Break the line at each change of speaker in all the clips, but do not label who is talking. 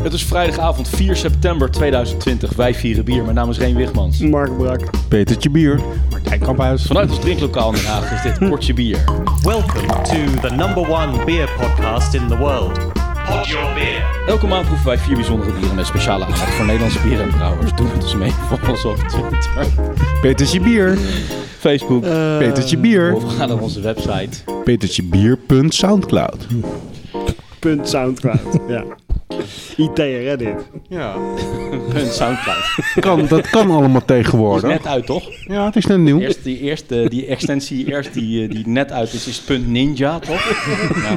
Het is vrijdagavond 4 september 2020. Wij vieren bier. Mijn naam is Reen Wichmans.
Mark Brak.
Petertje Bier. Martijn Kamphuis.
Vanuit ons drinklokaal in Den Haag is dit Portje Bier.
Welcome to the number one beer podcast in the world. Pod your beer.
Elke maand proeven wij vier bijzondere bieren met speciale aandacht voor Nederlandse bieren en brouwers. Doe het ons mee. Volg ons op Twitter,
Petertje Bier.
Facebook.
Eh. Petertje Bier.
of ga naar onze website.
Petertjebier.soundcloud.
Punt Soundcloud. ja. IT en Reddit.
Ja.
Hun Soundcloud.
Kan, dat kan allemaal
Is
tegenwoordig.
net uit, toch?
Ja, het is net nieuw.
Eerst die, eerste, die extensie eerst die, eh, die net uit is, is punt .ninja, toch? ja.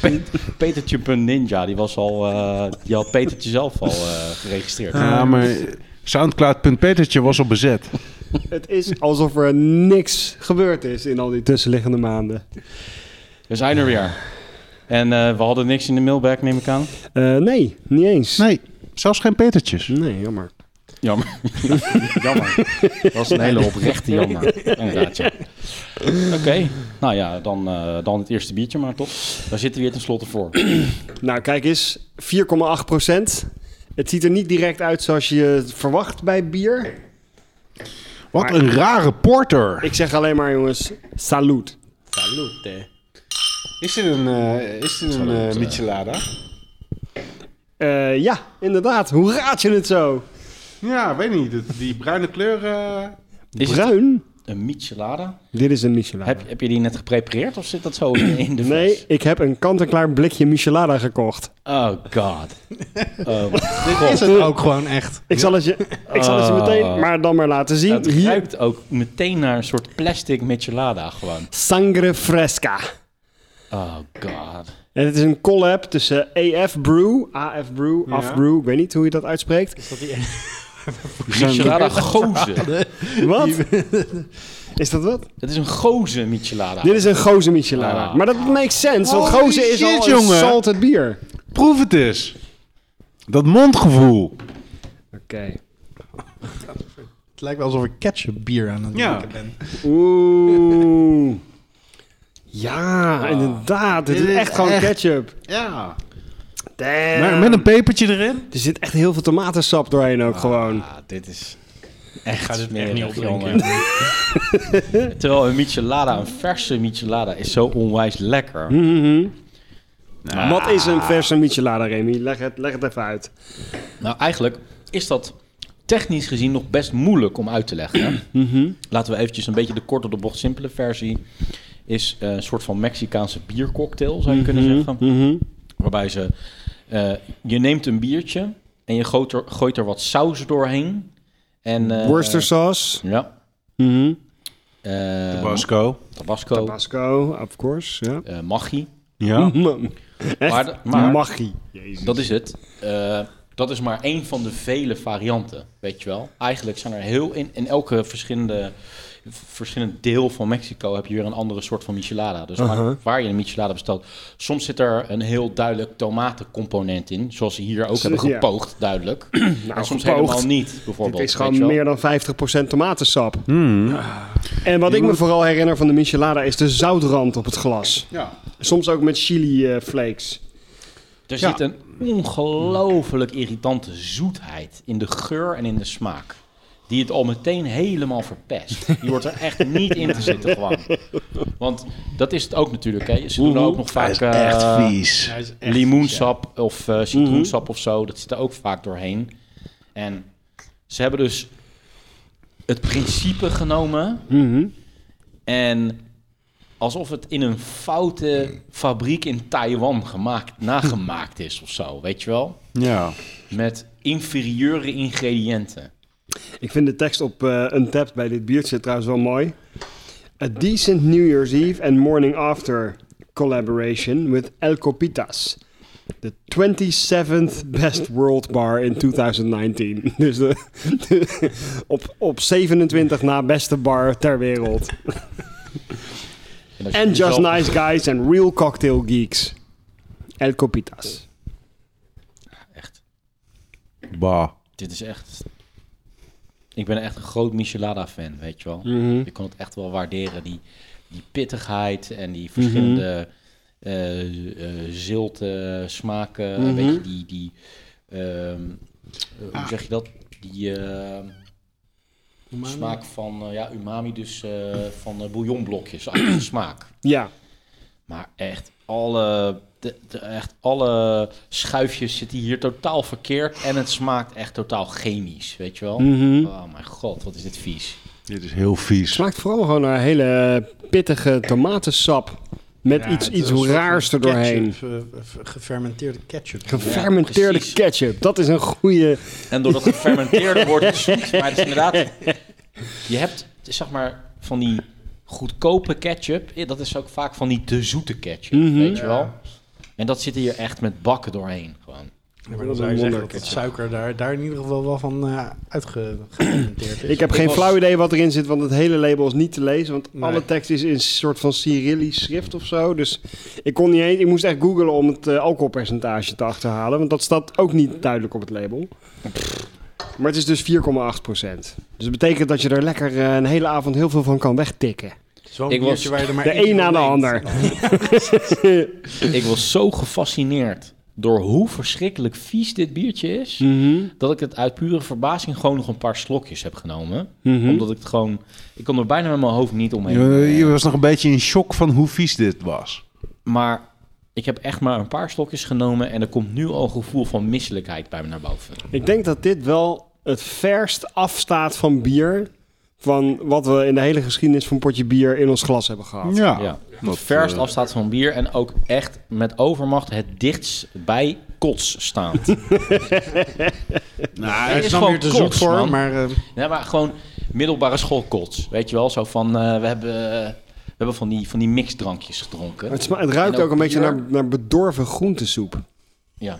Pe- Petertje punt .ninja, die, was al, eh, die had Petertje zelf al eh, geregistreerd.
Ja, maar soundcloud.petertje was al bezet.
Het is alsof er niks gebeurd is in al die tussenliggende maanden.
We zijn er weer. En eh, we hadden niks in de mailbag, neem ik aan.
Eh, nee, niet eens.
Nee, zelfs geen Petertjes.
Nee, jammer.
Jammer. jammer. Dat was een hele oprechte jammer. Inderdaad, ja. Oké, nou ja, dan, eh, dan het eerste biertje maar toch. Daar zitten we hier tenslotte voor.
Nou, kijk eens. 4,8 Het ziet er niet direct uit zoals je het verwacht bij bier.
Wat een rare porter.
Ik zeg alleen maar, jongens, salut.
Is dit een, eh, is dit een michelada?
Eh, ja, inderdaad. Hoe raad je het zo?
Ja, weet niet. Die bruine kleur... eh,
Is het
Bruin?
een michelada?
Dit is een Michelada.
Heb, heb je die net geprepareerd of zit dat zo in in de fles?
Nee, ik heb een kant-en-klaar blikje Michelada gekocht.
Oh god. Oh,
Dit is het ook gewoon echt.
Ik zal het je, ik zal het je
Ah.
meteen, maar dan maar laten zien.
het
Hier,
ruikt ook meteen naar een soort plastic michelada gewoon.
Sangre Fresca.
Oh god.
En het is een collab tussen AF Brew, AF Brew, AF Brew, ik weet niet hoe je dat uitspreekt.
Michelada gozen.
Wat? is dat wat?
Het is een gozen michelada.
Dit is een gozen Michelada.
Ah.
Maar dat makes sense, want
Holy
gozen is
shit,
al een
jongen.
salted bier.
Proef het eens. Dat mondgevoel.
Oké.
Het lijkt wel alsof ik ketchup bier aan het
Ja.
drinken ben.
Oeh. Ja, inderdaad. Dit
Dit
is
is
echt gewoon
echt-
ketchup.
Ja.
Damn.
Maar met een pepertje erin.
Er zit echt heel veel tomatensap doorheen ook gewoon.
Ah, dit is echt
ga dit echt
smerig,
niet opdrinken.
jongen. Terwijl een michelada, een verse michelada, is zo onwijs lekker.
Mhm. Wat is een verse michelada, Remy? Leg het, leg het even uit.
Nou, eigenlijk is dat technisch gezien nog best moeilijk om uit te leggen. hè? Laten we eventjes een beetje de kort op de bocht simpele versie. Is eh, een soort van Mexicaanse biercocktail, zou je kunnen zeggen.
Mhm.
Waarbij ze, eh, je neemt een biertje en je gooit er, gooit er wat saus doorheen. En, eh, oh.
Worcestersaus.
Ja.
Mhm.
eh,
Basco.
tabasco.
Tabasco, of course. Ja.
eh, Maggi.
Ja.
Echt?
Maar de- maar-
Magie. Jezus.
Dat is het. Eh, dat is maar één van de vele varianten, weet je wel. Eigenlijk zijn er heel in, in elke verschillende, verschillend deel van Mexico heb je weer een andere soort van michelada. Dus waar-
Uh-huh.
waar, je een michelada bestelt. Soms zit er een heel duidelijk tomatencomponent in, zoals ze hier ook hebben
ja. Nou,
gepoogd, duidelijk. en soms
gepoogd.
helemaal niet, bijvoorbeeld.
Het
weet
is gewoon
je wel.
meer dan 50% tomatensap. En wat ik me vooral herinner van de michelada is de zoutrand op het glas.
Ja.
Soms ook met chili eh, flakes.
Er
Ja.
zit een ongelooflijk irritante zoetheid in de geur en in de smaak. Die het al meteen helemaal verpest. Je wordt er echt niet in te zitten gewoon. Want dat is het ook natuurlijk. Hè. Ze doen er ook nog vaak eh,
vies. Mhm.
Hij is echt-
limoensap of eh, citroensap of zo. Dat zit er ook vaak doorheen. En ze hebben dus het principe genomen.
Mhm.
En alsof het in een foute fabriek in Taiwan gemaakt, nagemaakt is of zo. Weet je wel?
Ja.
Met inferieure ingrediënten.
Ik vind de tekst op eh Untapped bij dit biertje trouwens wel mooi. A decent New Year's Eve and morning after collaboration with El Copitas. The 27th best world bar in 2019. Dus de, de- op, op 27 na beste bar ter wereld.
En als je dus
And just
jezelf-
nice guys and real cocktail geeks. El Copitas.
Echt,
Bah.
dit is echt... Ik ben echt een groot Michelada-fan, weet je wel? Je kan het echt wel waarderen, die, die pittigheid en die verschillende eh eh, zilte smaken. Een beetje die, die ehm, eh, hoe zeg je dat? Die eh, smaak van eh, ja, umami, dus eh, van eh, bouillonblokjes, achtige smaak.
Ja,
Maar echt alle, de, de- echt alle schuifjes zitten hier totaal verkeerd. En het smaakt echt totaal chemisch, weet je wel?
Mhm.
Oh mijn god, wat is dit vies.
Dit is heel vies.
smaakt vooral gewoon naar hele pittige tomatensap. Met
Ja,
iets,
het is
iets
een soort
raars
van
erdoorheen.
ketchup, eh, eh, Gefermenteerde ketchup.
Ja,
Gefermenteerde
precies.
ketchup, dat is een goede...
En doordat het gefermenteerde wordt het zoet. Maar het is inderdaad... Je hebt, zeg maar, van die goedkope ketchup. eh, Dat is ook vaak van die te zoete ketchup,
Mhm.
weet je wel? En dat zit hier echt met bakken doorheen, gewoon.
Ja, maar
Wat een
dan zou je zeggen dat
wonderketchup.
het suiker daar, daar in ieder geval wel van eh uitgefermenteerd is.
Ik heb
Ik
geen
was-
flauw idee wat erin zit, want het hele label is niet te lezen. Want
Nee.
alle tekst is in een soort van Cyrillisch schrift of zo. Dus ik kon niet eens, ik moest echt googlen om het eh, alcoholpercentage te achterhalen. Want dat staat ook niet duidelijk op het label. Maar het is dus 4,8 procent. Dus dat betekent dat je er lekker eh, een hele avond heel veel van kan wegtikken.
Het is wel een
Ik was-
biertje waar je er maar
De
eentje
een
van
na de
neemt.
ander.
Ik was zo gefascineerd door hoe verschrikkelijk vies dit biertje is...
Mhm,
dat ik het uit pure verbazing gewoon nog een paar slokjes heb genomen.
mhm.
Omdat ik het gewoon... Ik kon er bijna met mijn hoofd niet omheen. Eh,
Je, je was nog een beetje in shock van hoe vies dit was.
Maar ik heb echt maar een paar slokjes genomen... en er komt nu al een gevoel van misselijkheid bij me naar boven.
Ik denk dat dit wel het verst afstaat van bier. Van wat we in de hele geschiedenis van potje bier in ons glas hebben gehad.
Ja.
Ja,
dat,
het verst
eh,
afstaat van bier en ook echt met overmacht het dichtst bij kots staand.
Nou,
Dit
Hij
is
is dan
gewoon
weer te zoet
kots,
voor,
man.
maar eh,
nee, maar gewoon middelbare school kots. Weet je wel, zo van eh, we hebben, we hebben van, die, van die mixdrankjes gedronken.
Het, sma- het ruikt
En
ook,
ook
een beetje
bier.
naar, naar bedorven groentesoep.
Ja.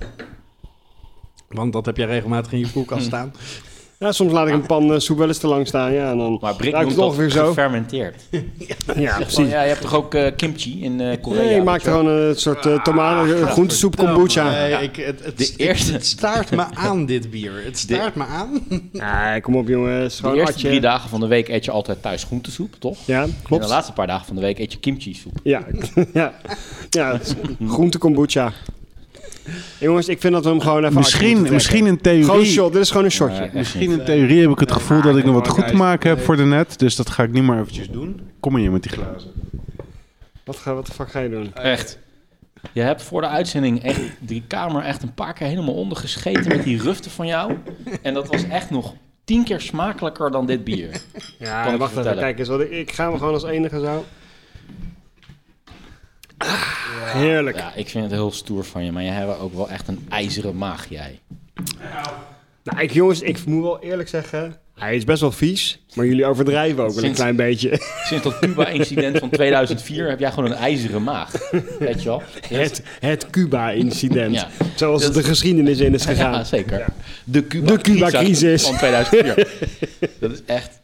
want dat heb jij regelmatig in je koelkast
Hm.
staan.
Ja, soms laat ik een pan eh, soep wel eens te lang staan. Ja, en dan
Ah. Maar Brik
ruikt
noemt
het
dat
ongeveer zo.
gefermenteerd.
Ja,
Oh,
precies.
ja, je hebt toch ook eh, kimchi in eh, Korea?
Nee, je
weet
maakt
je
er
wel?
gewoon een soort eh, tomaten,
Ah,
eh, groentesoep kombucha.
Nee, eh, ik, het, het,
Nou, De
het-
eerste-
het staart me aan, dit bier. Het staart me aan.
Nee, eh, kom op jongens.
De
Gewoon
eerste
atje.
drie dagen van de week eet je altijd thuis groentesoep, toch?
Ja,
En de
klopt.
laatste paar dagen van de week eet je kimchi soep.
Ja, ja. ja groente kombucha. Jongens, ik vind dat we hem gewoon even uit moeten
misschien,
trekken.
misschien in theorie...
Gewoon een shot, dit is gewoon een shotje.
Misschien in theorie heb ik het gevoel dat ik nog wat
maar
goed te
hij-
maken heb voor de net. Dus dat ga ik nu maar eventjes doen. Kom hier met die glazen.
Wat, ga, wat de fuck ga je doen?
Echt. Je hebt voor de uitzending echt die kamer echt een paar keer helemaal ondergescheten met die ruften van jou. En dat was echt nog tien keer smakelijker dan dit bier.
Ja,
Kan ik
wacht even,
vertellen.
kijk eens. Wat ik, ik ga hem gewoon als enige zo. Ah, heerlijk.
Ja, ik vind het heel stoer van je, maar jij hebt ook wel echt een ijzeren maag, jij.
Nou, ik, jongens, ik moet wel eerlijk zeggen. Hij is best wel vies, maar jullie overdrijven ook wel een
Sinds-
klein beetje.
Sinds dat Cuba-incident van 2004 heb jij gewoon een ijzeren maag. Weet je wel?
Het, het Cuba-incident.
Ja.
Zoals het
Dat-
de geschiedenis in is gegaan.
Ja, zeker. De Cuba-
De Cuba-crisis.
van 2004. dat is echt...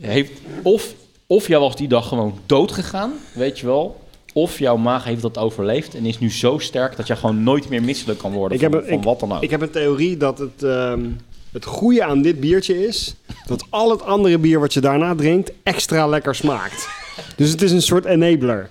Heeft, of, of jij was die dag gewoon dood gegaan, weet je wel. Of jouw maag heeft dat overleefd en is nu zo sterk dat jij gewoon nooit meer misselijk kan worden
Ik
van,
heb een-
van wat dan ook.
Ik heb een theorie dat het, ehm, het goede aan dit biertje is. dat al het andere bier wat je daarna drinkt extra lekker smaakt. Dus het is een soort enabler.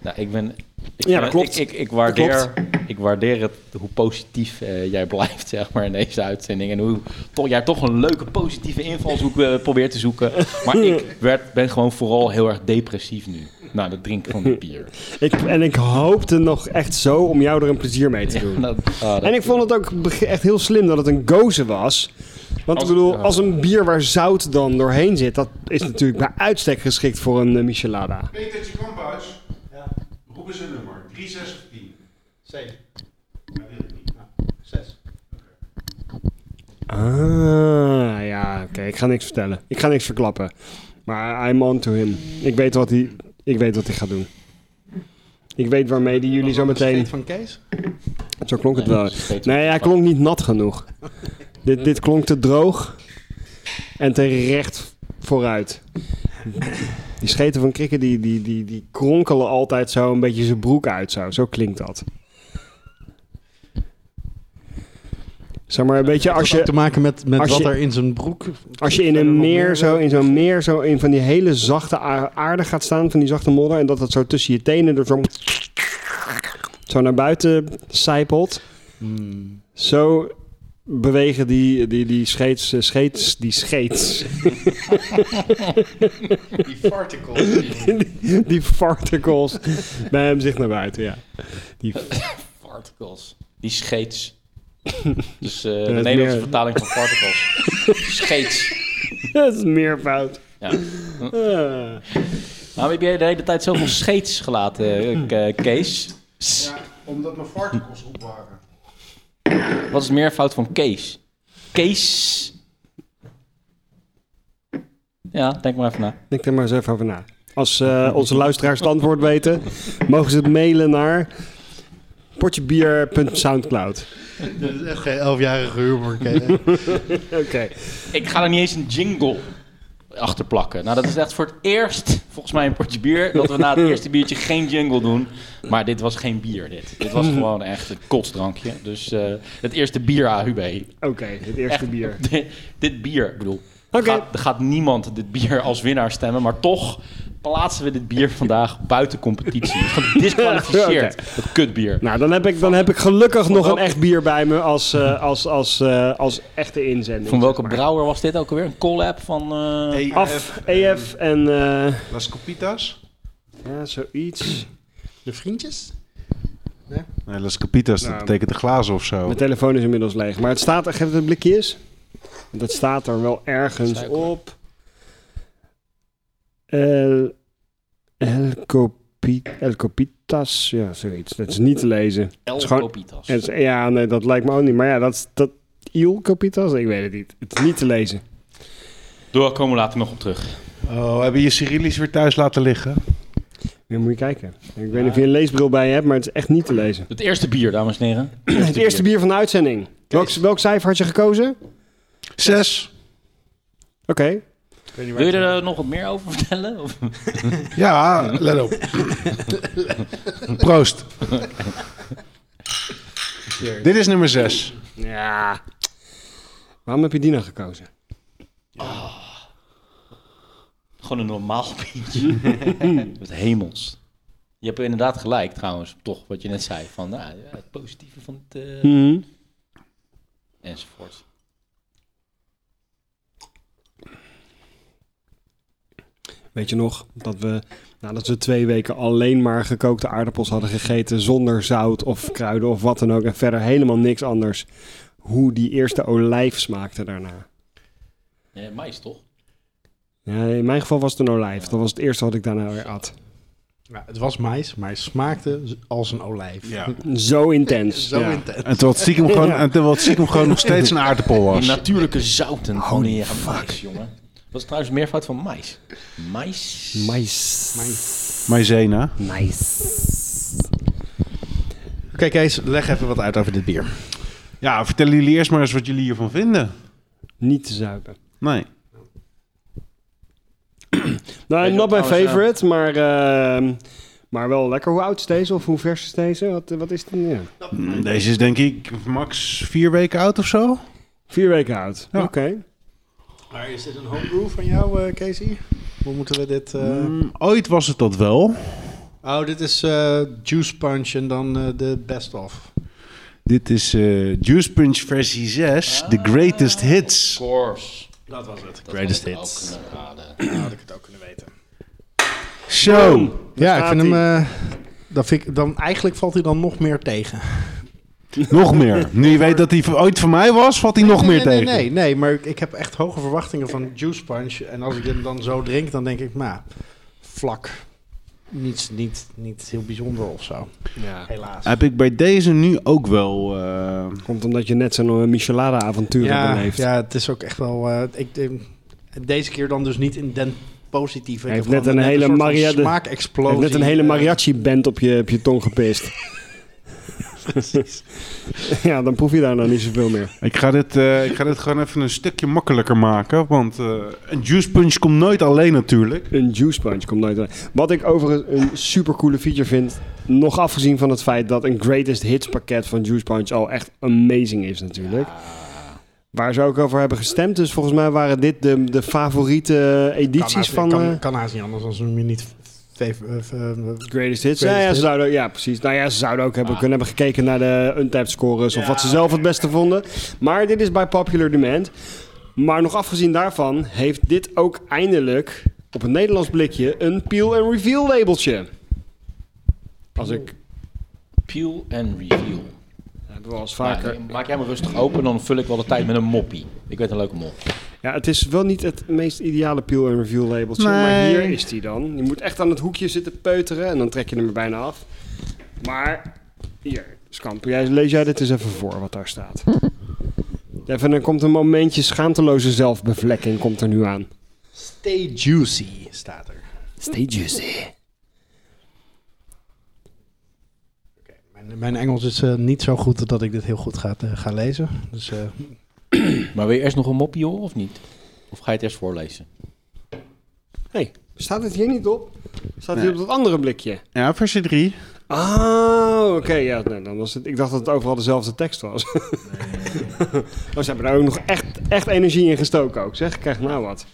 nou, ik ben... Ik,
Ja,
ben-
dat klopt.
Ik, ik, ik waardeer,
Dat
ik waardeer het, hoe positief eh, jij blijft zeg maar, in deze uitzending. En hoe toch, jij toch een leuke positieve invalshoek eh, probeert te zoeken. Maar ik werd, ben gewoon vooral heel erg depressief nu. Na het drinken van dit bier.
Ik, en ik hoopte nog echt zo om jou er een plezier mee te doen.
Ja, dat- ah, dat-
En ik vond het ook beg- echt heel slim dat het een gozer was. Want
Als-
ik bedoel,
ja.
als een bier waar zout dan doorheen zit, dat is natuurlijk bij uitstek geschikt voor een eh, michelada.
Petertje Kamphuis. Roep eens een nummer. 3610.
Zeven.
Nou,
Zes.
Ah, ja, oké. ik ga niks vertellen. Ik ga niks verklappen. Maar I'm on to him. Ik weet wat hij, ik weet wat hij gaat doen. Ik weet waarmee die jullie zo meteen...
van Kees?
Zo klonk het
Nee,
wel.
dat is steeds
Nee, hij
wat-
klonk niet nat genoeg. dit, dit klonk te droog en te recht vooruit. Die scheten van krikken die, die, die, die kronkelen altijd zo een beetje zijn broek uit. Zo, zo klinkt dat. Zeg maar een beetje als
te
je,
maken met, met
als
wat
je-
er in zijn broek...
als je in
Verder
een
nog
meer,
meer
zo, in zo'n meer, zo in van die hele zachte a- aarde gaat staan, van die zachte modder, en dat dat zo tussen je tenen er zo, zo naar buiten sijpelt.
Hmm.
Zo bewegen die, die, die scheets, eh, scheets, die scheets,
Die farticles.
die farticles bij hem zich naar buiten, ja. Die,
farticles. Die scheets. Dus eh,
is
de Nederlandse
meer-
vertaling van farticles. scheets.
dat is meer fout.
Ja.
Eh,
Nou, heb jij de hele tijd zoveel scheets gelaten, eh, K- Kees? S-
Ja, omdat mijn farticles op waren.
Wat is meer fout van Kees? Kees. Ja, denk maar even na.
denk er maar eens even over na. Als eh, onze luisteraars het antwoord weten, mogen ze het mailen naar potjebier.soundcloud.
Dit is echt geen elfjarige humor. Ken.
Oké.
Ik ga er niet eens een jingle achter plakken. Nou, dat is echt voor het eerst, volgens mij, een potje bier. Dat we na het eerste biertje geen jingle doen. Maar dit was geen bier, dit. Dit was gewoon echt een kotsdrankje. Dus eh, het eerste bier AHUB.
Oké, het eerste
Echt,
bier.
Dit, dit bier, ik bedoel.
Oké.
Er, gaat, er gaat niemand dit bier als winnaar stemmen. Maar toch plaatsen we dit bier vandaag buiten competitie. Gedisqualificeerd. Het kutbier.
Nou, dan heb ik, dan heb ik gelukkig nog een
welke-
echt bier bij me als, eh, als, als, eh, als echte inzending.
Van welke
zeg maar.
brouwer was dit ook alweer? Een collab van... eh,
E
Hey,
Af, E EF en eh,
Las Copitas?
ja, zoiets.
De vriendjes?
Nee, Las Capitas, dat
Nou.
betekent de glazen of zo.
Mijn telefoon is inmiddels leeg. Maar het staat er, geef het een blikje eens. Want Dat staat er wel ergens
Suiker.
op. El, El, Copi, El Copitas, ja, zoiets. Dat is niet te lezen.
El
is gewoon-
Copitas.
Het is- ja, nee, dat lijkt me ook niet. Maar ja, dat, is- dat Il Copitas, ik weet het niet. Het is niet te lezen.
Daar komen we later nog op terug.
Oh, hebben je Cyrillisch weer thuis laten liggen?
Weer moet je kijken. Ik weet niet of je een leesbril bij je hebt, maar het is echt niet te lezen.
Het eerste bier, dames en heren.
Het eerste bier van de uitzending. Welk, welk cijfer had je gekozen? Oké.
Zes.
Wil je er eh, nog wat meer over vertellen? Of?
Ja, let op. Proost. Dit is nummer zes.
Ja. Waarom heb je die nou gekozen?
Gewoon een normaal biertje. Met hemels. Je hebt inderdaad gelijk trouwens, toch, wat je net zei. Van nou, ja, het positieve van het... eh,
Hmm.
Enzovoort.
Weet je nog dat we nadat we twee weken alleen maar gekookte aardappels hadden gegeten zonder zout of kruiden of wat dan ook en verder helemaal niks anders, hoe die eerste olijf smaakte daarna?
Eh, mais, toch?
Ja, in mijn geval was het een olijf. Dat was het eerste wat ik daarna weer at.
Ja, het was mais, maar het smaakte z- als een olijf.
Ja.
Zo intens.
Zo
ja.
intens.
En terwijl het stiekem gewoon, en terwijl het stiekem gewoon nog steeds een aardappel
Die
was.
natuurlijke zouten
Oh,
van die eh, mais, jongen. Dat is trouwens meer fout van mais. Mais?
Mais.
Maizena.
Oké, Kees, leg even wat uit over dit bier.
Ja, vertellen jullie eerst maar eens wat jullie hiervan vinden.
Niet te zuipen.
Nee.
Nou,
Weet je
not my
wat trouwens,
favorite, maar, ehm, maar wel lekker. Hoe oud is deze of hoe vers is deze? Wat, eh, wat is het? Ja.
Mm, Deze is denk ik max vier weken oud of zo.
Vier weken oud.
Ja.
Oké.
Maar is dit een homebrew van jou, eh, Casey? Hoe moeten we dit... eh,
Mm, ooit was het dat wel.
Oh, dit is eh, Juice Punch en dan eh, de Best Of.
Dit is eh, Juice Punch versie 6, The Greatest Hits.
Course.
Dat was het.
Dat
Greatest
had ik
hits.
ook kunnen raden.
Nou, had ik het ook kunnen weten.
Show!
Ja, ik
staat
vind hem... eh, dat vind ik, dan, eigenlijk valt hij dan nog meer tegen.
Nog meer. Nu je weet dat hij ooit van mij was, valt hij nog
nee,
meer
nee,
tegen.
Nee, nee, nee, maar ik- ik heb echt hoge verwachtingen van Juice Punch. En als ik hem dan zo drink, dan denk ik, nou, vlak. Niets, niet, niet heel bijzonder of zo.
Ja.
Helaas.
Heb ik bij deze nu ook wel. eh,
Komt omdat je net zo'n eh, Michelada-avontuur hebt
ja,
beleefd.
ja, het is ook echt wel... eh, ik, eh, deze keer dan dus niet in den positieve.
Hij
Ik
heeft
heb
net
gewoon
een hele
soort van
Maria de- Je
smaakexplosie.
hebt net een hele
eh,
mariachi-band op je, op je tong gepist. ja, dan proef je daar nou niet zoveel meer.
ik, ga dit, eh, ik ga dit gewoon even een stukje makkelijker maken. Want eh, een juice punch komt nooit alleen natuurlijk.
Een juice punch komt nooit uit. Wat ik overigens een supercoole feature vind... nog afgezien van het feit dat een greatest hits pakket van juice punch... al echt amazing is natuurlijk. Waar ze ook over hebben gestemd. Dus volgens mij waren dit de, de favoriete
kan
edities
haast-
van...
Kan,
eh,
kan haast niet anders, anders noem je niet Vijf- eh, eh,
Greatest hits.
Greatest
ja, ja,
hits. Ah.
ze zouden, ook- ja, precies. Nou ja, ze zouden ook hebben kunnen hebben gekeken naar de untapped scores of wat ze zelf het beste vonden. Maar dit is by popular demand. Maar nog afgezien daarvan heeft dit ook eindelijk op een Nederlands blikje een peel and reveal labeltje. Als ik
Peel and reveal.
hebben we al eens
Ja,
vaker.
nee, maak jij me rustig open, dan vul ik wel de tijd met een moppie. Ik weet een leuke mop.
Ja, het is wel niet het meest ideale peel and reveal labeltje, maar hier is die dan. Je moet echt aan het hoekje zitten peuteren en dan trek je hem er bijna af. Maar hier, Skamp, jij, lees jij dit eens even voor wat daar staat. Even, er komt een momentje schaamteloze zelfbevlekking komt er nu aan.
Stay juicy staat er.
Stay juicy.
Mijn, mijn Engels is eh, niet zo goed dat ik dit heel goed ga, eh, ga lezen. Dus
Nou
eh,
Maar wil je eerst nog een moppie horen of niet? Of ga je het eerst voorlezen?
hey, staat het hier niet op? Staat hier op dat andere blikje?
Ja, versie 3.
Oh, oké. ja, nee, dan was het, ik dacht dat het overal dezelfde tekst was. oh, ze hebben daar ook nog echt, echt energie in gestoken ook, zeg. Ik krijg nou wat.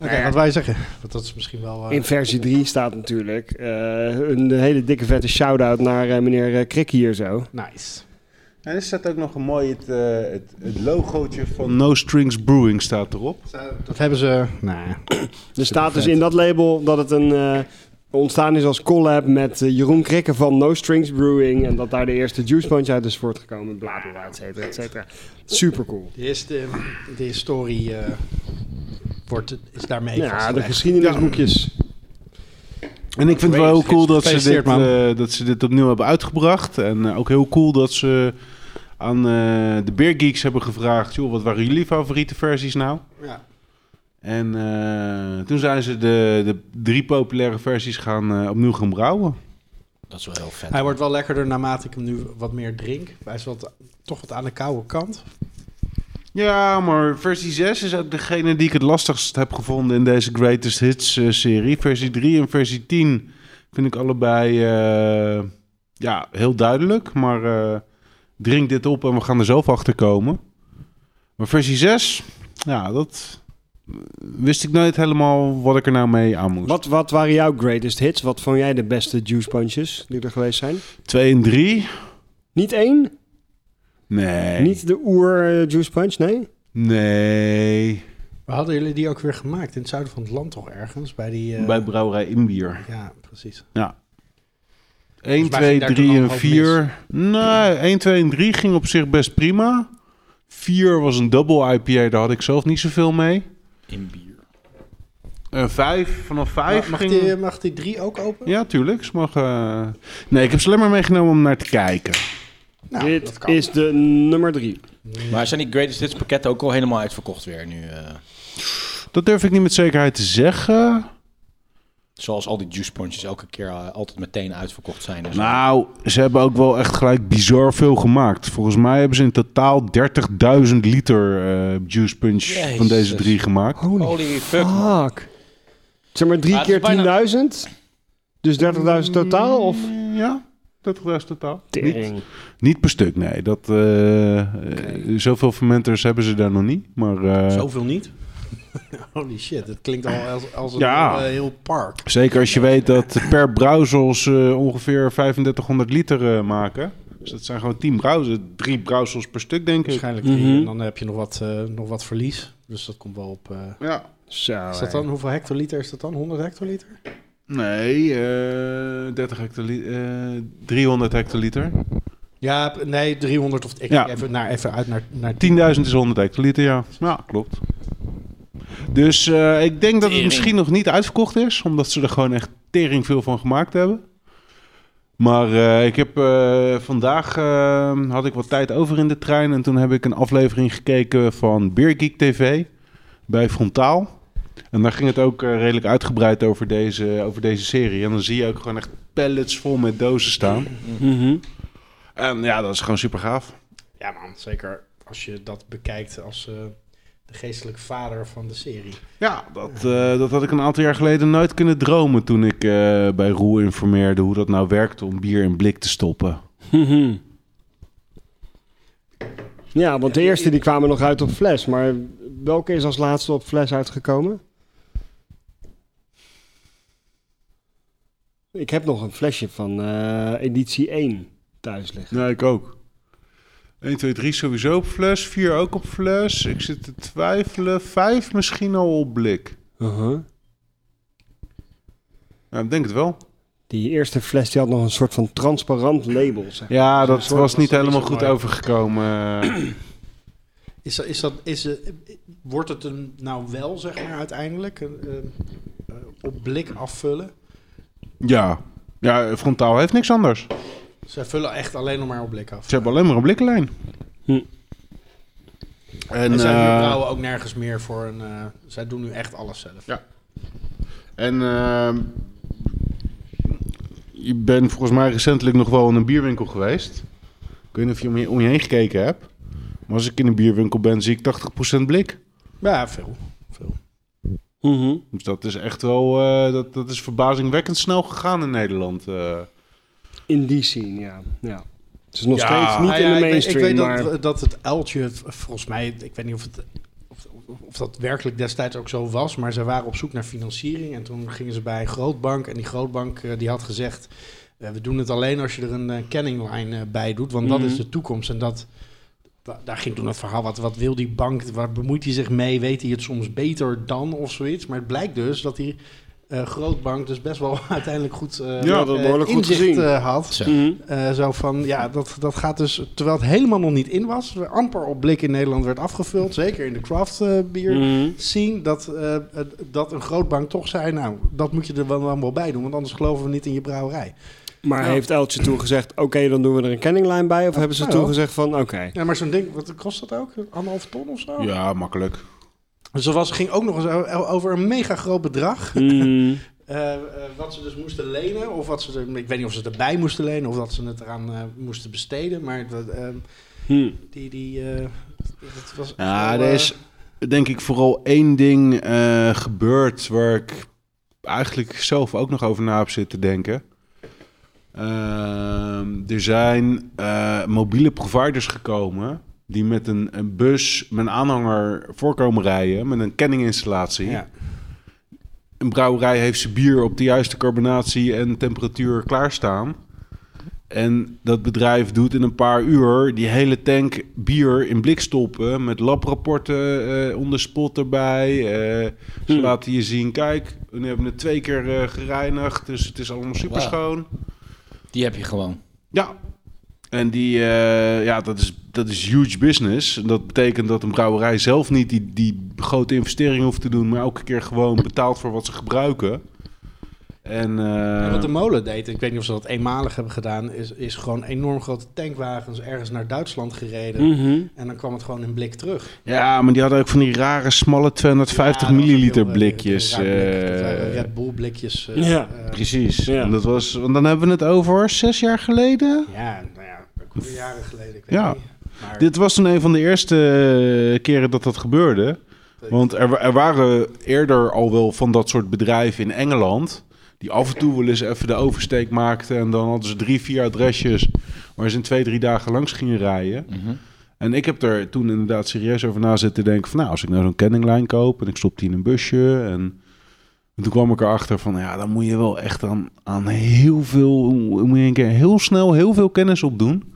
oké, wat wij zeggen. Want dat is misschien wel... eh,
In versie 3 staat natuurlijk eh, een hele dikke vette shout-out naar eh, meneer eh, Krik hier zo.
nice.
En er staat ook nog een mooi het, eh, het, het logootje van No Strings Brewing staat erop.
Dat hebben ze... Nou,
Er staat dus in dat label dat het een, eh, ontstaan is als collab met eh, Jeroen Krikke van No Strings Brewing. En dat daar de eerste Juice Punch uit is voortgekomen. Bla bla bla, et cetera, et cetera. Super cool.
de, eerste, de historie eh, wordt, is daarmee
ja, de
vastgelegd.
geschiedenisboekjes.
En ik vind het wel heel cool dat ze,
Gefeliciteerd,
dit,
man.
eh, dat ze dit opnieuw hebben uitgebracht. En eh, ook heel cool dat ze aan eh, de Beer Geeks hebben gevraagd... joh, wat waren jullie favoriete versies nou?
Ja.
En eh, toen zijn ze de, de drie populaire versies gaan, eh, opnieuw gaan brouwen.
Dat is wel heel vet.
Hij wordt wel lekkerder naarmate ik hem nu wat meer drink. Hij is wat, toch wat aan de koude kant.
Ja, maar versie 6 is ook degene die ik het lastigst heb gevonden in deze Greatest Hits eh, serie. Versie 3 en versie 10 vind ik allebei eh, ja, heel duidelijk. Maar eh, drink dit op en we gaan er zelf achter komen. Maar versie 6, ja, dat eh, wist ik nooit helemaal wat ik er nou mee aan moest.
Wat, wat waren jouw greatest hits? Wat vond jij de beste Juice Punches die er geweest zijn?
2 en 3?
Niet één?
Nee.
Niet de oer eh, Juice Punch? Nee?
Nee.
Maar hadden jullie die ook weer gemaakt? In het zuiden van het land toch ergens? Bij die... eh,
Bij Brouwerij Inbier.
ja, precies.
1,
Volgens mij
2,
ging daar
3
toen
en
ook wat
4. Nee, 1, 2 en 3 ging op zich best prima. 4 was een double IPA, daar had ik zelf niet zoveel mee.
In bier.
Eh 5, vanaf 5
Mag
ging...
die, eh, mag die drie ook open?
Ja, tuurlijk. Ze mag, eh, Nee, ik heb ze alleen maar meegenomen om naar te kijken.
Nou,
Nou,
Dit is de nummer drie.
Maar zijn die Greatest Hits pakketten ook al helemaal uitverkocht weer nu? eh?
Dat durf ik niet met zekerheid te zeggen.
zoals al die juice punches elke keer eh, altijd meteen uitverkocht zijn. en zo.
Nou, ze hebben ook wel echt gelijk bizar veel gemaakt. Volgens mij hebben ze in totaal 30.000 liter eh, juice punch van
Jezus.
deze drie gemaakt.
Holy fuck. man.
Fuck. Zeg maar drie
Maar Ah, het
keer
is bijna-
10.000? Dus 30.000 totaal? Of?
Ja, 30.000 totaal. Niet-
Tering.
Niet per stuk, nee. Dat, eh, eh, Zoveel fermenters hebben ze daar nog niet. Maar eh,
Zoveel niet? Holy shit, het klinkt al als, als een
Ja.
heel, eh, heel park.
zeker als je weet dat per brouwsels eh, ongeveer 3500 liter eh, maken. Dus dat zijn gewoon 10 brouwsels, drie brouwsels per stuk, denk ik.
Waarschijnlijk drie.
Mhm.
En dan heb je nog wat, eh, nog wat verlies. Dus dat komt wel op... eh,
Oh, Ja.
Zo.
is dat dan, hoeveel hectoliter is dat dan? 100 hectoliter?
Nee, eh 30 hectoliter, 300 hectoliter. 10.000
Ja, p- nee, 300 of... Ik
Ja.
even, naar, even uit naar, naar
is 100 hectoliter, ja. Ja, klopt. Dus eh, ik denk dat het
Tering.
misschien nog niet uitverkocht is, omdat ze er gewoon echt tering veel van gemaakt hebben. Maar eh, ik heb eh, vandaag eh, had ik wat tijd over in de trein en toen heb ik een aflevering gekeken van Beer Geek TV bij Frontaal. En daar ging het ook eh, redelijk uitgebreid over deze, over deze serie. En dan zie je ook gewoon echt pallets vol met dozen staan.
Mhm.
En ja, dat is gewoon super gaaf.
Ja man, zeker als je dat bekijkt als eh, de geestelijke vader van de serie.
Ja, dat, eh, dat had ik een aantal jaar geleden nooit kunnen dromen toen ik eh, bij Roel informeerde hoe dat nou werkte om bier in blik te stoppen.
Mhm. Ja, want de eerste die kwamen nog uit op fles. Maar welke is als laatste op fles uitgekomen? Ik heb nog een flesje van eh, editie 1 thuis liggen.
Nee, ik ook. 1, 2, 3 sowieso op fles. 4 ook op fles. Ik zit te twijfelen. 5 misschien al op blik. Nou, ik denk het wel.
Die eerste fles die had nog een soort van transparant label. Zeg.
Ja,
dat
dat
soort was
was niet
niet
helemaal
zo
goed
mooi.
overgekomen.
Is dat, is dat, is, eh, wordt het een, nou wel, zeg maar, uiteindelijk, een, eh, eh, op blik afvullen?
ja. ja, frontaal heeft niks anders.
Zij vullen echt alleen nog maar op blik af.
Ze hebben alleen maar een blikkenlijn.
Hm.
en
En,
zij
eh,
brouwen ook nergens meer voor een... eh, zij doen nu echt alles zelf.
Ja. En ehm, je bent volgens mij recentelijk nog wel in een bierwinkel geweest. Ik weet niet of je om je, om je heen gekeken hebt. Maar als ik in een bierwinkel ben, zie ik 80% blik.
Ja, veel. veel.
Mhm.
Dus dat is echt wel, eh, dat, dat is verbazingwekkend snel gegaan in Nederland. eh.
In die scene, ja. ja. Het is nog
Ja.
steeds niet
Nou ja,
in de
ik weet-
mainstream,
Ik weet,
maar...
dat, dat het uiltje, het- volgens mij, ik weet niet of, het, of, of- of dat werkelijk destijds ook zo was, maar ze waren op zoek naar financiering en toen gingen ze bij een grootbank en die grootbank eh, die had gezegd, eh, we doen het alleen als je er een eh, canning line eh, bij doet, want
Mhm.
dat is de toekomst en dat... da- Daar ging toen het verhaal, wat, wat wil die bank, waar bemoeit hij zich mee, weet hij het soms beter dan of zoiets. Maar het blijkt dus dat die eh, grootbank dus best wel uiteindelijk goed eh,
Ja, dat
eh,
behoorlijk goed
inzicht
gezien.
eh, had.
Zo.
Mhm.
Eh, zo van, ja, dat, dat gaat dus, terwijl het helemaal nog niet in was, er amper op blik in Nederland werd afgevuld, zeker in de craft eh, bier
Mm.
Mhm.
scene, dat, eh, eh, dat een grootbank toch zei, nou, dat moet je er wel allemaal bij doen, want anders geloven we niet in je brouwerij.
Maar heeft Eltje toen gezegd, oké, dan doen we er een kenninglijn bij? Of
Ja,
hebben ze
ja,
toen
wel.
gezegd van, oké.
Ja, maar zo'n ding, wat kost dat ook? Anderhalf ton of zo?
ja, makkelijk.
Dus dat was, ging ook nog eens o- over een mega groot bedrag,
Mhm.
eh, eh, wat ze dus moesten lenen, of wat ze er, ik weet niet of ze het erbij moesten lenen, of dat ze het eraan eh, moesten besteden, maar dat, eh,
Hm.
die, die, eh, dat was... echt
Ja,
wel,
er
eh,
is denk ik vooral één ding eh, gebeurd waar ik eigenlijk zelf ook nog over na heb zitten denken. Ehm, er zijn eh, mobiele providers gekomen die met een, een bus, met een aanhanger voorkomen rijden, met een kenninginstallatie.
Ja.
Een brouwerij heeft zijn bier op de juiste carbonatie en temperatuur klaarstaan. En dat bedrijf doet in een paar uur die hele tank bier in blik stoppen. Met labrapporten eh on the spot erbij. Eh ze
Hmm.
laten je zien, kijk, we hebben het twee keer eh, gereinigd. Dus het is allemaal super schoon.
Die heb je gewoon.
Ja. En die, eh, ja, dat is, dat is huge business. En dat betekent dat een brouwerij zelf niet die, die grote investering hoeft te doen. Maar elke keer gewoon betaalt voor wat ze gebruiken. En, eh,
Ja, wat de molen deed, ik weet niet of ze dat eenmalig hebben gedaan, is, is gewoon enorm grote tankwagens ergens naar Duitsland gereden.
Hm.
Mhm.
En dan kwam het gewoon in blik terug.
Ja, maar die hadden ook van die rare, smalle 250
Ja, dat was
milliliter
ook heel, eh,
blikjes.
heel raar blik.
eh,
Dat waren Red Bull blikjes. eh,
Ja.
eh,
precies.
Ja.
En dat was, want dan hebben we het over zes jaar geleden.
ja, nou ja, ook alweer jaren geleden. Ik weet
Ja.
niet. Maar
Dit was toen een van de eerste eh, keren dat dat gebeurde. Want er, wa- er waren eerder al wel van dat soort bedrijven in Engeland. Die af en toe wel eens even de oversteek maakten. En dan hadden ze drie, vier adresjes waar ze in twee, drie dagen langs gingen rijden. En ik heb er toen inderdaad serieus over na zitten denken van... nou, als ik nou zo'n kenninglijn koop en ik stop die in een busje... en en toen kwam ik erachter van, ja, dan moet je wel echt aan, aan heel veel... moet je een keer heel snel heel veel kennis opdoen.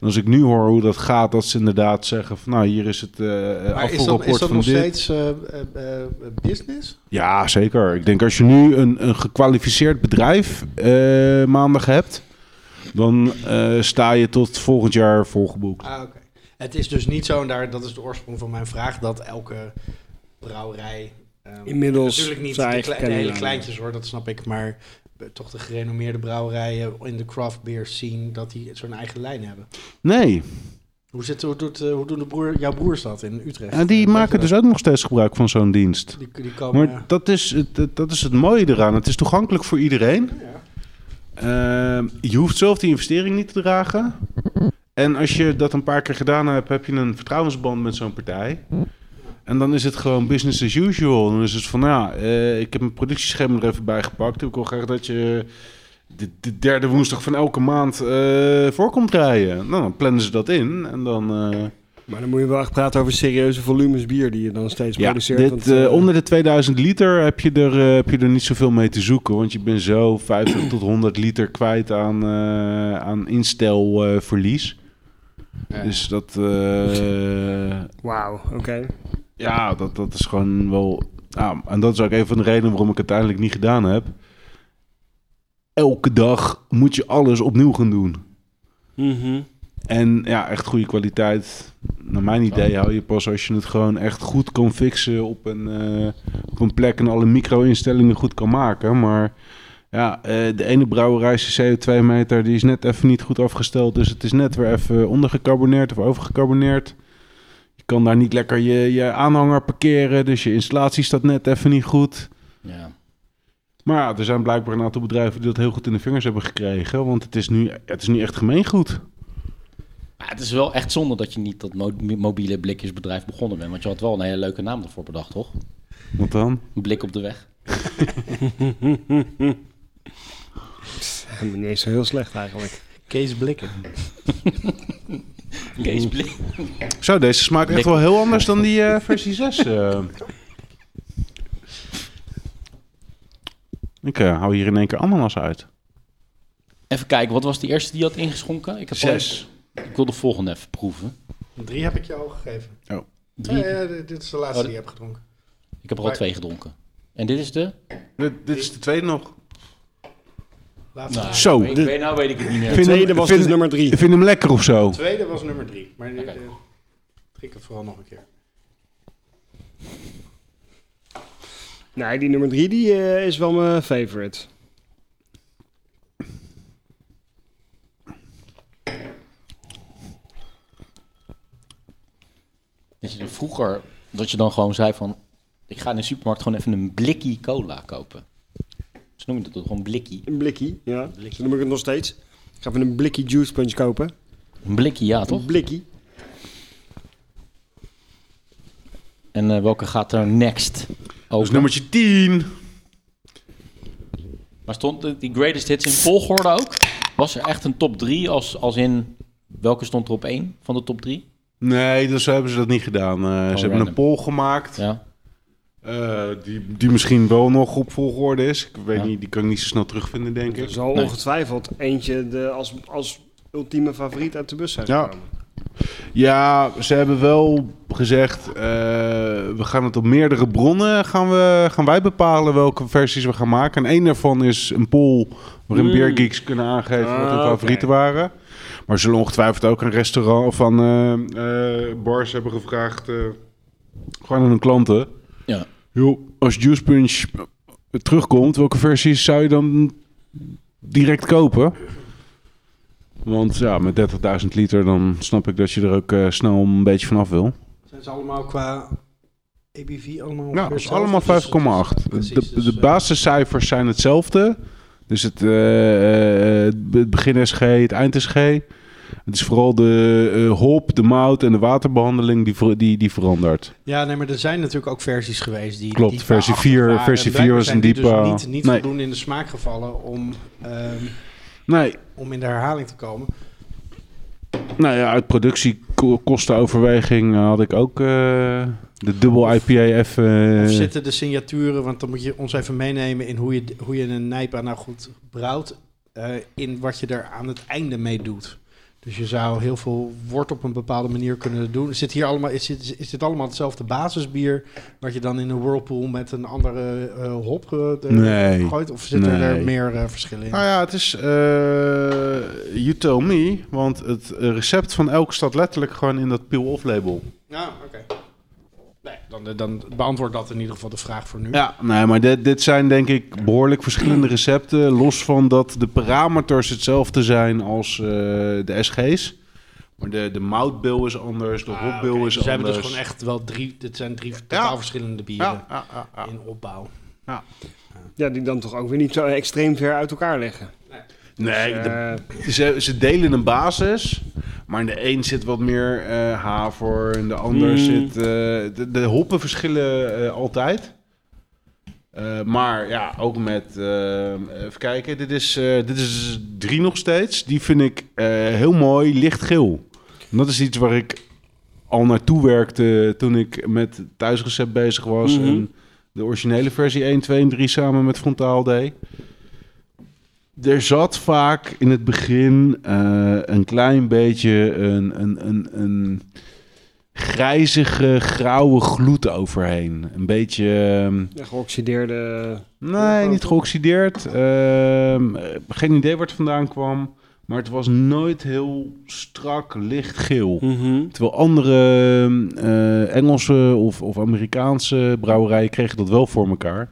En als ik nu hoor hoe dat gaat, dat ze inderdaad zeggen van... nou, hier is het eh
maar is dat, is
afvoerrapport
dat
van
nog
dit.
steeds eh, eh, eh, business?
Ja, zeker. Ik denk als je nu een, een gekwalificeerd bedrijf eh, maandag hebt... dan eh, sta je tot volgend jaar volgeboekt.
Ah, oké. Het is dus niet zo, en daar, dat is de oorsprong van mijn vraag, dat elke brouwerij... ehm,
Inmiddels
Natuurlijk niet
zijn
de,
eigen
kle- de hele
kenmerken.
kleintjes hoor, dat snap ik. Maar eh, toch de gerenommeerde brouwerijen in de craft beer scene, dat die zo'n eigen lijn hebben.
Nee,
Hoe, zit, hoe, doet, eh, hoe doen de broer, jouw broers dat in Utrecht?
Ja, die
Eh, Oh,
maken
dat-
dus ook nog steeds gebruik van zo'n dienst.
Die, die komen... eh,
Maar dat is, het- het- dat is het mooie eraan. Het is toegankelijk voor iedereen.
ja.
Ehm, je hoeft zelf die investering niet te dragen. En als je dat een paar keer gedaan hebt, heb je een vertrouwensband met zo'n partij. En dan is het gewoon business as usual. Dan is het van, nou ja, eh, ik heb mijn productieschema er even bij gepakt. Ik wil graag dat je de, de derde woensdag van elke maand eh voor komt rijden. Nou, dan plannen ze dat in. En dan eh,
Maar dan moet je wel echt praten over serieuze volumes bier die je dan steeds
Ja,
produceert.
dit,
want, eh,
eh, onder de 2000 liter heb je, er, eh, heb je er niet zoveel mee te zoeken. Want je bent zo 50 tot 100 liter kwijt aan, eh, aan instelverlies. Dus dat, eh,
Wauw, oké.
ja, dat, dat is gewoon wel... ja, en dat is ook een van de redenen waarom ik het uiteindelijk niet gedaan heb. Elke dag moet je alles opnieuw gaan doen.
Mhm.
En ja, echt goede kwaliteit. Naar mijn idee hou je pas als je het gewoon echt goed kan fixen op een, eh, op een plek en alle micro-instellingen goed kan maken. Maar ja, eh, de ene brouwerij is een CO2-meter, die is net even niet goed afgesteld. Dus het is net weer even ondergecarboneerd of overgecarboneerd. Je kan daar niet lekker je, je aanhanger parkeren, dus je installatie staat net even niet goed.
Ja.
Maar ja, er zijn blijkbaar een aantal bedrijven die dat heel goed in de vingers hebben gekregen. Want het is nu, het is nu echt gemeengoed.
Maar het is wel echt zonde dat je niet dat mo- mobiele blikjesbedrijf begonnen bent. Want je had wel een hele leuke naam ervoor bedacht, toch?
Wat dan?
Een blik op de weg.
Helemaal niet eens zo heel slecht eigenlijk.
Kees Blikken.
Kees Blik.
Zo, deze smaakt echt
Dik.
wel heel anders dan die eh, versie 6. eh. Ik eh, hou hier in één keer ananas uit.
Even kijken, wat was de eerste die je had ingeschonken? Ik, heb al- ik wil de volgende even proeven.
Drie heb ik je al gegeven.
Drie.
Nee, eh, dit- dit is de laatste
Oh,
die je hebt gedronken.
Ik heb er al twee gedronken. En dit is de?
Dit, dit is de tweede nog.
Laatste.
Zo,
ik
dit-
weet, nou weet ik het niet meer.
ik vind
Tweede
hem,
was
vind,
dus nummer drie.
ik vind hem lekker of zo.
De tweede was nummer drie. Maar nu
Oké.
eh, drink het vooral nog een keer.
Nee, die nummer drie die, eh, is wel mijn favorite.
Dat je dan vroeger, dat je dan gewoon zei van... Ik ga in de supermarkt gewoon even een blikkie cola kopen. Ze noemen dat toch gewoon blikkie.
Een blikkie, ja. Zo noem ik het nog steeds. Ik ga even een blikkie juice punch kopen.
Een blikkie, ja toch?
Een blikkie.
En eh, welke gaat er next over?
Dus nummertje 10.
Maar stond de- die greatest hits in volgorde ook? Was er echt een top 3 als, als in... Welke stond er op 1 van de top 3?
Nee, dus zo hebben ze dat niet gedaan. Eh, ze hebben
Oh, random.
een poll gemaakt.
Ja.
eh, die, die misschien wel nog op volgorde is. Ik weet
Ja.
niet, die kan ik niet zo snel terugvinden, denk
Er
ik.
zal
Nee.
ongetwijfeld eentje de, als, als ultieme favoriet uit de bus zijn
Ja.
gekomen.
Ja, ze hebben wel gezegd, eh, we gaan het op meerdere bronnen gaan, we, gaan wij bepalen welke versies we gaan maken. En één daarvan is een poll waarin
Mm.
beergeeks kunnen aangeven wat
Ah,
hun
oké.
favorieten waren. Maar ze zullen ongetwijfeld ook een restaurant of aan eh, eh, bars hebben gevraagd, eh, gewoon aan hun klanten.
Ja.
Joh, als Juice Punch terugkomt, welke versies zou je dan direct kopen? Want ja, met 30.000 liter dan snap ik dat je er ook eh, snel een beetje vanaf wil.
Zijn ze allemaal qua ABV allemaal
Ja,
ongeveer
dat is
hetzelfde?
allemaal 5,8.
Dus het is- precies,
De,
dus,
de
eh,
basiscijfers zijn hetzelfde. Dus het, eh, eh, het begin SG, het eind SG. Het is vooral de eh, hop, de mout en de waterbehandeling die, ver- die, die verandert.
Ja, nee, maar er zijn natuurlijk ook versies geweest die.
Klopt,
die
versie
daarachter
vier-
waren.
versie
Blijkbaar
vier was
zijn
een
die
diepe-
Dus niet, niet
nee.
voldoende in de smaak gevallen om, ehm,
Nee,
om in de herhaling te komen.
Nou ja, uit productiekostenoverweging had ik ook eh, de dubbel IPAF. eh,
Of zitten de signaturen, want dan moet je ons even meenemen in hoe je, hoe je een Nijpa nou goed brouwt, eh, in wat je er aan het einde mee doet. Dus je zou heel veel wort op een bepaalde manier kunnen doen. Zit hier allemaal, is, dit, is dit allemaal hetzelfde basisbier, wat je dan in een whirlpool met een andere eh, hop ge- de-
Nee.
gooit? Of zitten er
Nee.
meer eh, verschillen in?
Nou ja, het is eh You Tell Me, want het eh, recept van elk staat letterlijk gewoon in dat peel-off label.
Ja, Ah, oké. Nee, dan, dan beantwoord dat in ieder geval de vraag voor nu.
Ja, nee, maar dit, dit zijn denk ik behoorlijk verschillende recepten, los van dat de parameters hetzelfde zijn als eh, de SG's. Maar de, de moutbil is anders, de
Ah,
hopbil
oké,
is
dus ze hebben
anders.
dus gewoon echt wel drie, dit zijn drie totaal verschillende bieren
Ja, ja, ja, ja.
in opbouw.
Ja, die dan toch ook weer niet zo extreem ver uit elkaar liggen.
Nee, de
Eh,
Ze, ze delen een basis, maar in de een zit wat meer eh haver, in de ander
Mm.
zit... eh, de, de hoppen verschillen eh, altijd. Eh, maar ja, ook met... eh, even kijken, dit is, eh, dit is drie nog steeds. Die vind ik eh, heel mooi lichtgeel. En dat is iets waar ik al naartoe werkte toen ik met thuisrecept bezig was.
Mhm.
En de originele versie 1, 2 en 3 samen met Frontaal deed. Er zat vaak in het begin eh, een klein beetje een, een, een, een grijzige, grauwe gloed overheen. Een beetje... ehm,
Ja, geoxideerde...
Nee, niet geoxideerd. Ehm, eh, geen idee waar het vandaan kwam. Maar het was nooit heel strak
Hm.
lichtgeel. Terwijl andere ehm, eh, Engelse of, of Amerikaanse brouwerijen kregen dat wel voor elkaar.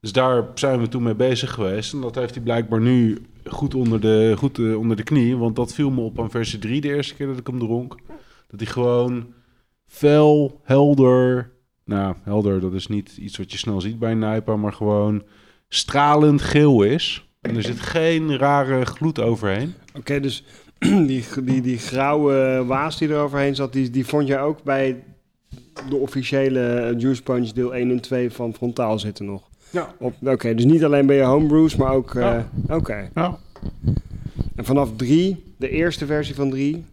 Dus daar zijn we toen mee bezig geweest. En dat heeft hij blijkbaar nu goed onder de, goed, eh, onder de knie. Want dat viel me op aan versie 3 de eerste keer dat ik hem dronk. Dat hij gewoon fel, helder... Nou, helder, dat is niet iets wat je snel ziet bij een Nijpa, maar gewoon stralend geel is. En er zit geen rare gloed overheen.
Oké, dus die, die, die grauwe waas die er overheen zat, die, die vond jij ook bij de officiële Juice Punch deel 1 en 2 van Frontaal zitten nog?
Ja.
Op- Oké, dus niet alleen bij je homebrews, maar ook... eh,
Ja.
Oké.
Ja.
En vanaf 3, de eerste versie van 3,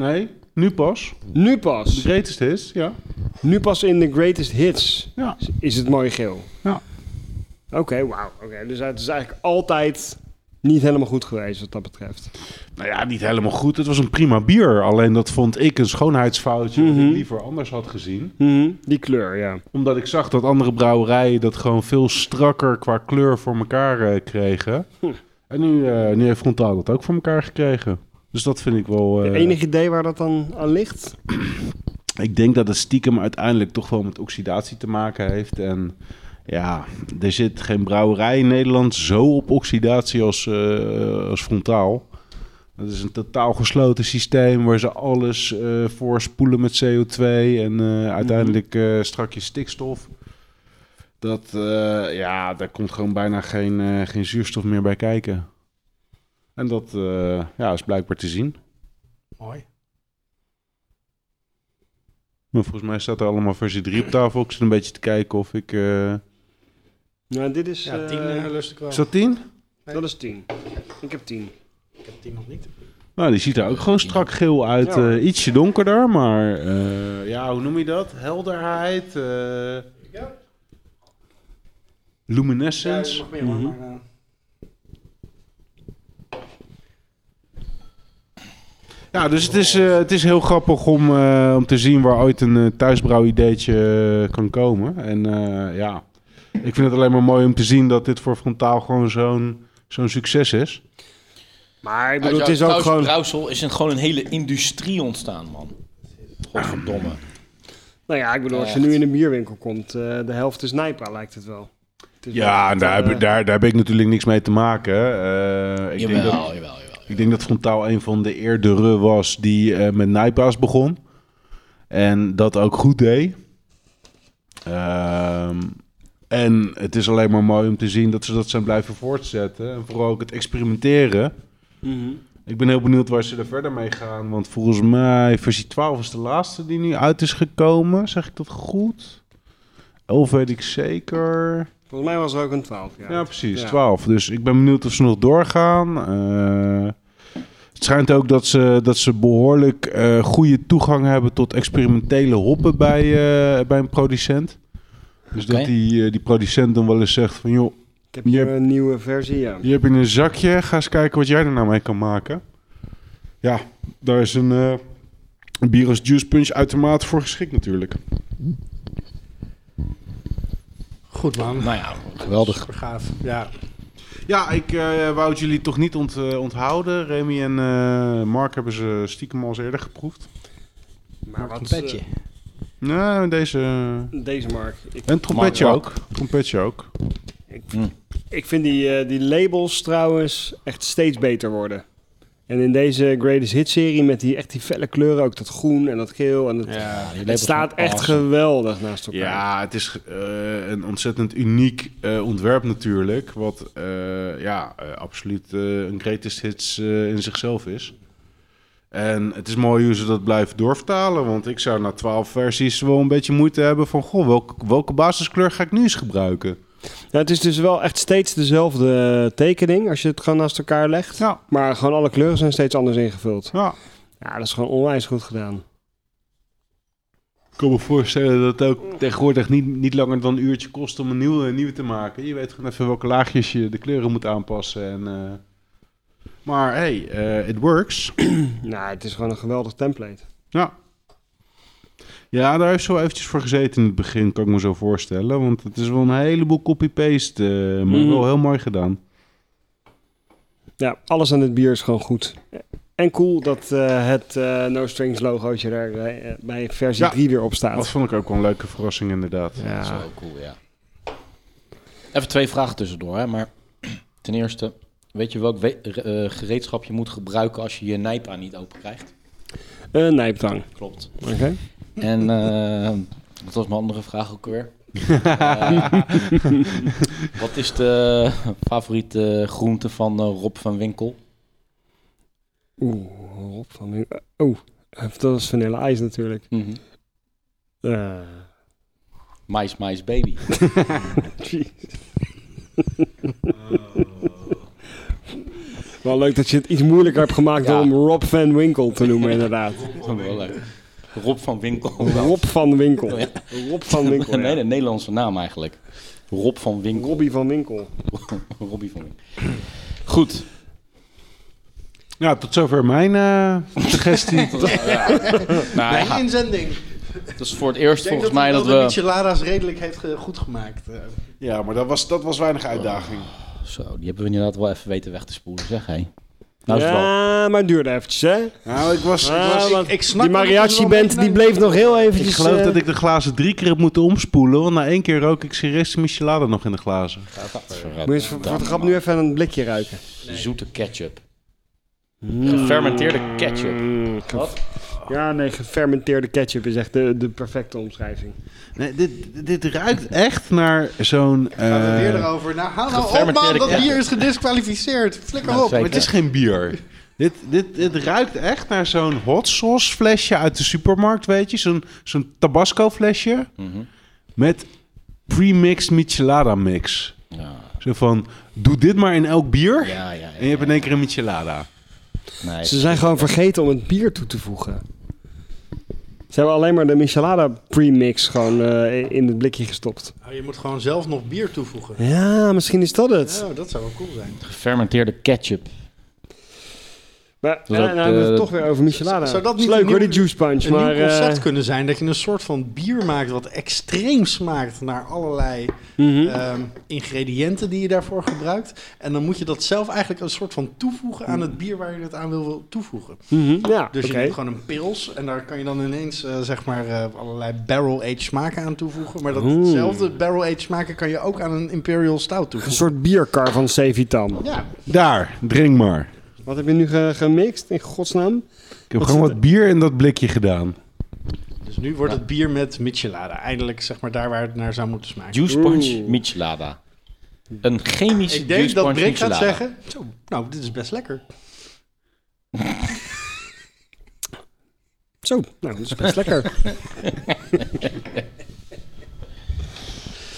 Nee, nu pas.
nu
De
pas.
greatest is, ja.
Nu pas in de greatest hits
Ja.
is het mooi geel.
Ja.
Oké, wauw. Oké, dus het is eigenlijk altijd niet helemaal goed geweest wat dat betreft.
Nou ja, niet helemaal goed. Het was een prima bier. Alleen dat vond ik een schoonheidsfoutje dat
Mhm.
ik liever anders had gezien.
Die kleur, ja.
Omdat ik zag dat andere brouwerijen dat gewoon veel strakker qua kleur voor elkaar eh, kregen.
Hm.
En nu, eh, nu heeft Frontaal dat ook voor elkaar gekregen. Dus dat vind ik wel... eh,
Enig idee waar dat dan aan ligt?
Ik denk dat het stiekem uiteindelijk toch wel met oxidatie te maken heeft. En ja, er zit geen brouwerij in Nederland zo op oxidatie als, eh, als frontaal. Dat is een totaal gesloten systeem waar ze alles eh voorspoelen met CO2 en eh, uiteindelijk eh strakjes stikstof. Dat, eh, ja, daar komt gewoon bijna geen, eh, geen zuurstof meer bij kijken. En dat eh, ja, is blijkbaar te zien.
Mooi.
Maar volgens mij staat er allemaal versie 3 op tafel. Ik zit een beetje te kijken of ik... eh,
Nou, dit is...
Ja,
eh,
tien eh, lust ik wel.
Is dat 10?
dat is 10. Ik heb 10.
Ik heb tien nog niet.
Nou, die ziet er ook gewoon strak geel uit.
Ja, hoor.
eh, ietsje donkerder, maar... eh, ja, hoe noem je dat? Helderheid? eh,
Ja,
Luminescence?
nog meer hoor,
Mhm.
maar, eh,
Ja, dus het is, eh, het is heel grappig om, eh, om te zien waar ooit een eh, thuisbrouwideetje eh, kan komen. En eh, ja, ik vind het alleen maar mooi om te zien dat dit voor Frontaal gewoon zo'n zo'n succes is.
Maar
Uit
ik bedoel, het
jouw
is ook
trouwse
gewoon...
brouwsel is een, gewoon een hele industrie ontstaan, man. Godverdomme.
Nou ja, ik bedoel, als je
Echt.
nu in een bierwinkel komt, eh, de helft is Nijpa, lijkt het wel. Het is
Ja,
wel
en
echt,
daar, heb,
eh,
ik- daar, daar heb ik natuurlijk niks mee te maken. Eh, ik, denk
Jawel,
dat,
jawel, jawel.
ik denk dat Frontaal een van de eerdere was die eh, met Nijpaas begon. En dat ook goed deed. Ehm, en het is alleen maar mooi om te zien dat ze dat zijn blijven voortzetten. En vooral ook het experimenteren.
mhm.
Ik ben heel benieuwd waar ze er verder mee gaan. Want volgens mij versie 12 is de laatste die nu uit is gekomen. Zeg ik dat goed? 11 weet ik zeker.
Volgens mij was er ook een 12, ja.
Ja, precies.
Ja.
12. Dus ik ben benieuwd of ze nog doorgaan. Eh, het schijnt ook dat ze, dat ze behoorlijk eh, goede toegang hebben tot experimentele hoppen bij, eh, bij een producent. Dus dat
Oké.
die, eh, die producent dan wel eens zegt van... joh,
Ik heb hier
Je-
een nieuwe versie, ja.
hier heb je een zakje. Ga eens kijken wat jij er nou mee kan maken. Ja, daar is een eh, een bier als juice punch uitermate voor geschikt natuurlijk.
Goed man.
Nou ja, geweldig.
Super gaaf. Ja.
Ja, ik eh, wou het jullie toch niet ont- eh, onthouden. Remy en eh, Mark hebben ze stiekem al eens eerder geproefd.
Maar wat... eh,
Nou, deze...
deze Mark. Ik,
En trompetje
Mark
ook. Trompetje ook.
ik vind die, eh, die labels trouwens echt steeds beter worden. En in deze Greatest Hit serie met die echt die felle kleuren, ook dat groen en dat geel. En dat,
Ja, die
het
labels
staat
zijn
echt
awesome.
geweldig naast elkaar.
Ja, het is eh, een ontzettend uniek eh, ontwerp natuurlijk. Wat eh, ja, eh, absoluut eh, een greatest hits eh, in zichzelf is. En het is mooi hoe ze dat blijven doorvertalen. Want ik zou na twaalf versies wel een beetje moeite hebben van... Goh, welke, welke basiskleur ga ik nu eens gebruiken?
Ja, het is dus wel echt steeds dezelfde tekening als je het gewoon naast elkaar legt.
Ja.
Maar gewoon alle kleuren zijn steeds anders ingevuld.
Ja,
Ja, dat is gewoon onwijs goed gedaan.
kan me voorstellen dat het ook tegenwoordig niet, niet langer dan een uurtje kost om een nieuwe, een nieuwe te maken. Je weet gewoon even welke laagjes je de kleuren moet aanpassen. En, eh, Maar hey, eh, it works.
Nou, het is gewoon een geweldig template.
Ja. Ja, daar heeft zo eventjes voor gezeten in het begin, kan ik me zo voorstellen. Want het is wel een heleboel copy-paste, eh, maar
Mhm.
wel heel mooi gedaan.
Ja, alles aan dit bier is gewoon goed. En cool dat eh, het eh, No Strings logootje daar eh, bij versie
Ja.
3 weer op
Dat
staat.
vond ik ook wel een leuke verrassing inderdaad.
Dat is wel cool, ja. Even twee vragen tussendoor, hè. Maar ten eerste, weet je welk we- eh, gereedschap je moet gebruiken als je je nijpa niet open krijgt?
Een nijptang.
Klopt.
Oké.
En eh, wat was mijn andere vraag ook weer? Eh, wat is de favoriete groente van eh, Rob van Winkel?
Oeh, Rob van Win- Oeh, Oh, eh, dat was Vanille ijs natuurlijk. Eh,
Mais, mais, baby.
jeez. Wel leuk dat je het iets moeilijker hebt gemaakt
Ja.
door om Rob van Winkel te noemen, inderdaad.
Dat vond ik wel leuk. Rob van Winkel.
Rob van Winkel.
Ja.
Rob van Winkel.
nee,
ja.
de Nederlandse naam eigenlijk. Rob van Winkel.
Robbie van Winkel.
Robbie van Winkel. Goed.
Ja, tot zover mijn eh, suggestie.
Nou,
Mijn
ja,
inzending.
dat is voor het eerst
Ik denk
volgens mij
dat hij
dat
wel de
we...
micheladas redelijk heeft ge- goed gemaakt. Eh,
ja, maar dat was, dat was weinig uitdaging.
Zo, die hebben we inderdaad wel even weten weg te spoelen, zeg hé. Nou is het wel.
ja, maar het duurde eventjes, hè?
Nou, ik was... Ik, was,
Ah, want
ik snap
die
dat het er wel
mariachi-band
mee-
die bleef nog heel eventjes...
ik geloof
eh,
dat ik de glazen drie keer heb moeten omspoelen. Want na één keer rook ik serieus de michelada nog in de glazen.
Moet je eens voor, voor de grap nu even aan een blikje ruiken.
Zoete ketchup. Gefermenteerde ketchup. Wat?
Mm, Ja, nee, gefermenteerde ketchup is echt de, de perfecte omschrijving.
Nee, dit, dit ruikt echt naar zo'n...
Gaan we
eh,
weer erover. Nou, hou nou op man,
gefermenteerde
dat
ketchup.
bier is gedisqualificeerd. Flikker
Nou,
op.
zeker.
Maar het is geen bier. dit, dit, dit ruikt echt naar zo'n hot sauce flesje uit de supermarkt, weet je. Zo'n zo'n tabasco flesje
Mhm.
met premixed michelada mix.
Ja,
Zo van, doe dit maar in elk bier
ja, ja.
en je hebt in één keer een michelada.
Nee,
Ze zijn gewoon vergeten om het bier toe te voegen. Ze hebben alleen maar de Michelada premix gewoon eh, in het blikje gestopt.
Oh, je moet gewoon zelf nog bier toevoegen.
Ja, misschien is dat het.
Oh, dat zou wel cool
Dus
zijn.
gefermenteerde ketchup.
Maar ja,
is
nou,
ook,
hebben we het
eh,
toch weer over Michelada.
zou dat
is
niet
leuk
een
hoor, die
nieuw-
juice punch.
Een
maar,
nieuw concept
eh,
kunnen zijn dat je een soort van bier maakt wat extreem smaakt naar allerlei
Hm?
mhm.
ehm, ingrediënten die je daarvoor gebruikt. En dan moet je dat zelf eigenlijk een soort van toevoegen aan het bier waar je het aan wil toevoegen.
Mhm, ja,
Dus
oké.
je neemt gewoon een pils en daar kan je dan ineens eh, zeg maar eh, allerlei barrel-aged smaken aan toevoegen. Maar
Oeh.
datzelfde barrel-aged smaken kan je ook aan een imperial stout
Een
toevoegen.
soort bierkar van Sevitan.
Ja,
Daar, drink maar.
Wat heb je nu ge- gemixt, in godsnaam?
Ik heb
Wat
gewoon
zit
wat bier in dat blikje gedaan.
dus nu wordt het bier met michelada. Eindelijk zeg maar daar waar het naar zou moeten smaken.
Juice punch
Oeh.
michelada. Een chemische
Ik denk
juice
dat
punch
Rick gaat
michelada.
zeggen, zo, nou dit is best lekker.
Zo, nou, dat is best lekker.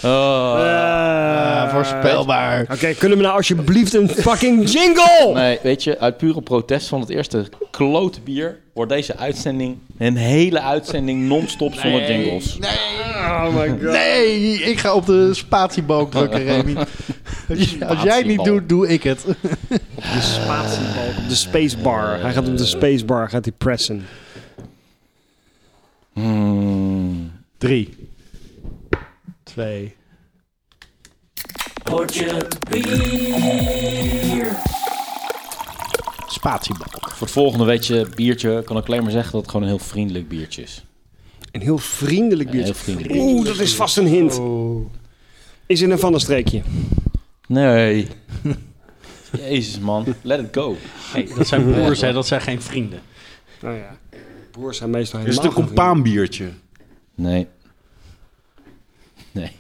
Oh,
Eh,
voorspelbaar.
Oké, kunnen we nou alsjeblieft een fucking jingle?
Nee, weet je, uit pure protest van het eerste klote bier wordt deze uitzending een hele uitzending non-stop zonder jingles.
Oh my god.
Nee, ik ga op de spatiebalk drukken, Remy. Als jij het niet doet, doe ik het.
De spatiebalk, de spacebar. Hij gaat op de spacebar, gaat hij pressen.
Hmm.
Drie. Twee. Spatiebalk.
Voor het volgende weet je, biertje kan ik alleen maar zeggen dat het gewoon een heel vriendelijk biertje is.
Een heel vriendelijk
Een heel
biertje.
vriendelijk biertje.
Oeh, dat is vast een hint. Is in een van een streekje.
Nee. Jezus man, let it go.
Hey, dat zijn broers, hè, dat zijn geen vrienden.
Nou ja. Broers zijn meestal
Is
helemaal
het een compaanbiertje?
Nee. Nee.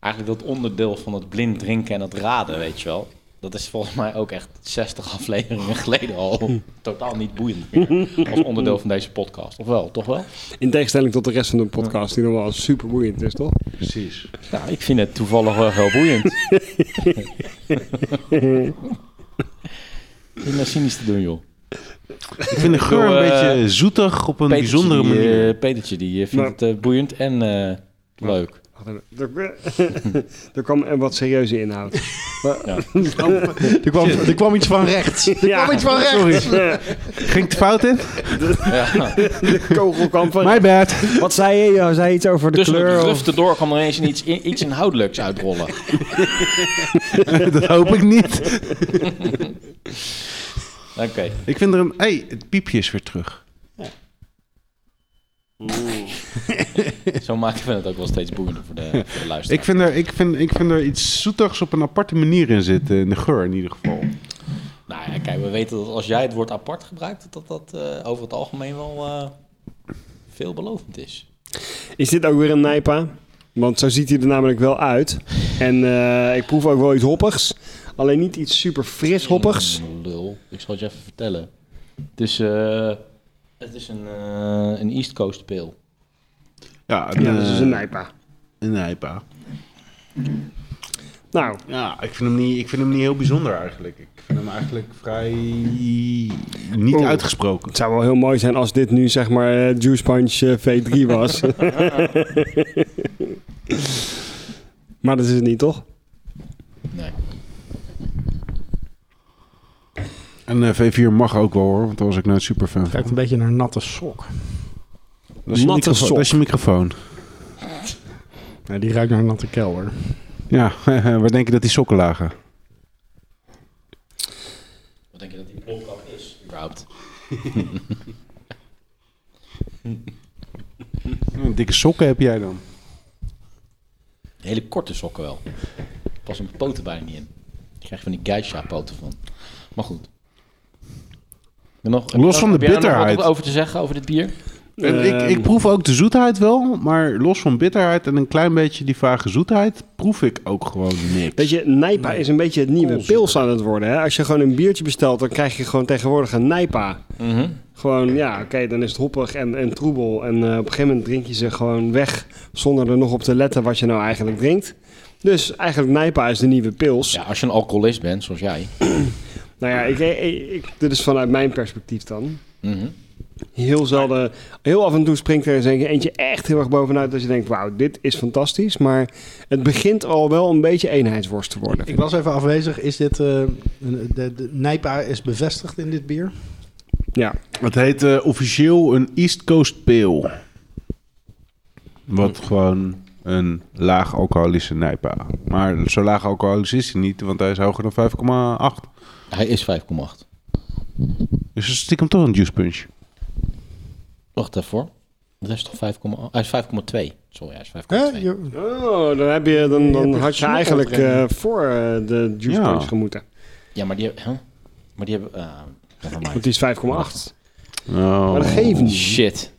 Eigenlijk dat onderdeel van het blind drinken en het raden, weet je wel. Dat is volgens mij ook echt 60 afleveringen geleden al totaal niet boeiend meer. Als onderdeel van deze podcast. Of wel, toch wel?
In tegenstelling tot de rest van de podcast, die nog wel super boeiend is, toch?
Precies.
Nou, ik vind het toevallig wel heel boeiend. Ik ben cynisch te doen, joh.
Ik vind de geur
wil,
een
eh,
beetje zoetig op een
Petertje
bijzondere
die,
manier.
eh, Petertje die eh, vindt
Nou.
het eh, boeiend en eh, leuk.
Er, er kwam eh, wat serieuze inhoud.
Er kwam, er kwam iets van rechts. Er
Ja,
kwam iets van rechts.
Ging het fout in?
Ja.
De kogel kwam van...
My bad.
Wat zei je? Je zei iets over de
Dus
Tussen de
kleur.
gruften Dus door kwam er ineens iets, iets inhoudelijks uitrollen.
dat hoop ik niet.
Oké.
Ik vind er een... hey, het piepje is weer terug.
Zo maken we het ook wel steeds boeiender voor de, voor de luisteraar.
Ik vind, er, ik, vind, ik vind er iets zoetigs op een aparte manier in zitten. In de geur in ieder geval.
Nou ja, kijk, we weten dat als jij het woord apart gebruikt, dat dat eh, over het algemeen wel eh, veelbelovend is.
Is dit ook weer een Nijpa? Want zo ziet hij er namelijk wel uit. En eh, ik proef ook wel iets hoppigs. Alleen niet iets super fris hoppigs.
Mm, Lul, ik zal het je even vertellen. Het is, eh, het is een, eh, een East Coast pil.
Ja,
Ja, dat is een
eh,
Nijpa.
een nijpa.
Nou,
Ja, ik vind, hem niet, ik vind hem niet heel bijzonder eigenlijk. Ik vind hem eigenlijk vrij niet
Oeh.
uitgesproken.
het zou wel heel mooi zijn als dit nu zeg maar eh, Juice Punch eh, V3 was. maar dat is het niet, toch?
Nee.
En eh, V4 mag ook wel hoor, want daar was ik nou super fan van.
ruikt een beetje naar natte sok.
Dat is, je
Natte
microfoon-
sok.
dat is je microfoon.
Nee, die ruikt naar een natte kelder.
Ja, waar denk je dat die sokken lagen?
Wat denk je dat die plopkap is, überhaupt?
Dikke sokken heb jij dan.
Hele korte sokken wel. Pas een poten bijna niet in. Ik krijg van die geisha poten van. Maar goed. En nog,
Los van de
heb jij er nog wat
bitterheid.
over te zeggen over dit bier?
En ik, ik proef ook de zoetheid wel, maar los van bitterheid en een klein beetje die vage zoetheid, proef ik ook gewoon niks.
Weet je, Nijpa is een beetje het nieuwe pils aan het worden. Hè? Als je gewoon een biertje bestelt, dan krijg je gewoon tegenwoordig een Nijpa. Gewoon, ja, oké, dan is het hoppig en, en troebel. En eh, op een gegeven moment drink je ze gewoon weg zonder er nog op te letten wat je nou eigenlijk drinkt. Dus eigenlijk Nijpa is de nieuwe pils.
Ja, als je een alcoholist bent, zoals jij.
Nou ja, ik, ik, ik- dit is vanuit mijn perspectief dan.
Mhm.
Heel zelden, heel af en toe springt er eens een- eentje echt heel erg bovenuit. Dat je denkt, wauw, dit is fantastisch. Maar het begint al wel een beetje eenheidsworst te worden.
Ik was even afwezig. Is dit... eh, een- de, de Nijpa is bevestigd in dit bier?
Ja,
Het heet eh, officieel een East Coast Pale. Wat gewoon een laag alcoholische nijpa. Maar zo laag alcoholisch is hij niet, want hij is hoger dan 5,8.
Hij is 5,8.
Dus dat is stiekem toch een juice punch.
Wacht even hoor. Dat is toch 5,8? Hij is 5,2. Sorry, hij is 5,2.
Hè? Je-
Oh, dan, heb je, dan, dan
hebt een
had je
knop
eigenlijk
opbrengen.
eh, voor eh, de Juice
Ja.
Punch gemoeten.
Ja, maar die hebben... Huh? Maar die hebben... eh, never mind.
Want die is 5,8.
Oh,
Maar dat geeft niet.
Shit.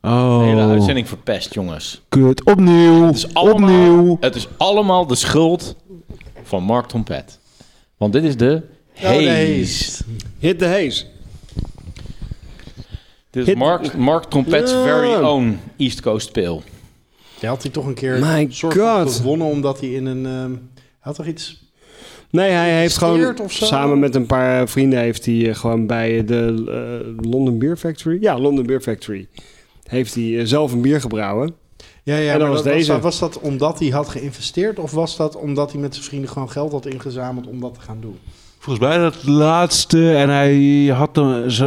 De hele
oh
uitzending verpest, jongens.
kut. Opnieuw.
is allemaal-
Opnieuw.
Het is allemaal de schuld van Mark Trompet. Want dit is de
Oh,
haze.
Hit the haze.
Dit is
Hit-
Mark, Mark Trompet's
Ja.
very own East Coast Pale.
Hij had hij toch een keer
My
een soort van
God.
gewonnen omdat hij in een... ehm, hij had toch iets...
Nee, hij heeft
Steert
gewoon
of zo?
samen met een paar vrienden heeft hij eh, gewoon bij eh, de eh, London Beer Factory. Ja, London Beer Factory. Heeft hij eh, zelf een bier gebrouwen.
Ja,
En
ja,
dan
maar
was
dat,
deze.
Was, was dat omdat hij had geïnvesteerd of was dat omdat hij met zijn vrienden gewoon geld had ingezameld om dat te gaan doen?
Volgens mij dat laatste. En hij had de, ze,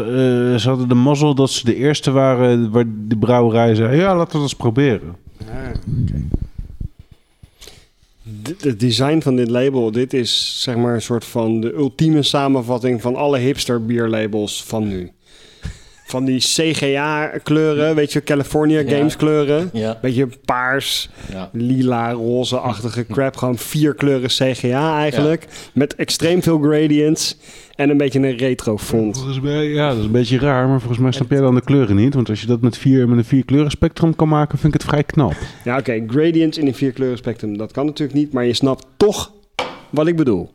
eh, ze hadden de mazzel dat ze de eerste waren waar de brouwerij zei... Ja, laten we dat eens proberen.
Ja,
D- Het design van dit label, dit is zeg maar een soort van de ultieme samenvatting van alle hipster bierlabels van nu. Van die CGA kleuren, weet je, California
Ja.
Games kleuren.
Ja.
Beetje paars,
ja.
lila, roze-achtige crap. Gewoon vier kleuren CGA eigenlijk. Met extreem veel gradients. En een beetje een retro font.
Volgens mij, ja, dat is een beetje raar, maar volgens mij snap jij dan de kleuren niet. Want als je dat met, vier, met een vier kleuren spectrum kan maken, vind ik het vrij knap.
Ja, oké. gradients in een vier kleuren spectrum. Dat kan natuurlijk niet. Maar je snapt toch wat ik bedoel.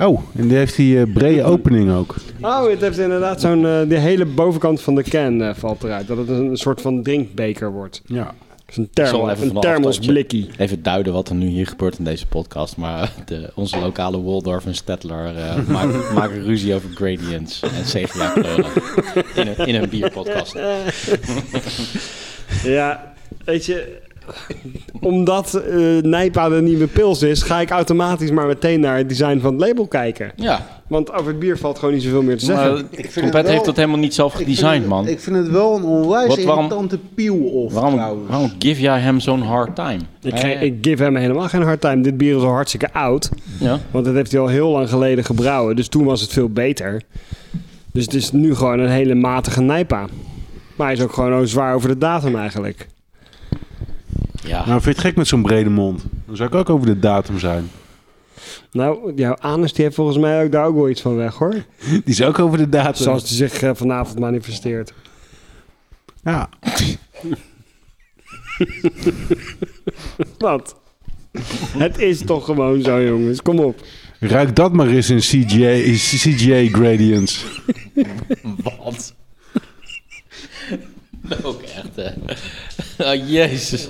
Oh, en die heeft die eh, brede opening ook.
Oh, het heeft inderdaad zo'n... eh, de hele bovenkant van de can eh, valt eruit. Dat het een, een soort van drinkbeker wordt.
Ja.
is een,
Ik zal
thermo,
even van de
een
afstandje.
thermosblikkie.
Even duiden wat er nu hier gebeurt in deze podcast. Maar eh, de, onze lokale Waldorf en Stedtler eh, maken, maken ruzie over gradients en CGA-kleuren. In, een- in een bierpodcast.
Ja, weet je, omdat eh Nijpa de nieuwe pils is, ga ik automatisch maar meteen naar het design van het label kijken.
Ja,
Want over het bier valt gewoon niet zoveel meer te zeggen.
maar Trompet heeft dat helemaal niet zelf gedesigned, man.
Ik vind het wel een onwijs
Wat, waarom-
irritante peel-off
Waarom,
trouwens.
waarom give jij hem zo'n hard time?
ik,
Eh,
ge- ik give hem helemaal geen hard time. Dit bier is al hartstikke oud.
ja.
Want dat heeft hij al heel lang geleden gebrouwen. Dus toen was het veel beter. Dus het is nu gewoon een hele matige Nijpa. Maar hij is ook gewoon ook zwaar over de datum eigenlijk.
ja.
Nou, vind je het gek met zo'n brede mond? Dan zou ik ook over de datum zijn.
Nou, jouw anus die heeft volgens mij ook daar ook wel iets van weg hoor.
Die is ook over de datum.
Zoals hij zich eh, vanavond manifesteert.
Ja.
Wat? het is toch gewoon zo jongens, kom op.
Ruik dat maar eens in CGA, in CGA gradients.
Wat? Ook echt, hè? Oh, jezus.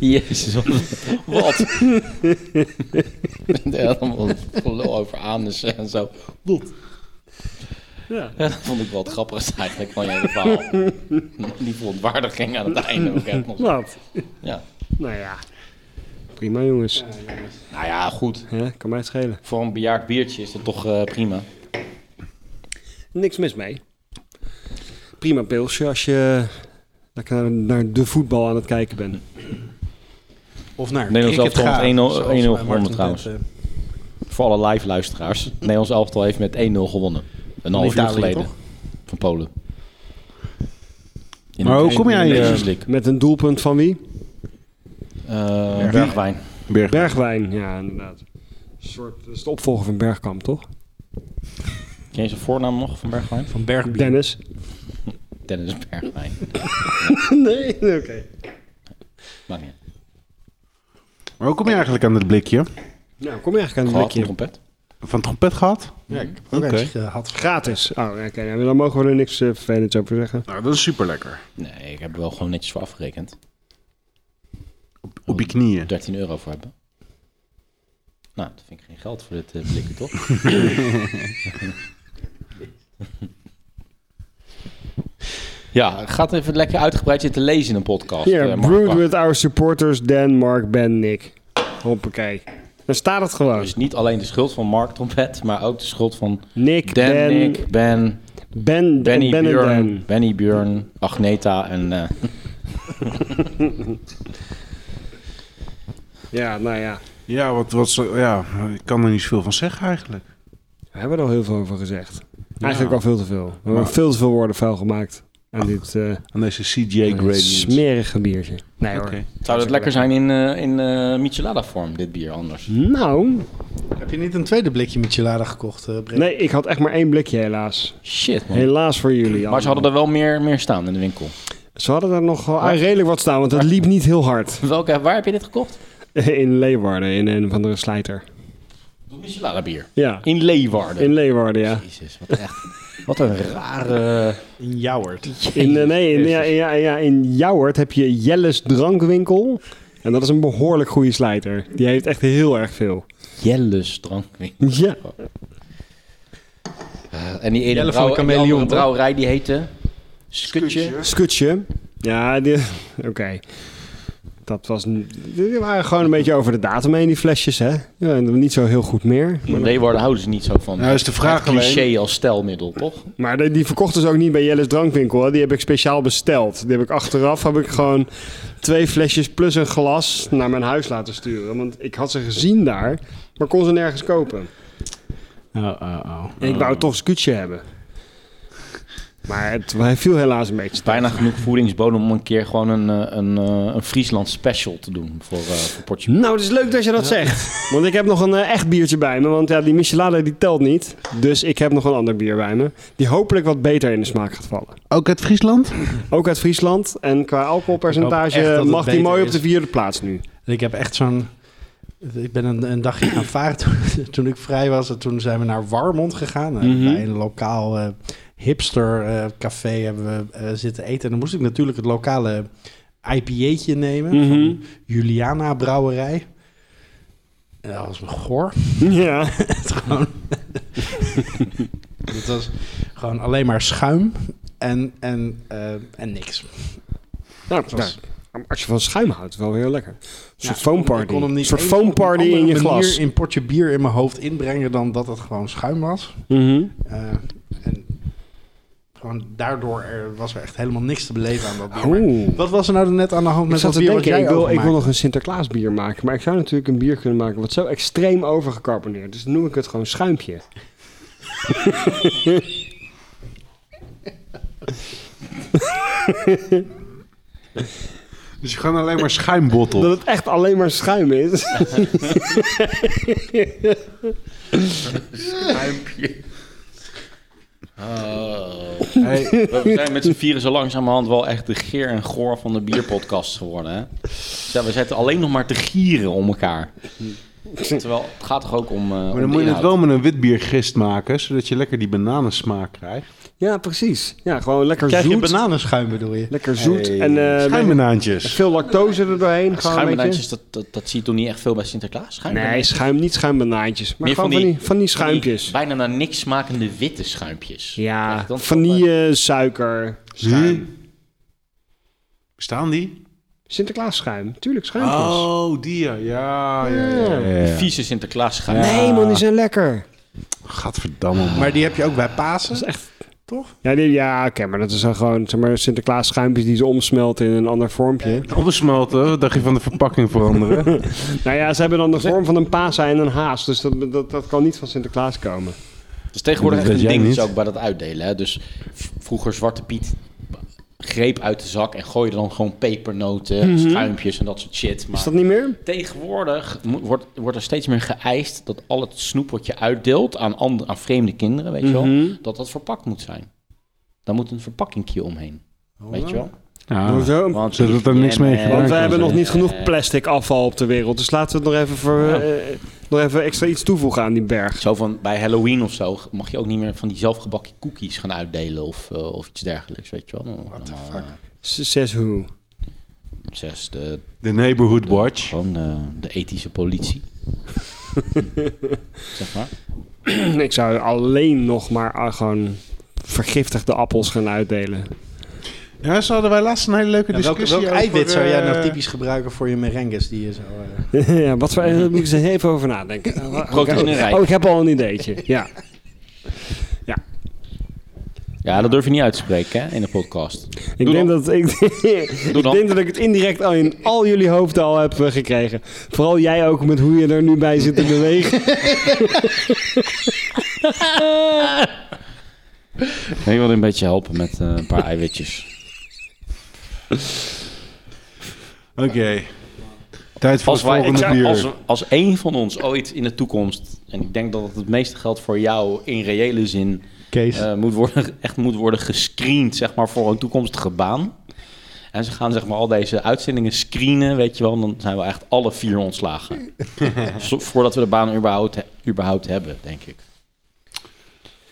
Jezus, wat? wat? Helemaal gelul over anus en zo. Wat?
Ja.
Dat vond ik wel het grappigste eigenlijk van je hele verhaal. Die verontwaardiging aan het einde ook echt nog. zo.
Wat?
Ja.
Nou ja, prima jongens.
Nou ja, goed.
Ja, kan mij het schelen.
Voor een bejaard biertje is dat toch eh, prima.
Niks mis mee. Prima pilsje als je lekker naar, naar de voetbal aan het kijken bent.
Of nou, naar
Nederlands
cricket
elftal
gaan,
met 1-0
zoals
1-0
bij
gewonnen
Martin
trouwens.
Pet, eh.
Voor alle live luisteraars. Nederlands elftal heeft met 1-0 gewonnen. Een half uur
Italië,
geleden.
toch?
Van Polen. In
Maar
de-
hoe kom jij,
in de
eh,
Nations League.
Met een doelpunt van wie?
Eh, Bergwijn.
Berg.
Bergwijn, ja inderdaad. Een soort, dat is de opvolger van Bergkamp, toch?
Ken je zijn voornaam nog van Bergwijn?
Van Bergbier.
Dennis.
Dennis Bergwijn.
nee, oké.
Maakt niet uit.
Maar hoe kom je eigenlijk aan dat blikje?
Nou, kom je eigenlijk aan het
Gehad, een
blikje?
trompet.
Van trompet gehad?
Ja, ik heb ook
Oké.
eentje gehad.
Gratis. Oh, oké. nou, dan mogen we er niks eh, vervelends over zeggen.
Nou, dat is super lekker.
Nee, ik heb er wel gewoon netjes voor afgerekend.
Op je knieën.
13 euro voor hebben. Nou, dat vind ik geen geld voor dit eh, blikje, toch? ja, gaat even lekker uitgebreid zitten lezen in een podcast.
Hier,
eh, Mark
brewed
Bach.
with our supporters Dan, Mark, Ben, Nick. Hoppakee. Dan staat het gewoon.
Dus niet alleen de schuld van Mark Trompet, maar ook de schuld van
Nick,
Dan,
Ben,
Nick, Ben, Benny,
Ben, Benny, Ben en
Björn,
Dan.
Benny, Björn, Agneta en... eh,
Ja, nou ja.
Ja, wat, wat, zo- ja, ik kan er niet zoveel van zeggen eigenlijk.
We hebben er al heel veel over gezegd. Eigenlijk al veel te veel. We hebben veel te veel woorden vuil gemaakt. Aan dit eh,
Aan deze CGA gradients.
smerige biertje. Nee hoor.
Oké.
Zou dat lekker zijn in, eh, in eh, michelada-vorm, dit bier anders?
Nou,
Heb je niet een tweede blikje michelada gekocht, eh Brent?
nee, ik had echt maar één blikje helaas.
Shit, man.
Helaas voor jullie.
Maar ze hadden er wel meer, meer staan in de winkel.
Ze hadden daar nog wel ah, redelijk wat staan, want het liep niet heel hard.
Welke, waar heb je dit gekocht?
In Leeuwarden, in een of andere slijter.
Michelada-bier.
Ja,
In Leeuwarden.
in Leeuwarden, ja.
Jezus, wat echt... Wat een rare...
In Jouwert.
In, eh, nee, in, ja, ja, ja, in Jouwert heb je Jelles Drankwinkel. En dat is een behoorlijk goede slijter. Die heeft echt heel erg veel.
Jelles drankwinkel.
Ja.
Eh, en die ene
Jelle van
brouw,
de
en die andere
Chameleon, toch?
brouwerij, die heette... Skutje.
Skutje. Ja, die- oké. Dat was... n- Die waren gewoon een beetje over de datum heen, die flesjes, hè? Ja, en niet zo heel goed meer.
Maar Leeuwarden houden ze niet zo van.
Nou, is de vraag
Het cliché
alleen-
als stelmiddel, toch?
Maar die, die verkochten ze ook niet bij Jelles Drankwinkel. Hè? Die heb ik speciaal besteld. Die heb ik achteraf heb ik gewoon twee flesjes plus een glas naar mijn huis laten sturen. Want ik had ze gezien daar, maar kon ze nergens kopen.
Oh, oh, oh.
En ik wou toch scootje hebben. Maar het, hij viel helaas een beetje.
Bijna genoeg voedingsbodem om een keer gewoon een, eh, een, eh, een Friesland special te doen voor, eh voor Portugal.
Nou, het is leuk dat je dat zegt. Want ik heb nog een eh, echt biertje bij me. Want ja, die Michelada die telt niet. Dus ik heb nog een ander bier bij me. Die hopelijk wat beter in de smaak gaat vallen.
Ook uit Friesland?
Ook uit Friesland. En qua
Ik hoop echt
alcoholpercentage
dat het
mag die
beter
mooi op
is.
de vierde plaats nu.
En ik heb echt zo'n... Ik ben een, een dagje gaan varen toen, toen ik vrij was. En toen zijn we naar Warmond gegaan. En
Mhm.
Bij een lokaal eh, hipster eh, café hebben we eh, zitten eten. En dan moest ik natuurlijk het lokale IPA'tje nemen
Mhm.
van Juliana Brouwerij. En dat was me goor.
Ja. Nou,
Het gewoon, dat was gewoon alleen maar schuim en, en, eh, en niks.
Nou,
Het was-
nou, als je van schuim houdt, wel heel lekker. Een soort
Ja,
foamparty.
ik kon hem
Een
niet
soort
eens op
foamparty
andere
in je
manier
glas.
in een potje bier in mijn hoofd inbrengen dan dat het gewoon schuim was.
Mhm.
Eh, en gewoon daardoor er, was er echt helemaal niks te beleven aan dat bier. Maar
Oeh.
Wat was er nou net aan de hand
Ik
met
zat
dat
te
bier wat
denken,
jij
ik wil, ik wil
overmaakte?
nog een Sinterklaas bier maken. Maar ik zou natuurlijk een bier kunnen maken wat zo extreem overgecarboneerd. Dus dan noem ik het gewoon schuimpje.
Dus je gaat alleen maar schuimbottel.
Dat het echt alleen maar schuim is.
Hey,
We zijn met z'n vieren zo langzamerhand wel echt de geer en goor van de bierpodcast geworden. Hè? Ja, we zitten alleen nog maar te gieren om elkaar. Terwijl het gaat toch ook om. eh, om
maar dan
de
moet je het
inhoud.
wel met een witbiergist maken, zodat je lekker die bananensmaak krijgt.
ja, precies. Ja, gewoon lekker
Krijg je
zoet.
bananenschuim bedoel je?
Lekker zoet. En eh,
Schuimbanaantjes.
veel lactose er doorheen. Gewoon een beetje.
Schuimbanaantjes, dat, dat, dat zie je toch niet echt veel bij Sinterklaas? Schuimbanaantjes?
Nee, schuim, niet schuimbanaantjes. Maar
Meer
gewoon van die, van die schuimpjes.
die bijna naar niks smakende witte schuimpjes.
ja,
Echt, dan-
vanille, suiker.
Huh? Hm? Bestaan die?
Sinterklaas schuim. Tuurlijk, schuimpjes.
Oh, die ja. Ja, ja, ja.
Die vieze Sinterklaas schuimpjes.
Nee man, die zijn lekker.
Gadverdamme. man.
Maar die heb je ook bij Pasen. Dat is echt... Toch?
Ja, die- ja oké, maar dat is dan gewoon zeg maar, Sinterklaas schuimpjes die ze omsmelten in een ander vormpje.
Opgesmolten, wat dacht je van de verpakking veranderen?
Nou ja, ze hebben dan de vorm van een paasa en een haas. Dus dat, dat, dat kan niet van Sinterklaas komen.
Dat is tegenwoordig
Dat
echt een
weet jij
ding,
niet.
dus ook bij dat uitdelen. Hè? Dus v- vroeger Zwarte Piet greep uit de zak en gooide dan gewoon pepernoten,
Mhm.
schuimpjes en dat soort shit. Maar
Is dat niet meer?
tegenwoordig mo- wordt, wordt er steeds meer geëist dat al het snoep wat je uitdeelt aan, ander- aan vreemde kinderen, weet
Mhm.
je wel, dat dat verpakt moet zijn. Daar moet een verpakkingje omheen, weet
Oh.
je wel.
Ja,
Hoezo?
Want eh,
zodat er niks mee
hygiëne-
gedaan
Want we
kan
hebben
zijn.
nog niet genoeg
Eh,
plastic afval op de wereld. Dus laten we het nog even, voor, eh, nog even extra iets toevoegen aan die berg.
Zo van bij Halloween of zo mag je ook niet meer van die zelfgebakken cookies gaan uitdelen of, eh, of iets dergelijks, weet je wel. What the fuck?
S- Says who?
zes, de,
De Neighborhood Watch.
eh, gewoon eh, de ethische politie. zeg maar.
Ik zou alleen nog maar ah, gewoon vergiftigde appels gaan uitdelen.
Ja, zo hadden wij laatst een hele leuke
welk
discussie
welk
over,
eiwit zou jij nou
eh,
typisch gebruiken voor je merengues die je zo... eh,
ja, wat voor, daar moet ik eens even over nadenken. Eh, wa-
Proteïnrijk.
Oh, ik heb al een ideetje. Ja.
Ja, dat durf je niet uit te spreken hè, in de podcast.
Ik
Doe
denk
dan.
dat ik, ik
dan.
denk dat ik het indirect al in al jullie hoofden al heb eh, gekregen. Vooral jij ook met hoe je er nu bij zit te bewegen.
Ik wil een beetje helpen met eh, een paar eiwitjes.
Oké. Tijd voor
Als,
het
wij,
volgende
ik-
bier.
als, als één van ons ooit in de toekomst, en ik denk dat het het meeste geldt voor jou in reële zin,
Kees.
eh, moet worden, echt moet worden gescreend zeg maar, voor een toekomstige baan. En ze gaan zeg maar, al deze uitzendingen screenen, weet je wel, dan zijn we echt alle vier ontslagen. Zo- Voordat we de baan überhaupt, he- überhaupt hebben, denk ik.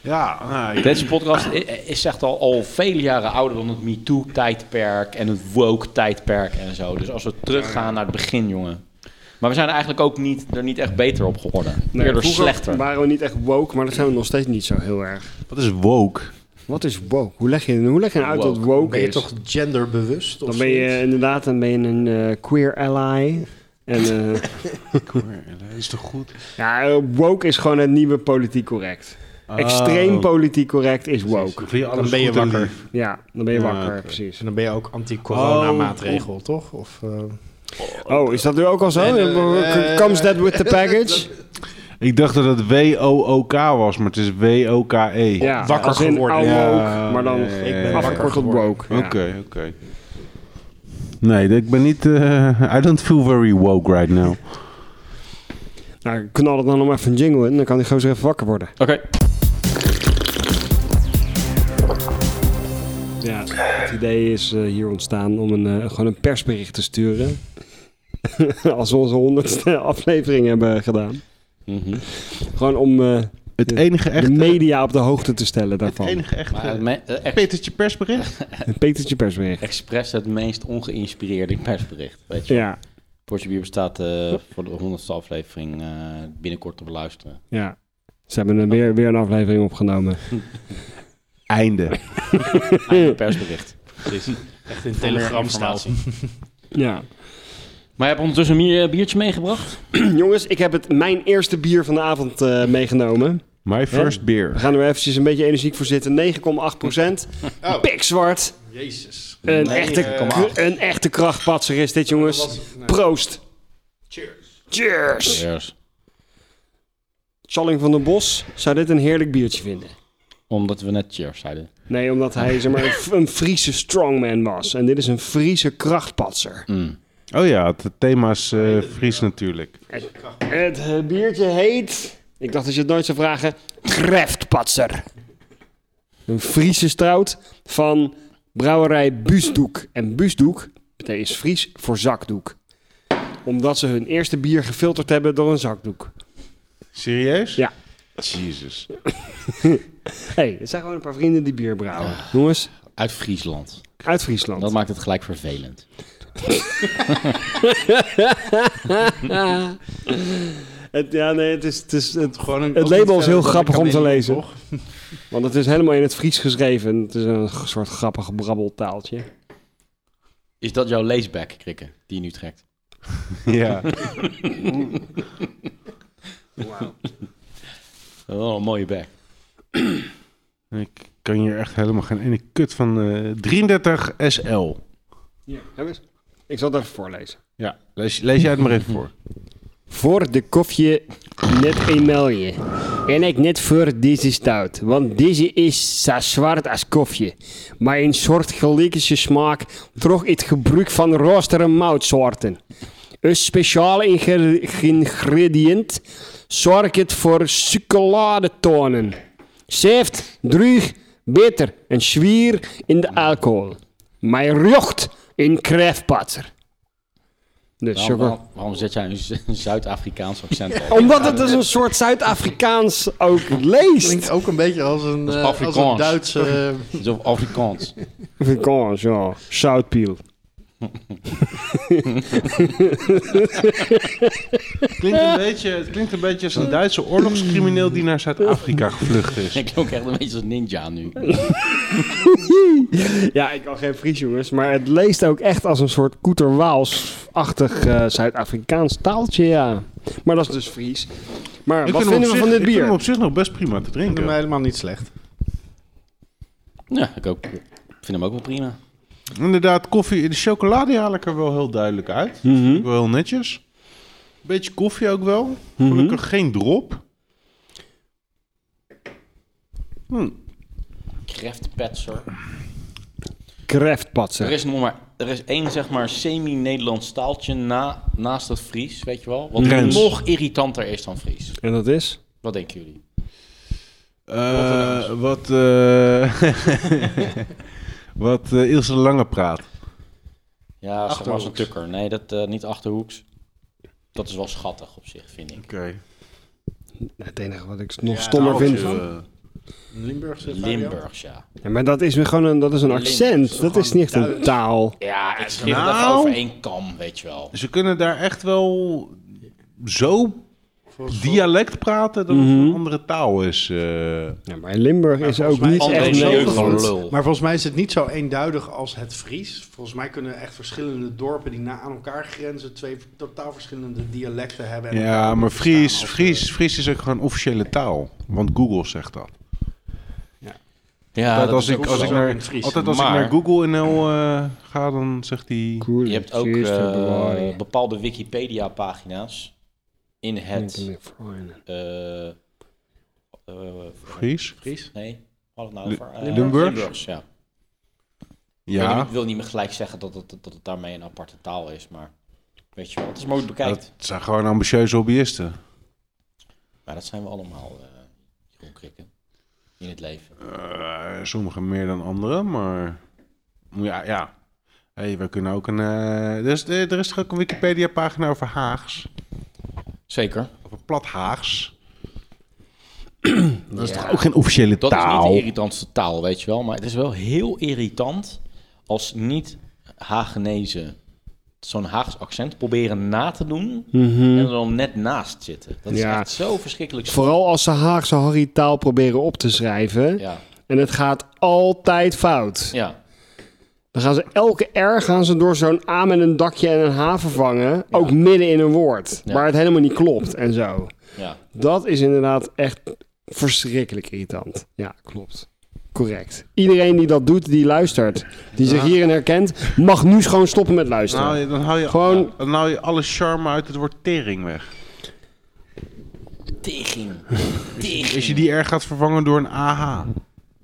Ja, nou, ik-
Deze podcast i- is echt al, al vele jaren ouder dan het MeToo-tijdperk en het woke-tijdperk en zo. Dus als we teruggaan naar het begin, jongen. Maar we zijn er eigenlijk ook niet, er niet echt beter op geworden. Eerder
vroeger
slechter.
waren we niet echt woke, maar dat zijn we nog steeds niet zo heel erg.
wat is woke?
Wat is woke? Hoe leg je, hoe leg je uit dat
Woke.
woke
Ben je
is?
toch genderbewust? of
dan ben je
zoiets?
inderdaad dan ben je een eh, queer ally. En eh,
Dat is toch goed?
ja, eh, woke is gewoon het nieuwe politiek correct. Extreem politiek correct is woke.
Dan ben je wakker.
Ja, dan ben je
Ja,
wakker,
oké.
precies.
En dan ben je ook anti-corona-maatregel, toch? Of, eh,
Oh, is dat nu ook al zo? eh,
Nee, nee, nee.
Comes that with the package?
Ik dacht dat het W-O-O-K was, maar het is W-O-K-E.
Ja,
Wakker
eh, als in
geworden.
oude
Ja,
woke, maar dan
ja, ja, ja, ja.
afgekort tot woke.
Oké, oké. Nee, ik ben niet... eh, I don't feel very woke right now.
Nou, knal er dan nog even een jingle in, dan kan die gozer even wakker worden.
Oké.
Ja, het idee is eh, hier ontstaan om een, eh, gewoon een persbericht te sturen. Als we onze honderdste aflevering hebben gedaan.
Mhm.
Gewoon om eh,
Het
De-
enige
de
echte...
media op de hoogte te stellen
Het
daarvan.
enige
Maar het
echte...
me- eh, ex-
Petertje persbericht.
Het Petertje persbericht.
expres het meest ongeïnspireerde persbericht. Weet je.
Ja,
Portje Bier bestaat eh, voor de honderdste aflevering eh, binnenkort te beluisteren.
ja. Ze hebben er weer, weer een aflevering opgenomen.
Einde.
Einde persbericht.
Echt in
Telegram
telegram
staat
staat.
hij.
Ja.
Maar je hebt ondertussen een bier- biertje meegebracht?
Jongens, ik heb het, mijn eerste bier van de avond eh, meegenomen.
My first
We
beer.
gaan er eventjes een beetje energiek voor zitten. 9,8 procent.
Oh.
Pikzwart.
Jezus.
Een,
Nee,
echte,
eh, kom maar.
een echte krachtpatser is dit, jongens. Proost.
Cheers.
Cheers.
Yes.
Challing van den Bos zou dit een heerlijk biertje vinden.
Omdat we net cheers zeiden.
Nee, omdat hij zeg maar, een F- een Friese strongman was. En dit is een Friese krachtpatser.
Mm.
Oh ja, het thema is eh, Fries natuurlijk.
Het eh, biertje heet... Ik dacht dat je het nooit zou vragen. Kreftpatser. Een Friese stout van brouwerij Buusdoek. En Buusdoek betekent is Fries voor zakdoek. Omdat ze hun eerste bier gefilterd hebben door een zakdoek.
Serieus?
Ja.
Jezus.
Hé, hey, het zijn gewoon een paar vrienden die bier brouwen. Jongens,
Uit Friesland.
uit Friesland.
Dat maakt het gelijk vervelend.
Het, ja, nee, het is, het is, het,
Gewoon een,
Het
ook eh,
label
niet
is heel
verder dan
grappig
de
om te
kamelen,
lezen.
toch?
want het is helemaal in het Fries geschreven. Het is een g- soort grappig brabbeltaaltje.
Is dat jouw leesback, Krikke, die je nu trekt?
Ja.
Oh, een mooie back.
Ik kan hier echt helemaal geen ene kut van. eh, 33 SL.
Heb eens. Ik zal het even voorlezen.
Ja, lees, lees jij het maar even voor.
Voor de koffie net een melje. En ik net voor deze stout, want deze is zo zwart als koffie. Maar een soort gelijkse smaak door het gebruik van roosteren moutsoorten. Een speciaal ingre- ingrediënt zorgt het voor chocoladetonen. Zeeft, druig, bitter en zwier in de alcohol. Maar rjocht in krijfpatser. Dus
Waarom,
chocola-
waarom- waarom zet jij een Z- een Zuid-Afrikaans accent op?
omdat het dus een soort Zuid-Afrikaans ook leest.
Klinkt ook een beetje als een,
is
eh, als een
Afrikaans.
Duitse... eh,
Alsof Afrikaans.
Afrikaans, ja. Zoutpiel.
Klinkt een beetje, het klinkt een beetje als een Duitse oorlogscrimineel die naar Zuid-Afrika gevlucht is.
Ik klonk echt een beetje als ninja nu.
Ja, ik kan geen Fries, jongens. Maar het leest ook echt als een soort koeterwaals-achtig eh, Zuid-Afrikaans taaltje, ja. Maar dat is dus Fries. Maar
Ik
wat
vind
vinden
hem op
we
zich-
van dit
ik vind hem
bier?
op zich nog best prima te
Ik vind hem
drinken.
helemaal niet slecht.
Ja, ik ook. Ik vind hem ook wel prima.
Inderdaad, koffie. De chocolade haal ik er wel heel duidelijk uit.
Mhm.
Wel heel netjes. Beetje koffie ook wel. Gelukkig geen drop. Hm.
Kreftpetser. Er
Kreftpatser.
is nog maar... Er is één, zeg maar, semi-Nederlands taaltje na, naast het Fries, weet je wel? Wat
Drents.
nog irritanter is dan Fries.
En dat is?
Wat denken jullie?
Eh, wat eh, wat eh, Ilse de Lange praat.
Ja, zeg maar als een
Achterhoeks.
tukker. Nee, dat eh, niet Achterhoeks. Dat is wel schattig op zich, vind ik.
Oké.
Nou, Het enige wat ik nog stommer vind.
eh,
Limburgse
Limburgs, ja.
Ja, maar dat is weer gewoon een, dat is een accent. Dat is niet echt een taal.
Ja, ik schreef het
nou-
even over één kam, weet je wel.
Ze kunnen daar echt wel zo dialect praten dat het een andere taal is. eh.
Ja, maar Limburg is ook
volgens
niet
mij is
André
echt
het een
Nederland.
Jeugd
Nederland.
van lul.
Maar volgens mij is het niet zo eenduidig als het Fries. Volgens mij kunnen echt verschillende dorpen die na aan elkaar grenzen twee totaal verschillende dialecten hebben. en
ja,
elkaar
maar
verstaan
Fries,
als, eh,
Fries, Fries is ook gewoon officiële taal. Want Google zegt dat.
Ja,
Altijd als
is
ik,
ook
als
zo.
ik,
zo.
naar,
In het Fries.
altijd als ik
Maar-
naar Google NL eh, ga, dan zegt hij...
Je hebt ook eh, bepaalde Wikipedia-pagina's in het... eh, eh,
Fries?
Fries.
nee, wat het nou
Lu-
over? Eh,
Limburgs?
ja. Ik wil
Ja,
niet- wil niet meer gelijk zeggen dat het, dat het daarmee een aparte taal is, maar... Weet je wel, het is mooi bekijkt.
dat zijn gewoon ambitieuze hobbyisten.
Maar dat zijn we allemaal, eh Jeroen Krikke, in het leven.
Eh, sommigen meer dan anderen, maar ja, ja. Hey, we kunnen ook een. eh, er, is, er is toch ook een Wikipedia-pagina over Haags,
Zeker.
over plat Haags. Dat is toch ook geen officiële
Dat is
taal?
niet de irritantste taal, weet je wel. Maar het is wel heel irritant als niet Hagenezen zo'n Haags accent proberen na te doen en er dan net naast zitten. Dat is
Mhm. Ja.
echt zo verschrikkelijk.
Vooral als ze Haagse Harry taal proberen op te schrijven.
Ja,
En het gaat altijd fout.
ja.
Dan gaan ze elke R gaan ze door zo'n A met een dakje en een H vervangen. Ook midden in een woord.
Ja.
Waar het helemaal niet klopt en zo.
ja.
Dat is inderdaad echt verschrikkelijk irritant. Ja, klopt. Correct. Iedereen die dat doet, die luistert. Die zich hierin herkent, mag nu gewoon stoppen met luisteren.
Nou, dan hou je,
Gewoon-
dan hou je alle charme uit het woord tering weg.
Tegen.
Als je die R gaat vervangen door een AH.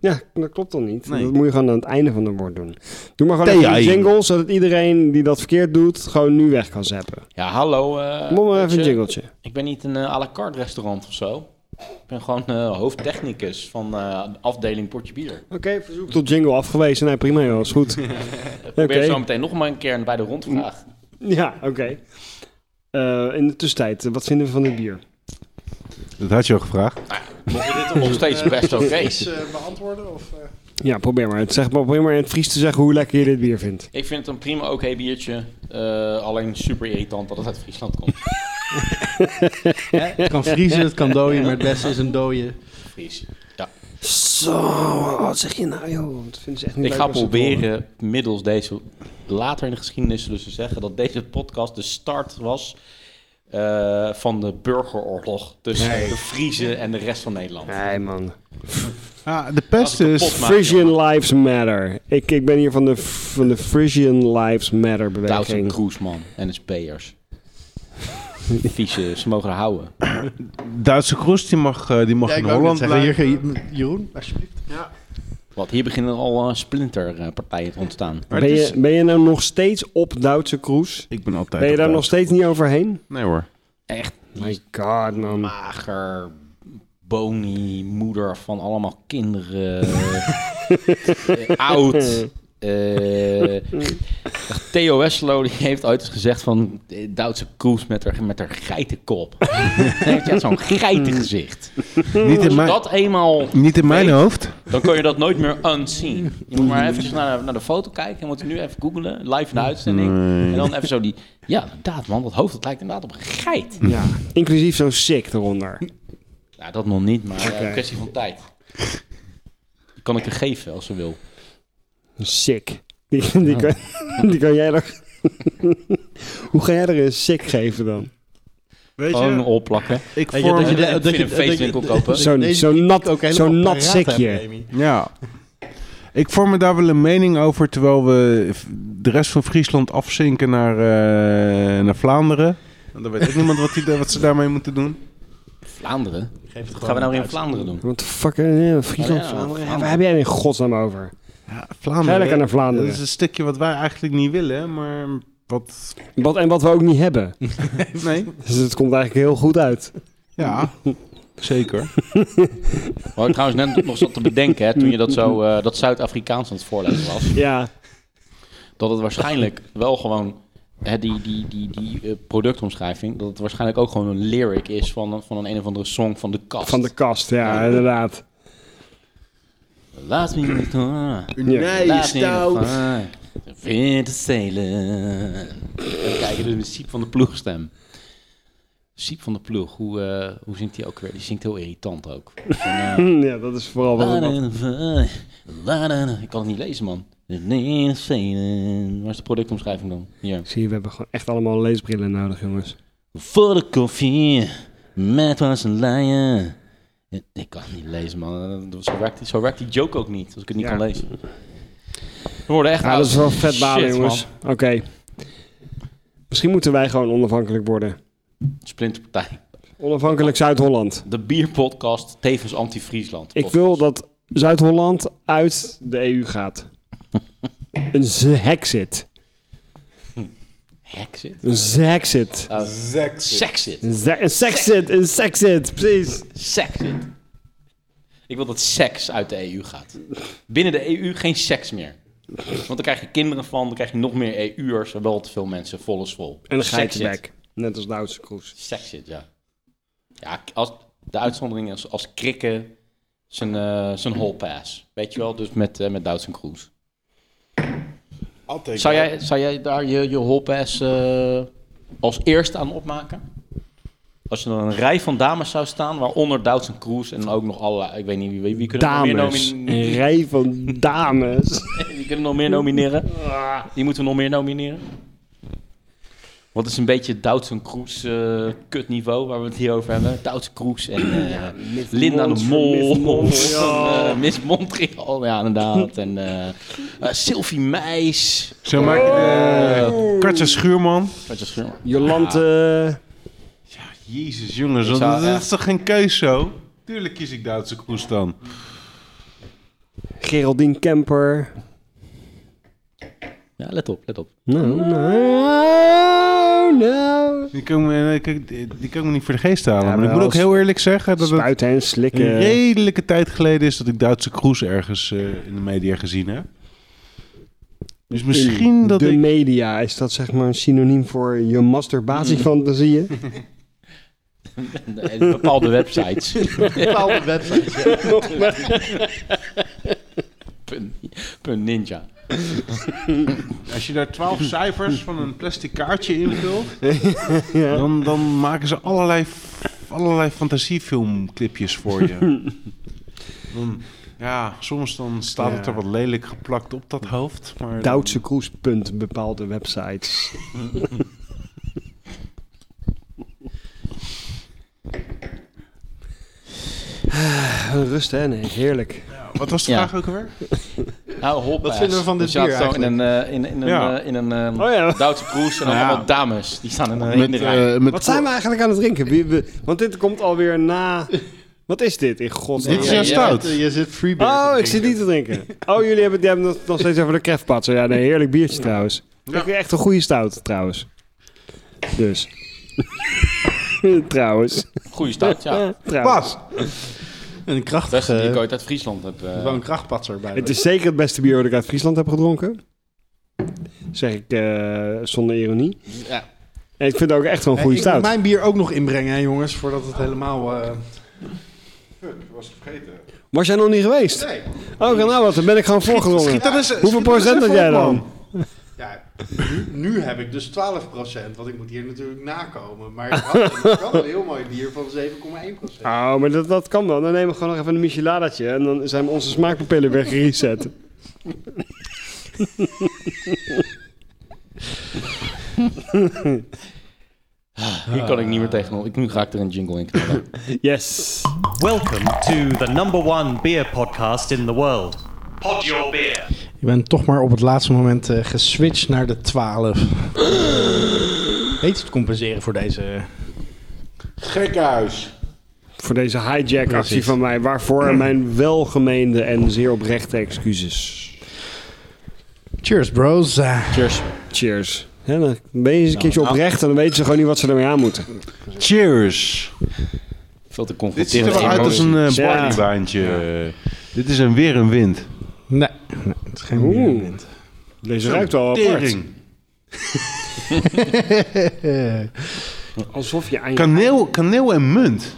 Ja, dat klopt dan niet.
Nee.
Dat moet je gewoon aan het einde van de woord doen. Doe maar gewoon even een
Theaïn.
jingle, zodat iedereen die dat verkeerd doet, gewoon nu weg kan zappen.
Ja, hallo. eh,
Kom maar even een
weet je,
jingletje.
Ik ben niet een eh, à la carte restaurant of zo. Ik ben gewoon eh, hoofdtechnicus van eh, de afdeling Portje Bier.
Oké, verzoek tot jingle afgewezen. Nee, prima joh, is goed. Oké.
Probeer zo meteen nog maar een keer bij de rondvraag.
Ja, oké. Eh, in de tussentijd, eh, wat vinden we van dit bier?
Dat had je al gevraagd.
Mocht je dit nog steeds best oké
Is eh, beantwoorden? Of, eh,
Ja, probeer maar. Het Zeg maar. Probeer maar in het Fries te zeggen hoe lekker je dit bier vindt.
Ik vind het een prima oké biertje. eh, alleen super irritant dat het uit Friesland komt.
hè? Het kan vriezen, het kan dooien, maar het beste is een dooie.
Fries.
Zo, wat zeg je nou joh? Dat vinden ze echt niet
Ik
leuk
ga
als ze het horen.
proberen middels deze later in de geschiedenis dus te zeggen dat deze podcast de start was eh, van de burgeroorlog tussen de Friezen en de rest van Nederland.
Nee man.
Ah, de pest
Als ik
is...
kapot maak, jongen.
Frisian Lives Matter. Ik, ik ben hier van de, van de Frisian Lives Matter
Doutzen
beweging.
Kroesman en de Speers. Vieze, ze mogen er houden.
Duitse kroes, die mag, eh, die mag in Holland blijven.
Jeroen, alsjeblieft.
Want hier beginnen al eh, splinterpartijen te ontstaan.
Maar
Ben
het is-
je, ben je nou nog steeds op Duitse Kroes?
Ik ben altijd...
Ben je daar
op Duits.
nog steeds niet overheen?
Nee hoor.
Echt
My god, man.
mager, bony, moeder van allemaal kinderen. Eh, oud. Eh, Theo Weslo die heeft ooit eens gezegd van eh, Duitse kroes met haar, met haar geitenkop. heeft echt zo'n geitengezicht.
Niet in, mijn,
Dat eenmaal,
niet in mijn
Nee.
hoofd.
dan kun je dat nooit meer unseen. Je moet maar even naar, de- naar de foto kijken. Je moet nu even googlen, live in de uitzending. En dan even zo die, ja inderdaad man, dat hoofd dat lijkt inderdaad op een geit.
Ja. Inclusief zo'n sick eronder.
Nou, dat nog niet, maar eh,
Oké.
kwestie van tijd. Die Kan ik er geven als ze wil.
Sick. Die, die, kan, die kan jij er... Hoe ga jij er een sick geven dan?
Weet
Gewoon opplakken.
ik
Weet je,
vorm...
dat je-
Ik vind een
dat je-
feestwinkel
dat je-
kopen.
Zo'n-
deze
zo'n
kritiek
nat-
ook helemaal
zo'n nat
paraat hebt,
sekje.
Remy.
Ja. Ik vorm me daar wel een mening over, terwijl we f- de rest van Friesland afzinken naar, eh, naar Vlaanderen. En dan weet ook niemand wat, die, da- wat ze daarmee moeten doen.
Vlaanderen? Wat
Geef het
gaan we
gewoon
nou weer in
uit.
Vlaanderen doen?
Wat de fuck? eh, Friesland,
Ja,
Vlaanderen?
Vlaanderen.
Waar heb jij er in godsnaam over?
Ja,
Ga
Vlaanderen.
lekker naar Vlaanderen.
Dat is een stukje wat wij eigenlijk niet willen, maar wat...
Wat, en wat we ook niet hebben.
Nee.
Dus het komt eigenlijk heel goed uit.
Ja, zeker.
Wat Oh, ik trouwens net nog zat te bedenken, hè, toen je dat zo eh, dat Zuid-Afrikaans aan het voorlezen was.
Ja.
Dat het waarschijnlijk wel gewoon, hè, die, die, die, die eh, productomschrijving, dat het waarschijnlijk ook gewoon een lyric is van, een- van een een of andere song van de kast.
Van de kast, ja, inderdaad.
Laat me niet gaan.
Ja.
Laat me niet gaan. Winter stelen. Even kijken, dus met Siep van de Ploeg stem. Siep van de Ploeg, hoe, eh, hoe zingt hij ook weer? Die zingt heel irritant ook. Van, eh,
ja, dat is vooral
Ah,
wat... wat-
Ladadada, ladadada. Ik kan het niet lezen, man. Winter stelen. Waar is de productomschrijving dan? Hier.
Zie je, we hebben gewoon echt allemaal leesbrillen nodig, jongens.
Voor de koffie, met was een lion. Ik kan het niet lezen, man. Zo werkt, die- zo werkt die joke ook niet, als ik het niet
Ja.
kan lezen. We worden echt
Ja,
oud.
dat is wel vet balen,
Shit,
jongens.
man.
Oké. Misschien moeten wij gewoon onafhankelijk worden.
Splinterpartij.
Onafhankelijk Zuid-Holland.
De bierpodcast, tevens anti-Friesland.
Ik wil dat Zuid-Holland uit de EU gaat. Een hexit.
Hexit?
Een hexit.
Sexit.
Een ze- een sexit. Een sexit. Precies.
Sexit. Ik wil dat seks uit de EU gaat. Binnen de EU geen seks meer. Want dan krijg je kinderen van, dan krijg je nog meer EU'ers en wel te veel mensen vol is vol.
En een
Sexit.
geitenbek. Net als Duitse Kroes.
Sexit, ja. Ja, als, De uitzondering is als krikken zijn, eh zijn hall pass. Weet je wel, dus met, eh met Doutzen Kroes. Zou jij, zou jij daar je, je hall pass eh, als eerste aan opmaken? Als je dan een rij van dames zou staan, waaronder Doutzen Kroes en ook nog allerlei... Ik weet niet, wie, wie, wie kunnen er nog meer
Dames.
nomineren?
Een rij van dames.
Die kunnen nog meer nomineren. Die moeten we nog meer nomineren. Wat is een beetje Doutzen Kroes eh, kutniveau waar we het hier over hebben? Doutzen Kroes en eh, Linda de Mol.
Miss
en, eh, Miss Montreal, ja inderdaad. En eh, eh, Sylvie Meis.
Zo maak je... Katja Schuurman.
Katja Schuurman.
Jolante.
Jezus jongens, dat,
zou,
dat
eh,
is toch geen keus zo? Tuurlijk kies ik Duitse Kroes dan.
Geraldine Kemper.
Ja, let op, let op.
Nou, nou, nou.
Die kan, ik me, eh, kijk, die- die kan ik me niet voor de geest halen.
Ja,
maar ik
wel
moet ook
als-
heel eerlijk zeggen dat het
Spuiten en
een
slikken.
redelijke tijd geleden is dat ik Duitse Kroes ergens eh, in de media gezien heb. Dus misschien
In
dat
de
ik...
media, is dat zeg maar een synoniem voor je masturbatiefantasieën?
En bepaalde websites.
Bepaalde websites.
Punt- Punt ninja.
Als je daar twaalf cijfers van een plastic kaartje invult, dan, dan maken ze allerlei, f- allerlei fantasiefilmclipjes voor je. Dan, ja, soms dan staat het
Ja.
er wat lelijk geplakt op dat hoofd. Maar dan-
Duitse cruisepunt bepaalde websites. Ah, Rust hè, nee, heerlijk.
Wat was de
Ja.
vraag ook alweer?
Nou, hop.
Wat vinden we van
dus
dit
je had
bier
zo in een, eh, in, in een,
Ja.
eh, in een eh,
Oh ja.
Duitse Kroes en dan
Nou ja.
allemaal dames. Die staan in een in de
Met,
rij.
eh, met
Wat zijn we eigenlijk aan het drinken? Wie- we- Want dit komt alweer na... Wat is dit in godsnaam?
Dit
is
is
jouw
jouw
stout.
Je zit free beer
Oh,
te
ik zit niet
drinken.
te drinken. Oh, jullie hebben, die hebben het nog steeds over de kreftpatser. Ja, nee, heerlijk biertje trouwens. Ik echt een goede stout trouwens. Dus. trouwens.
Goeie start, ja.
trouwens.
Een kracht.
Beste die ik ooit uit Friesland heb. eh,
Wel een krachtpatser bij.
Het is zeker het beste bier dat ik uit Friesland heb gedronken. Zeg ik eh, zonder ironie.
ja.
En ik vind het ook echt wel een
Hey,
goede
ik moet
stout.
mijn bier ook nog inbrengen, hè, jongens, voordat het helemaal. eh,
Was jij nog niet geweest? Nee. Oh, nou wat, dan ben ik gewoon voorgedrongen. Hoeveel procent had jij dan?
ja, nu, nu heb ik dus 12%, want ik moet hier natuurlijk nakomen. Maar ik had wel een heel mooi bier van 7,1%.
Oh, maar dat, dat kan wel. Dan nemen we gewoon nog even een Micheladetje en dan zijn onze smaakpapillen weer gereset.
Hier
eh,
kan ik niet meer tegen. Ik, nu ga ik er een jingle in knallen.
Yes.
Welcome to the number one beer podcast in the world. Pod Your Beer.
Ik ben toch maar op het laatste moment eh, geswitcht naar de 12. Heet het compenseren voor deze.
Gekhuis.
Voor deze hijack actie
Precies.
van mij. Waarvoor mijn welgemeende en zeer oprechte excuses.
Cheers, bros. Eh,
Cheers.
Cheers. Ja, dan ben je eens een keertje oprecht en dan weten ze gewoon niet wat ze ermee aan moeten.
Cheers.
Veel te
Dit ziet er
confronterend.
wel uit als een eh,
Ja.
barleywijntje. Dit is een weer een wind.
nee, nee, het is geen
Oeh.
bier. Mint.
Deze ruikt al apart.
Tering.
Alsof je aan je...
Kaneel, kaneel en munt.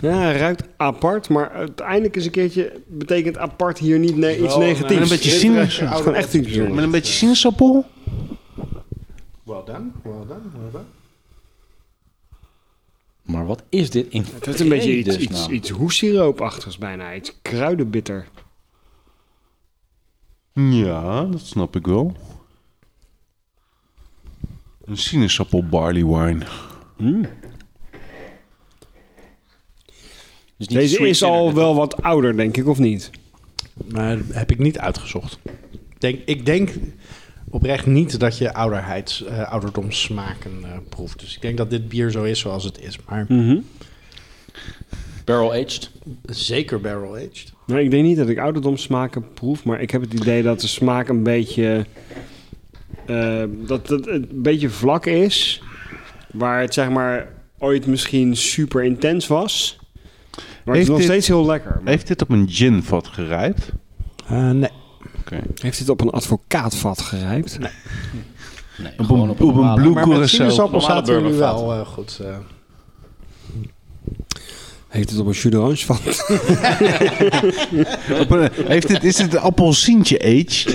Ja, hij ruikt apart, maar uiteindelijk is een keertje... betekent apart hier niet ne- iets negatiefs.
een beetje
Het
cynisch.
is gewoon echt iets
Met
bijzonders.
een beetje sinaasappel.
Well done, well done, well done.
Maar wat is dit in
Het is een beetje iets,
vredesnaam?
iets, iets hoessiroopachtigs bijna. Iets kruidenbitter.
Ja, dat snap ik wel. Een sinaasappel barley wine.
Dus niet
Deze
sweet
is
cinnamon.
al wel wat ouder, denk ik, of niet?
Maar heb ik niet uitgezocht. Denk, ik denk oprecht niet dat je ouderheids, eh, ouderdomssmaken eh, proeft. Dus ik denk dat dit bier zo is zoals het is. Maar
Barrel aged.
zeker barrel-aged.
Nou, ik denk niet dat ik ouderdomssmaken proef, maar ik heb het idee dat de smaak een beetje... eh, dat het een beetje vlak is. Waar het zeg maar ooit misschien super intens was. Maar het
Heeft
is nog
dit-
steeds heel lekker.
Heeft dit op een ginvat gerijpt?
nee.
Heeft dit op een advocaatvat gerijpt?
Nee,
Op
gewoon
een,
op
op een
normale-
blue
Maar met
curacao.
sinaasappel
Normale
zaten we nu
burgervaten.
wel eh, goed. eh.
Heeft het op een chudorange van?
Op een- Heeft dit, is dit een appelsientje aged?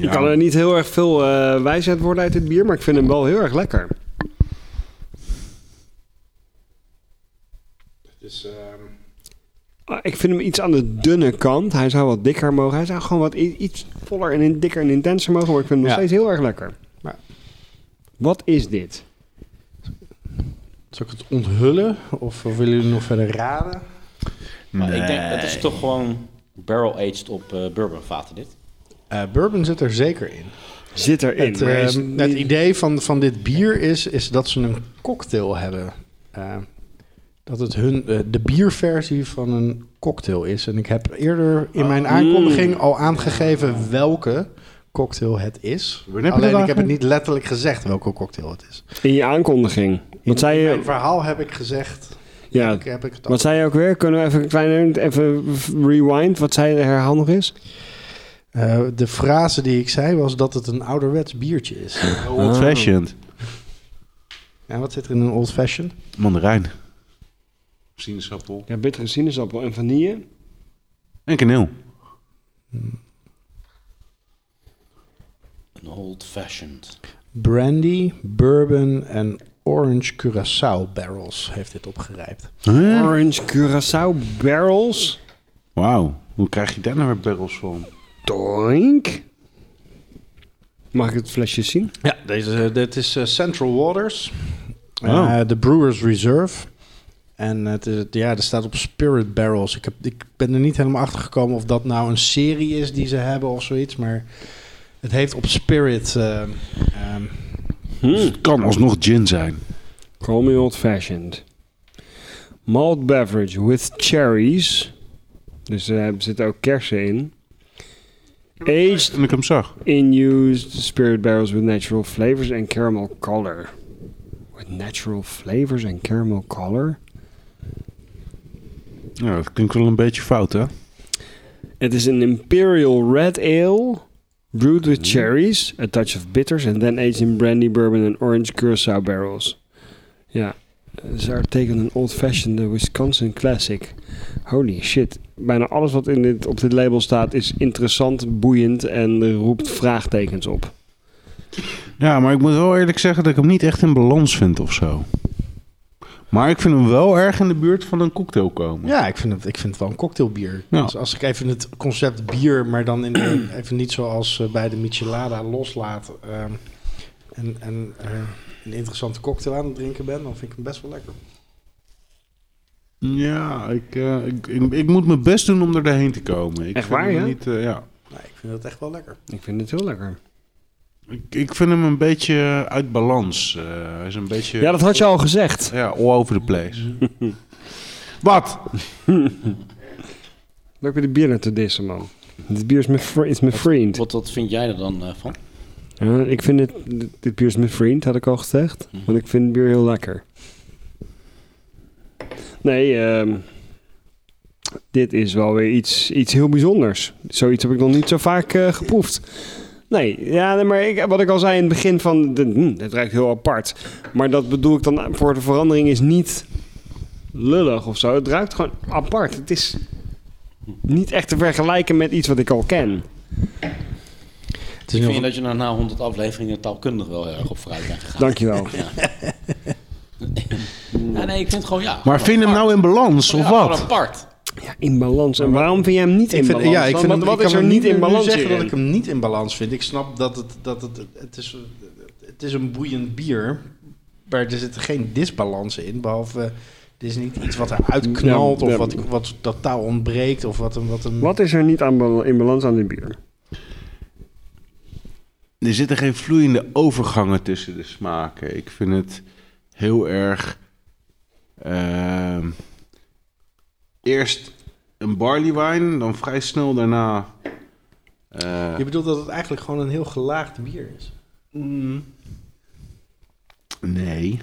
Ik kan er niet heel erg veel eh, wijsheid worden uit dit bier, maar ik vind hem wel heel erg lekker.
Dus, ehm,
Ah, Ik vind hem iets aan de dunne kant. Hij zou wat dikker mogen. Hij zou gewoon wat i- iets voller en in- dikker en intenser mogen. Maar ik vind hem nog
Ja.
steeds heel erg lekker.
Maar-
Wat is dit?
Zal ik het onthullen? Of willen jullie nog verder raden?
Maar ik denk, het is toch gewoon barrel-aged op eh bourbonvaten dit.
Eh, bourbon zit er zeker in.
Zit erin.
Het,
maar
eh,
is
ehm,
het
niet-
idee van, van dit bier is, is dat ze een cocktail hebben. Eh, dat het hun, eh, de bierversie van een cocktail is. En ik heb eerder in
Ah,
mijn aankondiging
mm.
al aangegeven welke cocktail het is.
Wanneer heb je
Alleen
dat
ik heb het
aangegeven?
niet letterlijk gezegd welke cocktail het is.
In je aankondiging. Wat zei
In mijn
je?
verhaal heb ik gezegd...
Ja,
Ik heb ik het al.
wat zei je ook weer? Kunnen we even een kleine even rewind? Wat zei je herhaal nog eens?
Eh, de frase die ik zei was dat het een ouderwets biertje is.
Old fashioned.
En wat zit er in een old fashioned?
Mandarijn. Sinaasappel.
Ja, bittere sinaasappel en vanille.
En kaneel.
Een old-fashioned.
Brandy, bourbon en orange curacao barrels heeft dit opgerijpt.
Huh?
Orange Curaçao barrels.
Wauw. Hoe krijg je daar nou weer barrels van?
Doink. Mag ik het flesje zien?
Ja, deze, eh, dit is eh, Central Waters, eh,
Oh.
de Brewers Reserve. En het is, ja, er staat op Spirit Barrels. Ik, heb, ik ben er niet helemaal achter gekomen of dat nou een serie is die ze hebben of zoiets. Maar het heeft op Spirit. eh, ehm,
Dus het kan alsnog gin zijn.
Call me old fashioned. Malt beverage with cherries. Dus eh, er zitten ook kersen in. Aged
En ik hem zag.
in used spirit barrels with natural flavors and caramel color. With natural flavors and caramel color?
Ja, dat klinkt wel een beetje fout, hè?
Het is een imperial red ale. Brewed with cherries, a touch of bitters, and then aged in brandy, bourbon and orange curacao barrels. Ja, ze are taken an old-fashioned eh, Wisconsin classic. Holy shit. Bijna alles wat in dit, op dit label staat is interessant, boeiend en eh, roept vraagtekens op.
Ja, maar ik moet wel eerlijk zeggen dat ik hem niet echt in balans vind of zo. Maar ik vind hem wel erg in de buurt van een cocktail komen.
ja, ik vind, het, ik vind het wel een cocktailbier.
Ja.
Dus als ik even het concept bier, maar dan in de- even niet zoals eh, bij de Michelada loslaat. ehm, en en eh, een interessante cocktail aan het drinken ben, dan vind ik hem best wel lekker.
Ja, ik, eh, ik, ik, ik moet mijn best doen om er daarheen te komen. Ik
Echt
vind
waar,
hem
ja?
Niet, eh, ja.
Nee, ik vind het echt wel lekker.
Ik vind het heel lekker.
Ik, ik vind hem een beetje uit balans. Eh, hij is een beetje
Ja, dat had je al gezegd.
ja, all over the place. Wat?
Leuk weer de bier naar te dissen, man. Dit bier is mijn fri- is mijn vriend.
Wat, wat vind jij er dan eh, van?
Ja, ik vind het, dit, dit bier is mijn vriend, had ik al gezegd. Want ik vind bier heel lekker. Nee, ehm, dit is wel weer iets, iets heel bijzonders. Zoiets heb ik nog niet zo vaak eh, geproefd. Nee, ja, nee, maar ik, wat ik al zei in het begin van, de, hm, dit ruikt heel apart. Maar dat bedoel ik dan voor de verandering is niet lullig of zo. Het ruikt gewoon apart. Het is niet echt te vergelijken met iets wat ik al ken.
Het
Ik vind dat je na- na 100 afleveringen taalkundig wel heel erg op vooruit bent gegaan.
Dankjewel.
Ja, nee, ik vind het gewoon ja.
Maar
gewoon
vind hem
apart.
nou in balans
Ja,
of
gewoon
wat?
apart.
Ja, in balans. En waarom vind jij hem niet in
Ik vind,
balans?
ja, ik
dan?
vind
Want
dat,
wat
ik
is
kan
er
nu-
niet in
nu
balans
zeggen dat
hierin?
ik hem niet in balans vind. Ik snap dat het, dat het, het, is, het is een boeiend bier, maar er zitten geen disbalansen in, behalve... eh, dit is niet iets wat eruit knalt
Ja,
of
ja.
wat, wat totaal ontbreekt of wat een... Wat een
Wat is er niet aan bal- in balans aan dit bier?
Er zitten geen vloeiende overgangen tussen de smaken. Ik vind het heel erg. ehm, eerst een barley wine, dan vrij snel daarna. eh,
Je bedoelt dat het eigenlijk gewoon een heel gelaagd bier is.
nee.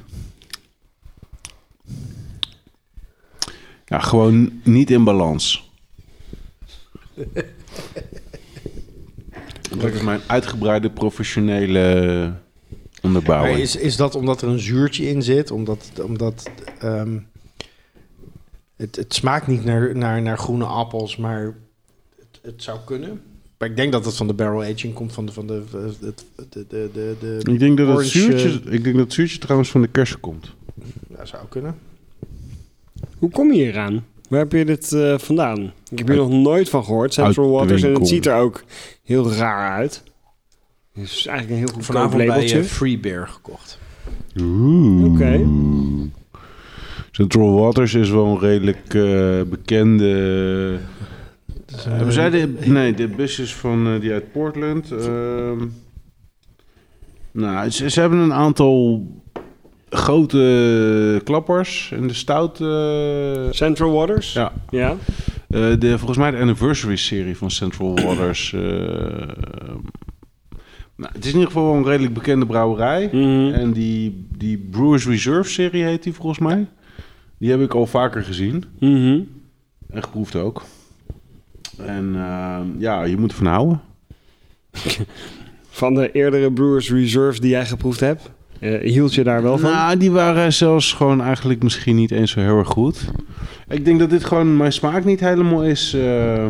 Ja, gewoon niet in balans. Dat is mijn uitgebreide professionele
Maar
onderbouwen.
is, is dat omdat er een zuurtje in zit? Omdat, omdat ehm, het, het smaakt niet naar, naar, naar groene appels, maar het, het zou kunnen. Maar ik denk dat het van de barrel aging komt, van de... Van de, de, de, de, de, de
Ik denk dat het
Orange, eh,
zuurtje, ik denk dat het zuurtje trouwens van de kersen komt.
ja, zou kunnen.
Hoe kom je hier aan? Waar heb je dit eh, vandaan? Ik heb hier nog nooit van gehoord. Central
uit de
Waters. En het
winkel.
ziet er ook heel raar uit. Het is eigenlijk een heel goedkoop
Vanavond bij
labeltje.
eh, Free Beer gekocht.
Oeh.
Oké.
Central Waters is wel een redelijk eh, bekende. Eh, we zeiden, nee, dit bus is van eh, die uit Portland. Ehm, nou, ze, ze hebben een aantal grote klappers en de stout. eh,
Central Waters?
ja.
Ja.
Eh, de, volgens mij de anniversary-serie van Central Waters. eh, nou, het is in ieder geval wel een redelijk bekende brouwerij.
Mhm.
En die, die Brewers Reserve-serie heet die volgens mij. Die heb ik al vaker gezien.
Mhm.
En geproefd ook. En eh, ja, je moet ervan houden.
Van de eerdere Brewers Reserve die jij geproefd hebt, eh, hield je daar wel van?
Nou, die waren zelfs gewoon eigenlijk misschien niet eens zo heel erg goed. Ik denk dat dit gewoon mijn smaak niet helemaal is. eh.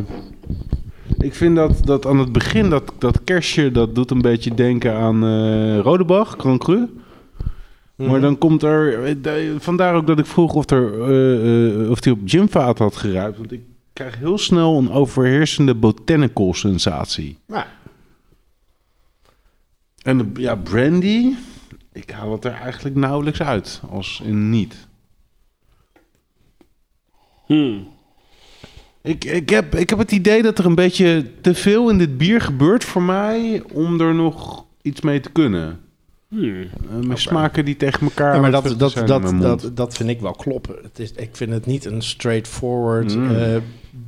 ik vind dat, dat aan het begin, dat, dat kerstje, dat doet een beetje denken aan eh Rodebach, Grand Cru.
Mhm.
Maar dan komt er... eh, de- Vandaar ook dat ik vroeg of, er, eh, eh, of die op gymvaat had geruimd. Want ik krijg heel snel een overheersende botanical sensatie.
Ja.
En de- ja, brandy, ik haal het er eigenlijk nauwelijks uit, als in niet.
Hmm.
Ik, ik, heb, ik heb het idee dat er een beetje te veel in dit bier gebeurt voor mij om er nog iets mee te kunnen.
Hmm.
Eh, mijn smaken die tegen elkaar.
Ja, maar
aan het
dat, dat,
vechten zijn in
dat,
mijn mond.
dat, dat vind ik wel kloppen. Het is, ik vind het niet een straightforward
Mm.
eh,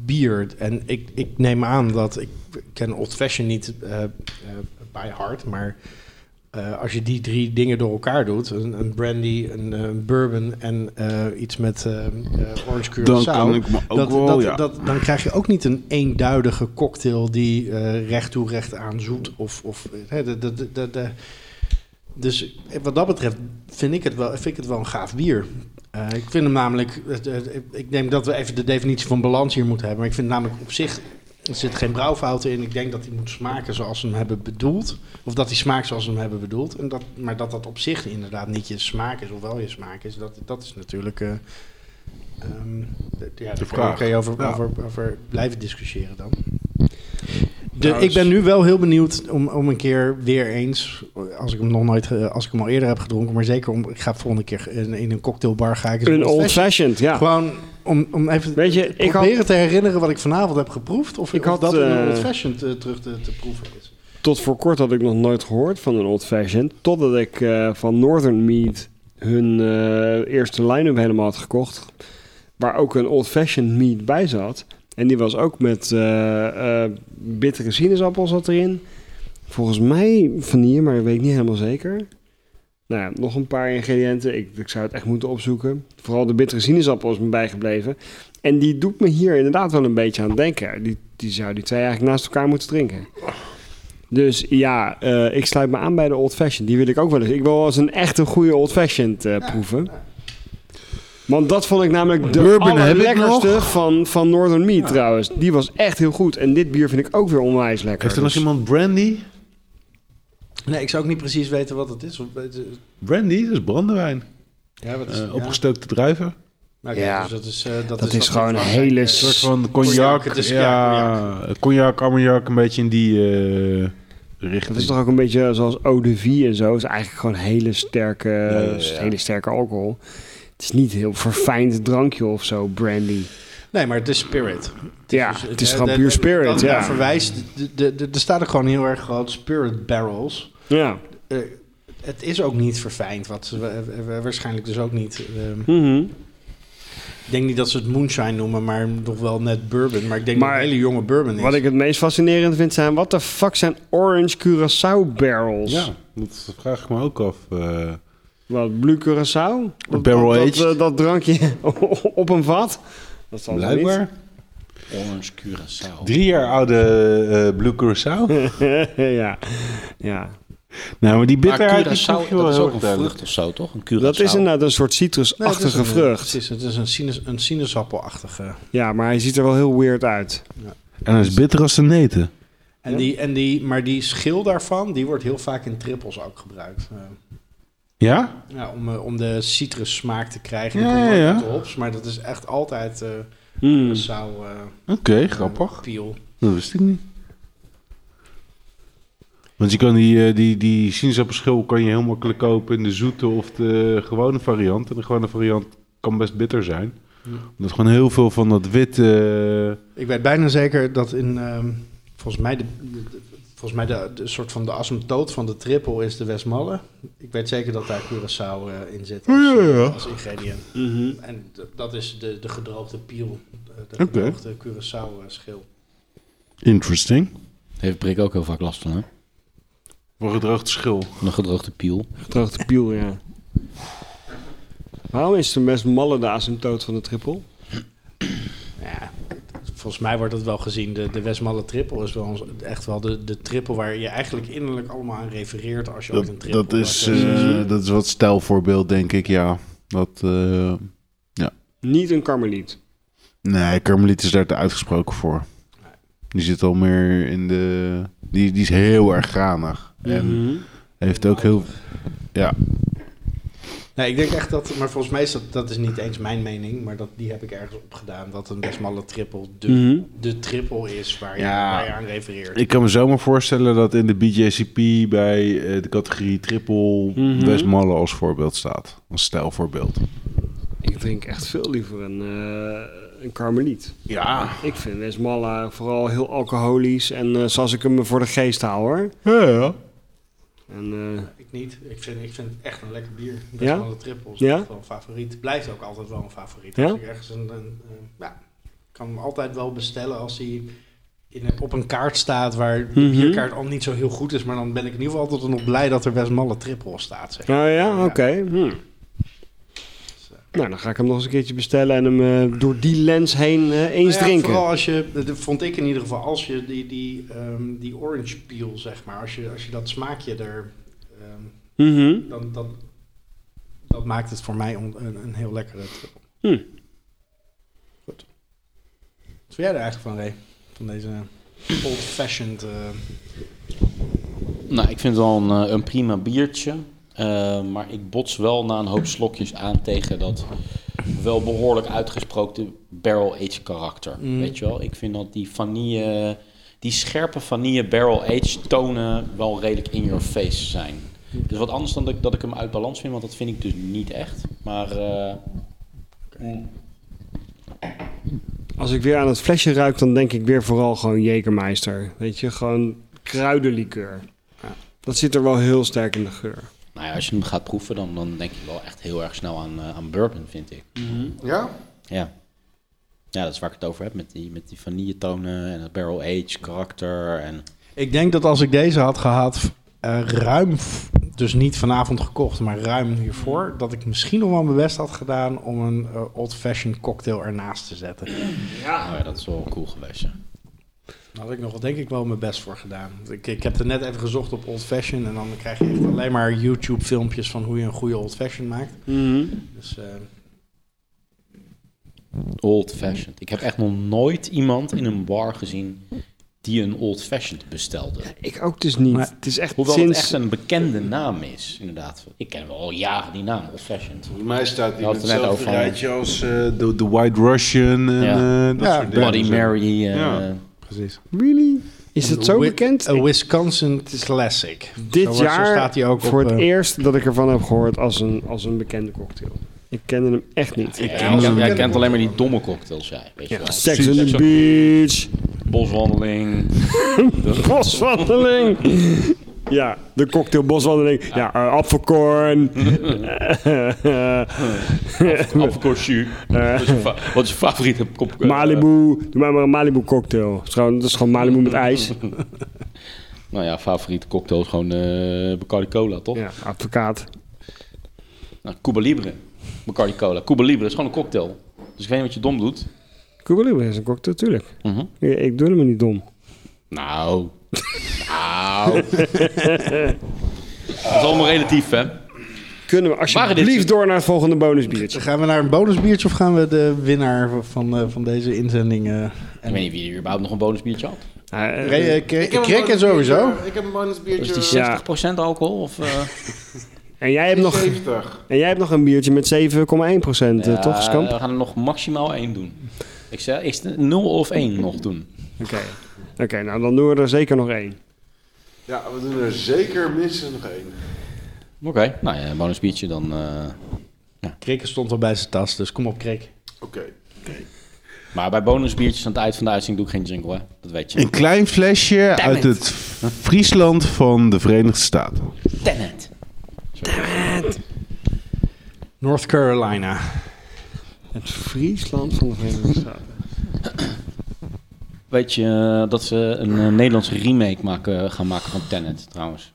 bier. En ik, ik neem aan dat... Ik ken Old Fashion niet eh, eh, by heart, maar... eh, als je die drie dingen door elkaar doet, een, een brandy, een, eh, bourbon en eh, iets met eh, eh, orange curaçao,
dan kan ik me ook
dat,
wel,
dat,
ja.
dat, dan krijg je ook niet een eenduidige cocktail die eh, recht toe recht aan zoet. Of, of, eh, hè, de, de, de, de, de- dus eh, wat dat betreft vind ik het wel, vind ik het wel een gaaf bier. Eh, ik vind hem namelijk, het- het- ik denk dat we even de definitie van balans hier moeten hebben. Maar ik vind namelijk op zich, er zit geen brouwfouten in. Ik denk dat hij moet smaken zoals ze hem hebben bedoeld. Of dat hij smaakt zoals ze hem hebben bedoeld. En dat, maar dat dat op zich inderdaad niet je smaak is, of wel je smaak is, dat, dat is natuurlijk... eh, ehm, d- ja, daar kan je-
vraag.
kan je over,
Ja.
over, over blijven discussiëren dan. De, ik ben nu wel heel benieuwd om, om een keer weer eens, als ik hem nog nooit, ge- als ik hem al eerder heb gedronken, maar zeker om, ik ga volgende keer in, in een cocktailbar ga ik eens
Een old
old fashioned.
fashioned, ja.
Gewoon om, om even
Weet je, ik had-
proberen te herinneren wat ik vanavond heb geproefd, of,
Ik
ik
had,
dat in een
eh,
old fashioned eh, terug te, te proeven is.
Tot voor kort had ik nog nooit gehoord van een old fashioned. Totdat ik eh, van Northern Mead hun eh, eerste line-up helemaal had gekocht. Waar ook een old fashioned mead bij zat. En die was ook met eh, eh, bittere sinaasappel zat erin. Volgens mij vanille, maar dat weet ik niet helemaal zeker. Nou ja, nog een paar ingrediënten. Ik, ik zou het echt moeten opzoeken. Vooral de bittere sinaasappel is me bijgebleven. En die doet me hier inderdaad wel een beetje aan denken. Die, die zou die twee eigenlijk naast elkaar moeten drinken. Dus ja, eh, ik sluit me aan bij de Old Fashioned. Die wil ik ook wel eens. Ik wil wel eens een echte goede Old Fashioned eh, proeven. Want dat vond ik namelijk de
Bourbon heb ik
allerlekkerste van, van Northern Meat trouwens. Die was echt heel goed. En dit bier vind ik ook weer onwijs lekker.
Heeft er nog
Dus-
iemand brandy?
Nee, ik zou ook niet precies weten wat het is. of- eh,
Brandy, dat is brandewijn.
Ja, wat is,
Eh,
ja.
Opgestookte druiven.
Maar oké,
Ja.
dus dat is, eh, dat
Dat is
wat
gewoon
in
een
Frankrijk,
hele
eh,
Een soort
s-
van
Cognac,
cognac.
het
dus
is- ja,
Ja, cognac, ammoniak, een beetje in die eh, richting.
Dat is toch ook een beetje zoals eau de vie en zo. Het is eigenlijk gewoon hele sterke,
Ja, ja, ja.
hele sterke alcohol. Het is niet een heel verfijnd drankje of zo, brandy.
Nee, maar het is spirit.
Ja,
Dus
het is
eh,
gewoon
dat-
puur
dat-
spirit,
dat
ja.
verwijst, de- de- de- er staat ook gewoon heel erg groot spirit barrels.
Ja.
Eh, het is ook niet verfijnd, wat ze eh, eh, waarschijnlijk dus ook niet. ehm,
Mhm.
ik denk niet dat ze het moonshine noemen, maar toch wel net bourbon. Maar ik denk
Maar
dat het een hele jonge bourbon is.
Wat ik het meest fascinerend vind zijn... wat de fuck zijn orange curaçao barrels?
Ja, dat vraag ik me ook af. eh.
Wat, blue curaçao? Dat-
Barrel
dat,
aged.
Dat, eh, dat drankje op een vat? Dat zal ze niet.
blijkbaar.
Orange Curaçao.
Drie jaar oude eh Blue Curaçao.
ja. ja.
Nou, maar die
Maar
bitterheid die proef
Curaçao,
je wel
dat is
heel
ook
erg
een
duidelijk.
vrucht of zo, toch? Een Curaçao.
Dat is inderdaad een soort
Nee, het Nou, is
citrusachtige
een, eh,
vrucht.
Precies, het is een, sinus, een sinaasappelachtige.
Ja, maar hij ziet er wel heel weird uit.
En dat is bitter als de neten.
En
Ja.
die, en die, maar die schil daarvan, die wordt heel vaak in trippels ook gebruikt. Eh,
Ja?
ja, om, eh, om de citrussmaak te krijgen.
Ja, ja,
Ja,
ja.
De hops, maar dat is echt altijd eh
Hmm.
zou eh,
Oké, grappig.
Piel.
Dat wist ik niet. Want je kan die, eh, die, die sinaasappelschil kan je heel makkelijk kopen in de zoete of de gewone variant. En de gewone variant kan best bitter zijn. Omdat gewoon heel veel van dat eh, witte...
Ik weet bijna zeker dat in, ehm, volgens mij, de, de- de- volgens mij de, de soort van de asymptoot van de trippel is de Westmalle. Ik weet zeker dat daar Curaçao eh, in zit als,
Oh, ja, ja.
eh, als ingrediënt.
Mm-hmm.
En d- dat is de, de gedroogde piel, eh, de
Oké.
gedroogde Curaçao eh, schil.
Interesting.
Heeft Brik ook heel vaak last van, hè?
Voor gedroogde schil.
Van een gedroogde piel.
Gedroogde piel, ja. Waarom is het best malle de asymptoot van de triple?
Ja, volgens mij wordt dat wel gezien. De, de Westmalle trippel is wel ons- echt wel de, de trippel waar je eigenlijk innerlijk allemaal aan refereert als je ooit een
Dat,
trippel
dat, is,
maakt.
eh, dat is wat stijlvoorbeeld, denk ik, ja. Dat, eh,
Niet een karmeliet.
nee, Carmeliet is daar te uitgesproken voor. Die zit al meer in de... Die, die is heel erg granig. En
Mhm.
heeft ook heel... Ja,
Nee, ik denk echt dat, maar volgens mij is dat, dat is niet eens mijn mening, maar dat, die heb ik ergens opgedaan. Dat een Westmalle trippel de,
Mhm.
de trippel is waar je,
Ja.
waar je aan refereert.
Ik kan me zomaar voorstellen dat in de BJCP bij eh, de categorie triple
Mhm.
Westmalle als voorbeeld staat. Als stijlvoorbeeld.
Ik drink echt veel liever een, eh een karmeliet.
Ja.
Ik vind Westmalle vooral heel alcoholisch en eh, zoals ik hem voor de geest hou hoor.
Ja, ja.
En, eh,
Ik niet. Ik vind, ik vind het echt een lekker bier.
Ja?
Westmalle trippel is
Ja?
echt wel een favoriet. Blijft ook altijd wel een favoriet.
Ja?
Als ik ergens een, een, eh, ja, ik kan hem altijd wel bestellen als hij in een- op een kaart staat waar de
Mhm.
bierkaart al niet zo heel goed is. Maar dan ben ik in ieder geval altijd nog blij dat er Westmalle trippel staat. Zeg.
Nou ja, oké. hm. Nou, dan ga ik hem nog eens een keertje bestellen en hem eh, door die lens heen eh, eens
Nou ja,
drinken.
Vooral als je, dat vond ik in ieder geval, als je die, die, ehm, die orange peel, zeg maar, als je, als je dat smaakje er, ehm,
Mhm.
dan, dat, dat maakt het voor mij on- een, een heel lekkere trippel.
Hm.
Goed. Wat vind jij er eigenlijk van, Ray? Van deze old-fashioned... eh,
Nou, ik vind het wel een, eh, een prima biertje. Eh, maar ik bots wel na een hoop slokjes aan tegen dat wel behoorlijk uitgesproken barrel-aged karakter.
Mm.
Weet je wel? Ik vind dat die vanille, die scherpe vanille barrel-aged tonen wel redelijk in your face zijn. Dus wat anders dan dat, ik- dat ik hem uit balans vind, want dat vind ik dus niet echt. Maar eh,
Als ik weer aan het flesje ruik, dan denk ik weer vooral gewoon Jägermeister. Weet je, gewoon kruidenlikeur. Dat zit er wel heel sterk in de geur.
nou ja, als je hem gaat proeven, dan, dan denk je wel echt heel erg snel aan, eh, aan bourbon, vind ik.
ja?
Ja. Ja, dat is waar ik het over heb. Met die, met die vanille tonen en het barrel age karakter. En...
Ik denk dat als ik deze had gehad, eh, ruim, f- dus niet vanavond gekocht, maar ruim hiervoor, dat ik misschien nog wel mijn best had gedaan om een eh, old-fashioned cocktail ernaast te zetten.
Nou ja, dat is wel cool geweest. ja.
Daar had ik nog wel, denk ik, wel mijn best voor gedaan. Want Ik, ik heb er net even gezocht op old-fashioned en dan krijg je echt alleen maar YouTube-filmpjes van hoe je een goede old-fashioned maakt.
Mhm.
Dus eh,
Old fashioned. Ik heb echt nog nooit iemand in een bar gezien die een old fashioned bestelde.
Ik ook dus niet.
Maar-
het is echt
Hoewel
sinds...
het echt een bekende naam is, inderdaad. Ik ken wel al jaren die naam, old fashioned.
Volgens mij staat
Je had het er net over.
als eh, de, de White Russian en
Ja.
eh, dat
Ja,
soort dingen.
Bloody Mary. eh,
Ja.
precies.
Really? Is
Een
het zo
Wi-
bekend?
Een Wisconsin Classic. Zo
Dit
wordt- zo
jaar
staat hij ook
voor
op,
het
eh,
eerst dat ik ervan heb gehoord als een, als een bekende cocktail. Ik kende hem echt niet.
Ja, jij-
hem.
jij kent alleen maar die domme cocktails, jij. Weet je
Ja,
wel.
Sex on the Beach,
Boswandeling.
boswandeling. ja, de cocktail boswandeling. Ja, eh, apfelkorn.
Afkorsu. Wat is je favoriete kop?
Malibu. Doe mij maar een Malibu cocktail. Dat is gewoon, dat is gewoon Malibu met ijs.
Nou ja, favoriete cocktail is gewoon eh Bacardi Cola, toch?
Ja, advocaat.
Nou, Cuba Libre. Bacardi Cola. Cuba Libre is gewoon een cocktail. Dus ik weet niet wat je dom doet.
Cuba Libre is een cocktail, tuurlijk.
Mhm.
Ik, ik doe hem niet dom.
Nou. nou. Dat is allemaal relatief, hè?
Kunnen we alsjeblieft
dit-
door naar het volgende bonusbiertje?
Gaan we naar een bonusbiertje of gaan we de winnaar van, eh, van deze inzending... eh,
Ik weet niet wie er überhaupt nog een bonusbiertje had.
Eh,
Re- eh, Krik- Krik en sowieso.
eh,
Ik heb een
Dus
bonusbiertje.
die
Ja.
60% alcohol? Of, eh,
en, jij hebt nog,
70.
en jij hebt nog een biertje met 7,1 procent, eh,
Ja,
toch, Skamp?
We gaan er nog maximaal één doen. Ik zeg, is het 0 of 1 nog doen?
Oké, Oké, nou dan doen we er zeker nog één.
Ja, we doen er zeker minstens nog één.
Oké, nou ja, een bonusbiertje dan. eh.
Krikken stond al bij zijn tas, dus kom op Krik.
Oké.
Maar bij bonusbiertjes aan het eind van de uitzending doe ik geen jingle, hè? Dat weet je.
Een klein flesje uit het Friesland van de Verenigde Staten.
North Carolina.
Het Friesland van de Verenigde Staten.
Weet je eh, dat ze een eh, Nederlandse remake maken, gaan maken van Tenet, trouwens?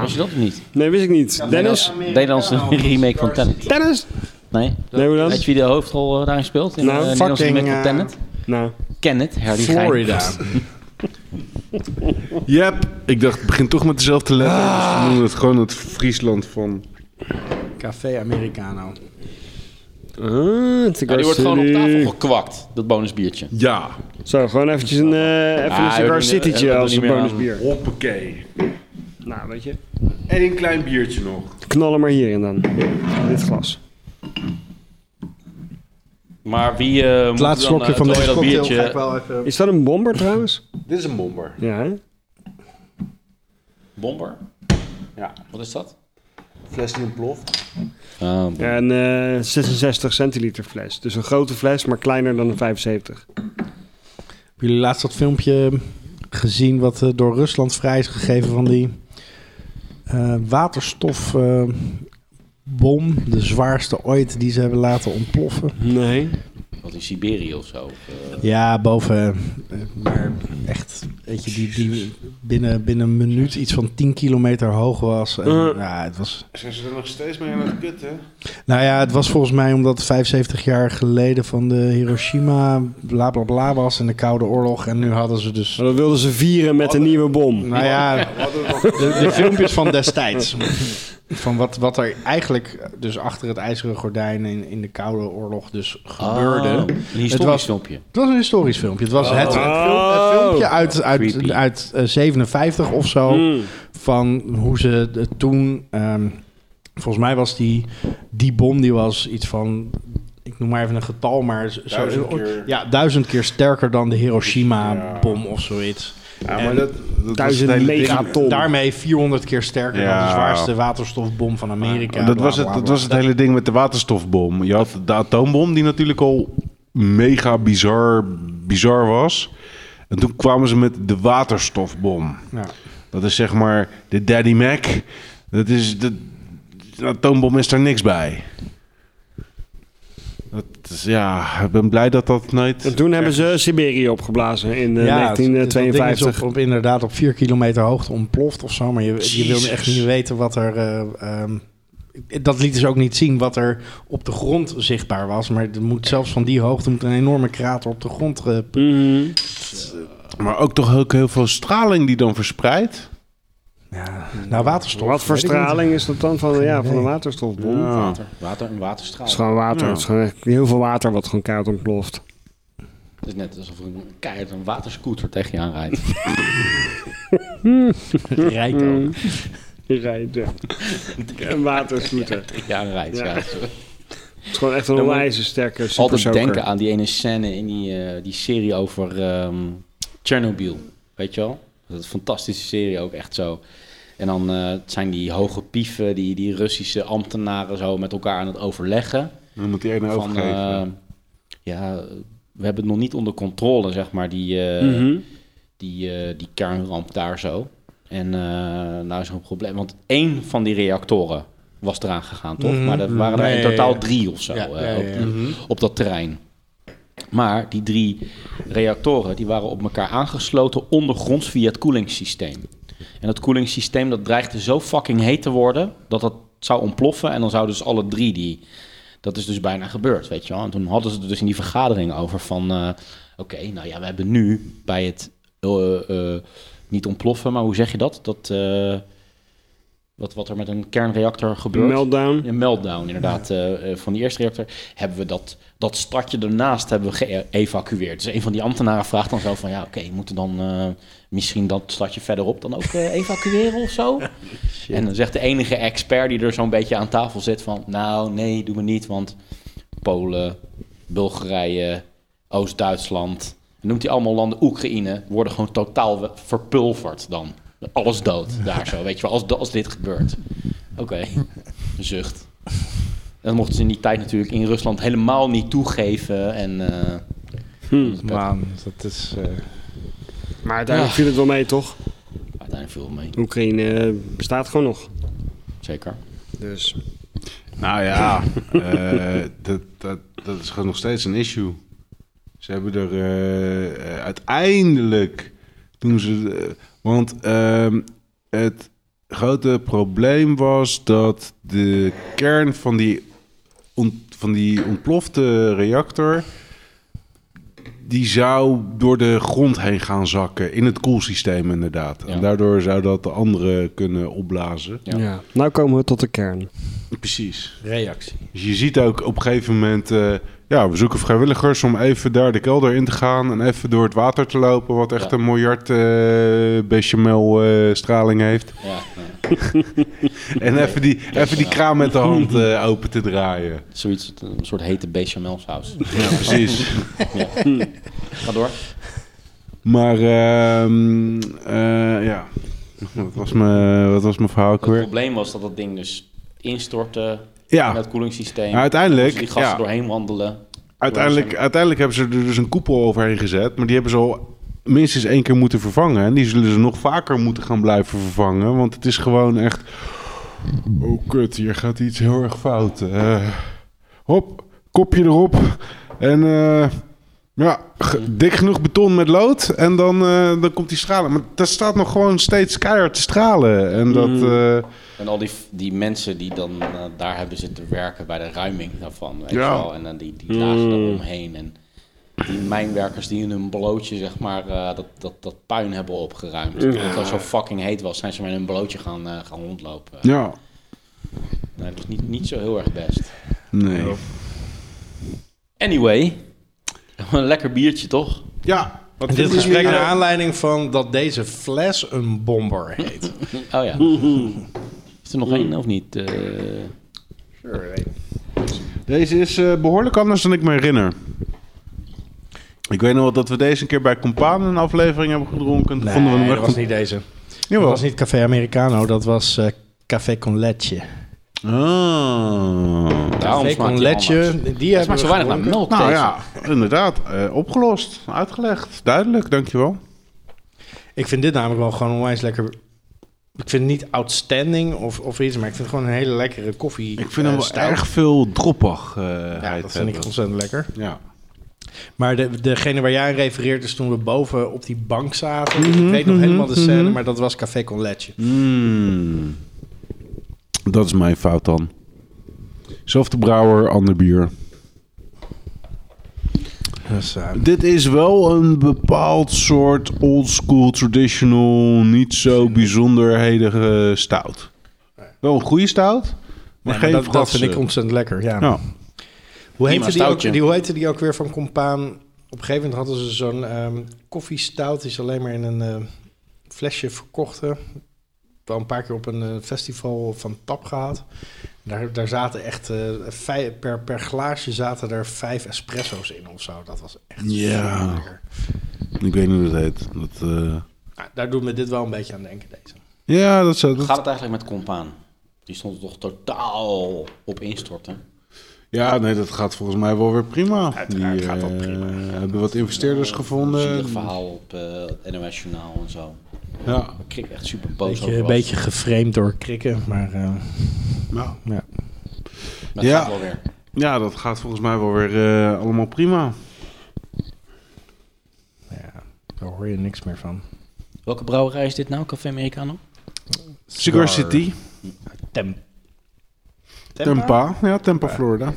Was je dat of niet?
Nee, wist ik niet. Dennis?
Nederlandse remake van Tenet.
Dennis?
Nee?
Nee, hoe dan?
Weet je wie de hoofdrol eh, daarin speelt? In
Nou,
de Nederlandse
fucking,
remake van
eh,
Tenet?
Nou,
Kenneth, Harry Gein.
Florida.
Yep, ik dacht, het begint toch met dezelfde letter. Dus we noemen het gewoon het Friesland van...
Café Americano.
Ah, het
Ja,
cigar
die wordt gewoon op
city.
tafel gekwakt, dat bonusbiertje.
Ja.
Zo, gewoon eventjes een, eh even
Ah,
een
we
cigar
doen- we
citytje
doen
als
niet meer
bonusbier.
Hoppakee.
Nou, weet je.
En een klein biertje nog.
Knal hem maar hierin dan. In dit glas.
Maar wie eh moet
laatste
dan,
slokje
eh,
van
terwijl
deze
je dat
cocktail
biertje...
Is dat een bomber trouwens?
Dit is een bomber.
Ja, hè?
Bomber?
Ja.
Wat is dat?
Fles die ontploft.
Ja, een eh, 66 centiliter fles. Dus een grote fles, maar kleiner dan een 75.
Hebben jullie laatst dat filmpje gezien wat eh, door Rusland vrij is gegeven van die eh, waterstofbom? eh, de zwaarste ooit die ze hebben laten ontploffen.
Nee.
Oh, Wat in Siberië of zo. of, eh,
Ja, boven. eh, Maar echt, weet je, die, die binnen, binnen een minuut iets van 10 kilometer hoog was. En,
Eh.
ja, het was
Zijn ze er nog steeds mee aan het kutten?
Nou ja, het was volgens mij omdat het 75 jaar geleden van de Hiroshima bla bla bla was en de Koude Oorlog. En nu hadden ze dus.
Maar dat wilden ze vieren met een nieuwe bom.
Nou ja, de, de filmpjes van destijds. Van wat, wat er eigenlijk dus achter het ijzeren gordijn in, in de Koude Oorlog dus gebeurde.
Oh, een
Het
historisch
was-
filmpje.
Het was een historisch filmpje. Het was het, het,
Oh.
film- het filmpje uit, uit,
Creepy.
uit eh, 57 of zo
Hmm.
Mm.
van hoe ze de- toen. ehm, volgens mij was die, die bom die was iets van. Ik noem maar even een getal, maar zo,
Duizend keer.
ja, duizend keer sterker dan de Hiroshima-bom of zoiets.
Ja,
En
maar dat, dat
duizend
was het hele ding.
megaton.
Daarmee 400 keer sterker dan
Ja.
de zwaarste waterstofbom van Amerika.
dat,
bla,
was het,
bla,
dat
bla.
was het hele ding met de waterstofbom. Je had de atoombom die natuurlijk al mega bizar, bizar was. En toen kwamen ze met de waterstofbom.
Ja.
Dat is zeg maar de Daddy Mac. Dat is de, de atoombom is daar niks bij. Dat is, ja, ik ben blij dat dat
En
nooit...
toen hebben ze Siberië opgeblazen in eh,
het- het- dat ding is
1952.
op, op inderdaad op 4 kilometer hoogte ontploft of zo. Maar je, je wilde echt niet weten wat er. eh, ehm, dat liet ze ook niet zien wat er op de grond zichtbaar was. Maar er moet, zelfs van die hoogte moet een enorme krater op de grond. eh, p-
Mhm.
Maar ook toch ook heel veel straling die dan verspreidt.
ja, nou, waterstof.
Wat voor
weet ik niet.
straling is dat dan van, ja, van een
idee.
waterstofbom?
Water. Water, een waterstraal.
Het is gewoon water.
Ja.
Het is gewoon echt heel veel water wat gewoon koud ontploft.
Het is net alsof er een keihard een waterscooter tegen je aanrijdt.
Mm.
Rijkdom.
Rijden. Een waterscooter.
tegen je aanrijdt, ja.
Ja. Het is gewoon echt een
Dan moet je
onwijze sterke
Altijd
supersoaker.
denken aan die ene scène in die, eh, die serie over ehm Chernobyl. Weet je wel? Dat is een fantastische serie ook, echt zo. En dan eh, het zijn die hoge pieven, die, die Russische ambtenaren zo met elkaar aan het overleggen.
Dan moet die ene
Van,
overgeven.
eh, ja, we hebben het nog niet onder controle, zeg maar, die, eh,
Mhm.
die, eh, die kernramp daar zo. En eh nou is er een probleem, want één van die reactoren was eraan gegaan, toch?
Mhm.
Maar er waren er
Nee,
in
ja,
totaal
ja.
drie of zo
Ja,
eh,
ja,
op,
ja, Mhm. ja.
die- op dat terrein. Maar die drie reactoren die waren op elkaar aangesloten ondergronds via het koelingssysteem. En dat koelingssysteem dat dreigde zo fucking heet te worden dat dat zou ontploffen en dan zouden dus alle drie die dat is dus bijna gebeurd, weet je wel. En toen hadden ze er dus in die vergadering over van... eh, Oké, nou ja, we hebben nu bij het eh, eh, niet ontploffen, maar hoe zeg je dat? dat eh, wat, wat er met een kernreactor gebeurt.
Meltdown.
Een meltdown, inderdaad. eh, eh, van die eerste reactor hebben we dat, dat stadje daarnaast hebben we geëvacueerd. Dus een van die ambtenaren vraagt dan zo van... ja, oké, moeten dan eh, misschien dat stadje verderop dan ook eh, evacueren of zo? en dan zegt de enige expert die er zo'n beetje aan tafel zit van... nou, nee, doen we niet, want Polen, Bulgarije, Oost-Duitsland... noemt hij allemaal landen, Oekraïne... worden gewoon totaal we- verpulverd dan. Alles dood daar zo, weet je wel, als, als dit gebeurt. Oké. Een zucht. En dat mochten ze in die tijd natuurlijk in Rusland helemaal niet toegeven. En, eh,
Hm.
Man, dat is... eh,
Maar uiteindelijk
Ah.
viel het wel mee, toch?
uiteindelijk viel het mee.
Oekraïne eh, bestaat gewoon nog.
Zeker.
Dus
Nou ja, eh, dat, dat, dat is gewoon nog steeds een issue. Ze hebben er eh, eh, uiteindelijk toen ze. eh, want ehm, het grote probleem was dat de kern van die, ont, van die ontplofte reactor. Die zou door de grond heen gaan zakken. In het koelsysteem, inderdaad.
Ja.
En daardoor zou dat de andere kunnen opblazen.
Ja.
Nou komen we tot de kern.
Precies.
Reactie.
Dus je ziet ook op een gegeven moment, eh, ja, we zoeken vrijwilligers om even daar de kelder in te gaan en even door het water te lopen, wat echt
Ja.
een miljard eh bechamel eh, straling heeft.
Ja, ja.
En even die, even die kraan met de hand eh, open te draaien.
Zoiets, een soort hete bechamel saus.
Ja, precies.
Ga door.
Maar ehm, eh, ja, wat was mijn, wat was mijn verhaal ook
Het
weer?
probleem was dat dat ding dus instortte in
Ja,
het koelingssysteem.
nou, uiteindelijk,
Moesten die gasten
ja,
doorheen wandelen.
uiteindelijk, uiteindelijk hebben ze er dus een koepel overheen gezet, maar die hebben ze al minstens één keer moeten vervangen. En die zullen ze nog vaker moeten gaan blijven vervangen. Want het is gewoon echt. Oh kut, hier gaat iets heel erg fout. Eh, hop, kopje erop. En eh, ja, g- dik genoeg beton met lood. En dan, eh, dan komt die stralen. Maar daar staat nog gewoon steeds keihard te stralen. En dat.
Mm.
eh,
En al die, die mensen die dan eh, daar hebben zitten werken bij de ruiming daarvan. Weet je
Ja.
wel. En dan die, die lagen
Mm.
er omheen. En die mijnwerkers die in hun blootje zeg maar eh, dat, dat, dat puin hebben opgeruimd.
Ja.
Omdat het al zo fucking heet was, zijn ze maar in hun blootje gaan, eh, gaan rondlopen.
ja,
Nee, dat is niet, niet zo heel erg best.
nee.
Anyway, een lekker biertje toch?
Ja,
En dit
vinden
gesprek
jullie-
naar aanleiding van dat deze fles een bomber heet.
Oh ja. Hmm. Is er nog één of niet? Eh,
Deze is eh, behoorlijk anders dan ik me herinner. Ik weet nog wel dat we deze een keer bij Compaan een aflevering hebben gedronken. Toen vonden we hem
dat
echt
was
goed.
niet deze. Dat
Jawel.
was niet Café Americano, dat was eh, Café Con Leche.
Ah.
daarom
Café
smaakt
Con
die anders.
Leche, die
Het
hebben
smaakt zo
we
weinig naar
gedronken.
melk.
Nou
deze.
ja, inderdaad. eh, opgelost, uitgelegd, duidelijk, dankjewel.
Ik vind dit namelijk wel gewoon onwijs lekker. Ik vind het niet outstanding of, of iets, maar ik vind het gewoon een hele lekkere koffie.
Ik vind hem
eh,
wel
stout.
erg veel droppig. eh,
Ja,
heid
dat vind ik
hebben.
ontzettend lekker.
Ja.
Maar de, degene waar jij aan refereert is toen we boven op die bank zaten.
Mhm,
ik weet nog helemaal de scène, maar dat was Café Con Leche.
Mm. Dat is mijn fout dan. Zelfde brouwer, ander bier.
Dus, eh,
Dit is wel een bepaald soort oldschool, traditional, niet zo bijzonderheden eh, stout. Wel een goede stout, maar geen
nee, maar dat, dat
fratsen.
vind ik ontzettend lekker. Ja.
Ja.
Hoe,
Prima
heette die ook,
stoutje.
die, hoe heette die ook weer van Compaan? Op een gegeven moment hadden ze zo'n ehm koffiestout, die ze alleen maar in een eh, flesje verkochten. Wel een paar keer op een eh, festival van tap gehad. Daar, daar zaten echt, eh, vij- per, per glaasje zaten er vijf espresso's in of zo. Dat was echt
Ja.
super lekker.
Ik weet niet hoe dat heet. Dat, eh,
Nou, daar doet me dit wel een beetje aan denken, deze.
Ja, dat zou...
Hoe
dat-
gaat het eigenlijk met Compaan? Die stond er toch totaal op instorten.
Ja, nee, dat gaat volgens mij wel weer prima.
Uiteraard
Die,
gaat dat
eh,
prima.
hebben wat investeerders gevonden.
Eh, Zielig verhaal op eh NOS Journaal en zo.
Ja.
Ik kreeg echt super boos
Beetje,
over
een
was.
beetje geframed door krikken, maar eh,
Nou,
Maar het
Ja.
gaat wel weer.
ja, dat gaat volgens mij wel weer eh, allemaal prima.
ja, daar hoor je niks meer van.
Welke brouwerij is dit nou? Café Americano?
Cigar
Cigar.
City,
Temp.
Tampa. Ja, Tampa, Florida.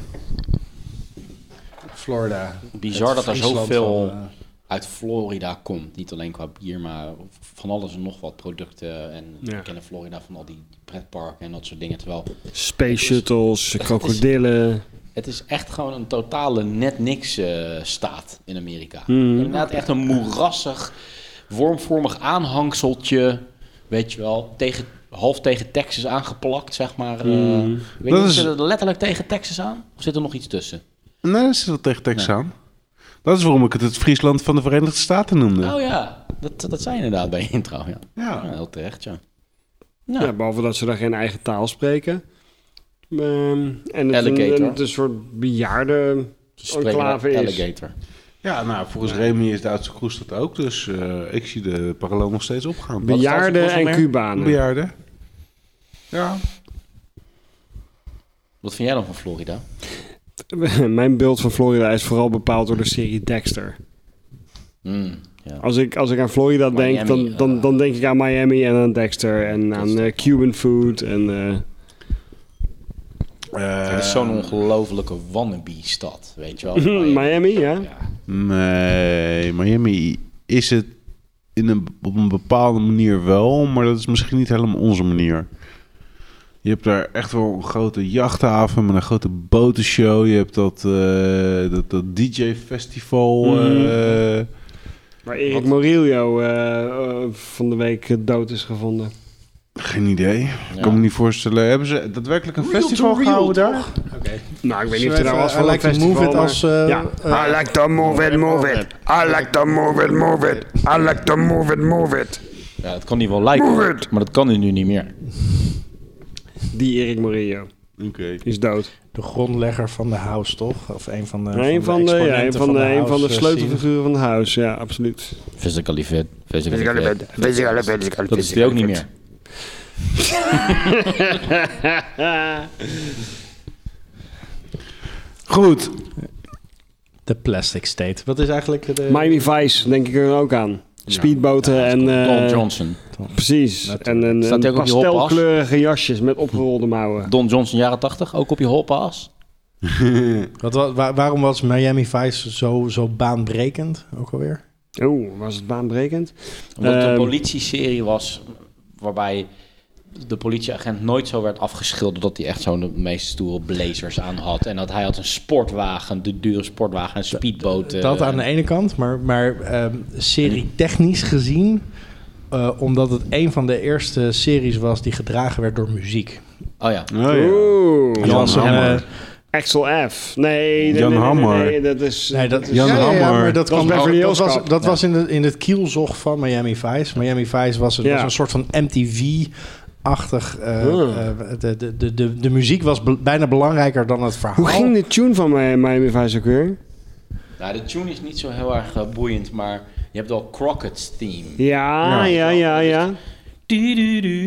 Florida.
Bizar
Het
dat er
Friesland
zoveel
van, eh,
uit Florida komt. Niet alleen qua bier, maar van alles en nog wat producten. En
Ja.
we kennen Florida van al die pretparken en dat soort dingen. Terwijl
Space
Dus-
shuttles, krokodillen.
het is echt gewoon een totale net niks eh, staat in Amerika.
Hmm.
Inderdaad echt een moerassig, wormvormig aanhangseltje, weet je wel, tegen, half tegen Texas aangeplakt, zeg maar. eh.
Hmm.
Ik Weet dat
Dat
niet,
is-
zit er letterlijk tegen Texas aan? Of zit er nog iets tussen?
Nee, dat is wel tegen Texas aan. Dat is waarom ik het het Friesland van de Verenigde Staten noemde.
Oh ja, dat, dat zei je inderdaad bij je intro, ja.
Ja.
Ja, heel terecht, ja.
Ja.
Nou,
behalve dat ze daar geen eigen taal spreken. Ehm, en het een,
Alligator.
en het een soort bejaarde...
ze spreken
enclave
wel
is.
alligator.
Ja, nou, volgens Remy is de Duitse kroes dat ook. Dus eh, ik zie de parallel nog steeds opgaan. Wat is dat
Bejaarden
voor
en
meer?
Cubanen.
Bejaarden. Ja.
Wat vind jij dan van Florida?
Mijn beeld van Florida is vooral bepaald door de serie Dexter.
Hmm, ja.
Als ik, als ik aan Florida
Miami,
denk, dan, dan,
eh.
dan denk ik aan Miami en aan Dexter en aan eh, Cuban food. En, eh,
Eh.
Het is zo'n ongelofelijke wannabe-stad, weet je wel. Miami.
Miami, ja.
Ja.
Nee, Miami is het in een, op een bepaalde manier wel, maar dat is misschien niet helemaal onze manier. Je hebt daar echt wel een grote jachthaven met een grote botenshow. Je hebt dat, eh, dat, dat DJ-festival.
Mhm.
eh,
Waar Erik Morillo eh, eh, van de week eh, dood is gevonden.
geen idee.
Ja.
kan me niet voorstellen. Hebben ze daadwerkelijk een festival
real,
gehouden daar?
Nou, ik weet niet
Zo
of hij daar
even,
was
I
van
like
een
to
festival.
move it
maar-
als, eh,
ja.
eh,
I like to move it, move it. I like to move it, move it. I like to move it, move it.
Ja, dat kan hij wel lijken,
Move it!
maar dat kan hij nu niet meer.
Die Erik Morillo
Oké.
is dood.
de grondlegger van de house, toch? Of een van de,
een van de, ja, een
exponenten
van de, een van de
house, eh, scene.
sleutelfiguren van het huis, ja, absoluut.
Physically fit. Physically
Physical
fit.
fit, physical fit, physical
Dat is hij ook niet meer.
Goed.
De plastic state. Wat is eigenlijk de...
Miami Vice denk ik er ook aan. Speedboten en...
Don
eh,
Johnson.
Precies. En een,
Staat hij
een
ook op die hoppas?
pastelkleurige jasjes met opgerolde mouwen.
Don Johnson, jaren 80, ook op je holpaas.
Wat, wa- wa- waarom was Miami Vice zo, zo baanbrekend ook alweer?
Oeh, was het baanbrekend?
Omdat het
Ehm.
een politieserie was waarbij de politieagent nooit zo werd afgeschilderd dat hij echt zo'n de meest stoere blazers aan had. En dat hij had een sportwagen, de dure sportwagen, een speedboot. eh,
Dat aan de ene kant, maar, maar ehm, serie technisch gezien... eh, omdat het een van de eerste series was die gedragen werd door muziek.
Oh ja.
Oh, ja.
Oeh.
Jan
was een,
Hammer.
eh,
Axel F. Nee, nee,
Jan
nee, nee,
Hammer.
Nee, nee, dat is...
nee, dat,
is-
Jan
ja, ja, ja,
Hammer.
maar dat,
Dat was
kwam,
Beverly
dat
Hills
was,
Cop.
dat was in, de, in het kielzog van Miami Vice. Miami Vice was, een-
Ja.
was een soort van MTV... Achtig. eh,
Hmm.
eh, de, de, de, de, de muziek was be- bijna belangrijker dan het verhaal.
Hoe ging de tune van Mi- Miami Vice ook weer?
Nou, de tune is niet zo heel erg eh, boeiend, maar je hebt wel Crockett's theme.
Ja, ja, ja, ja.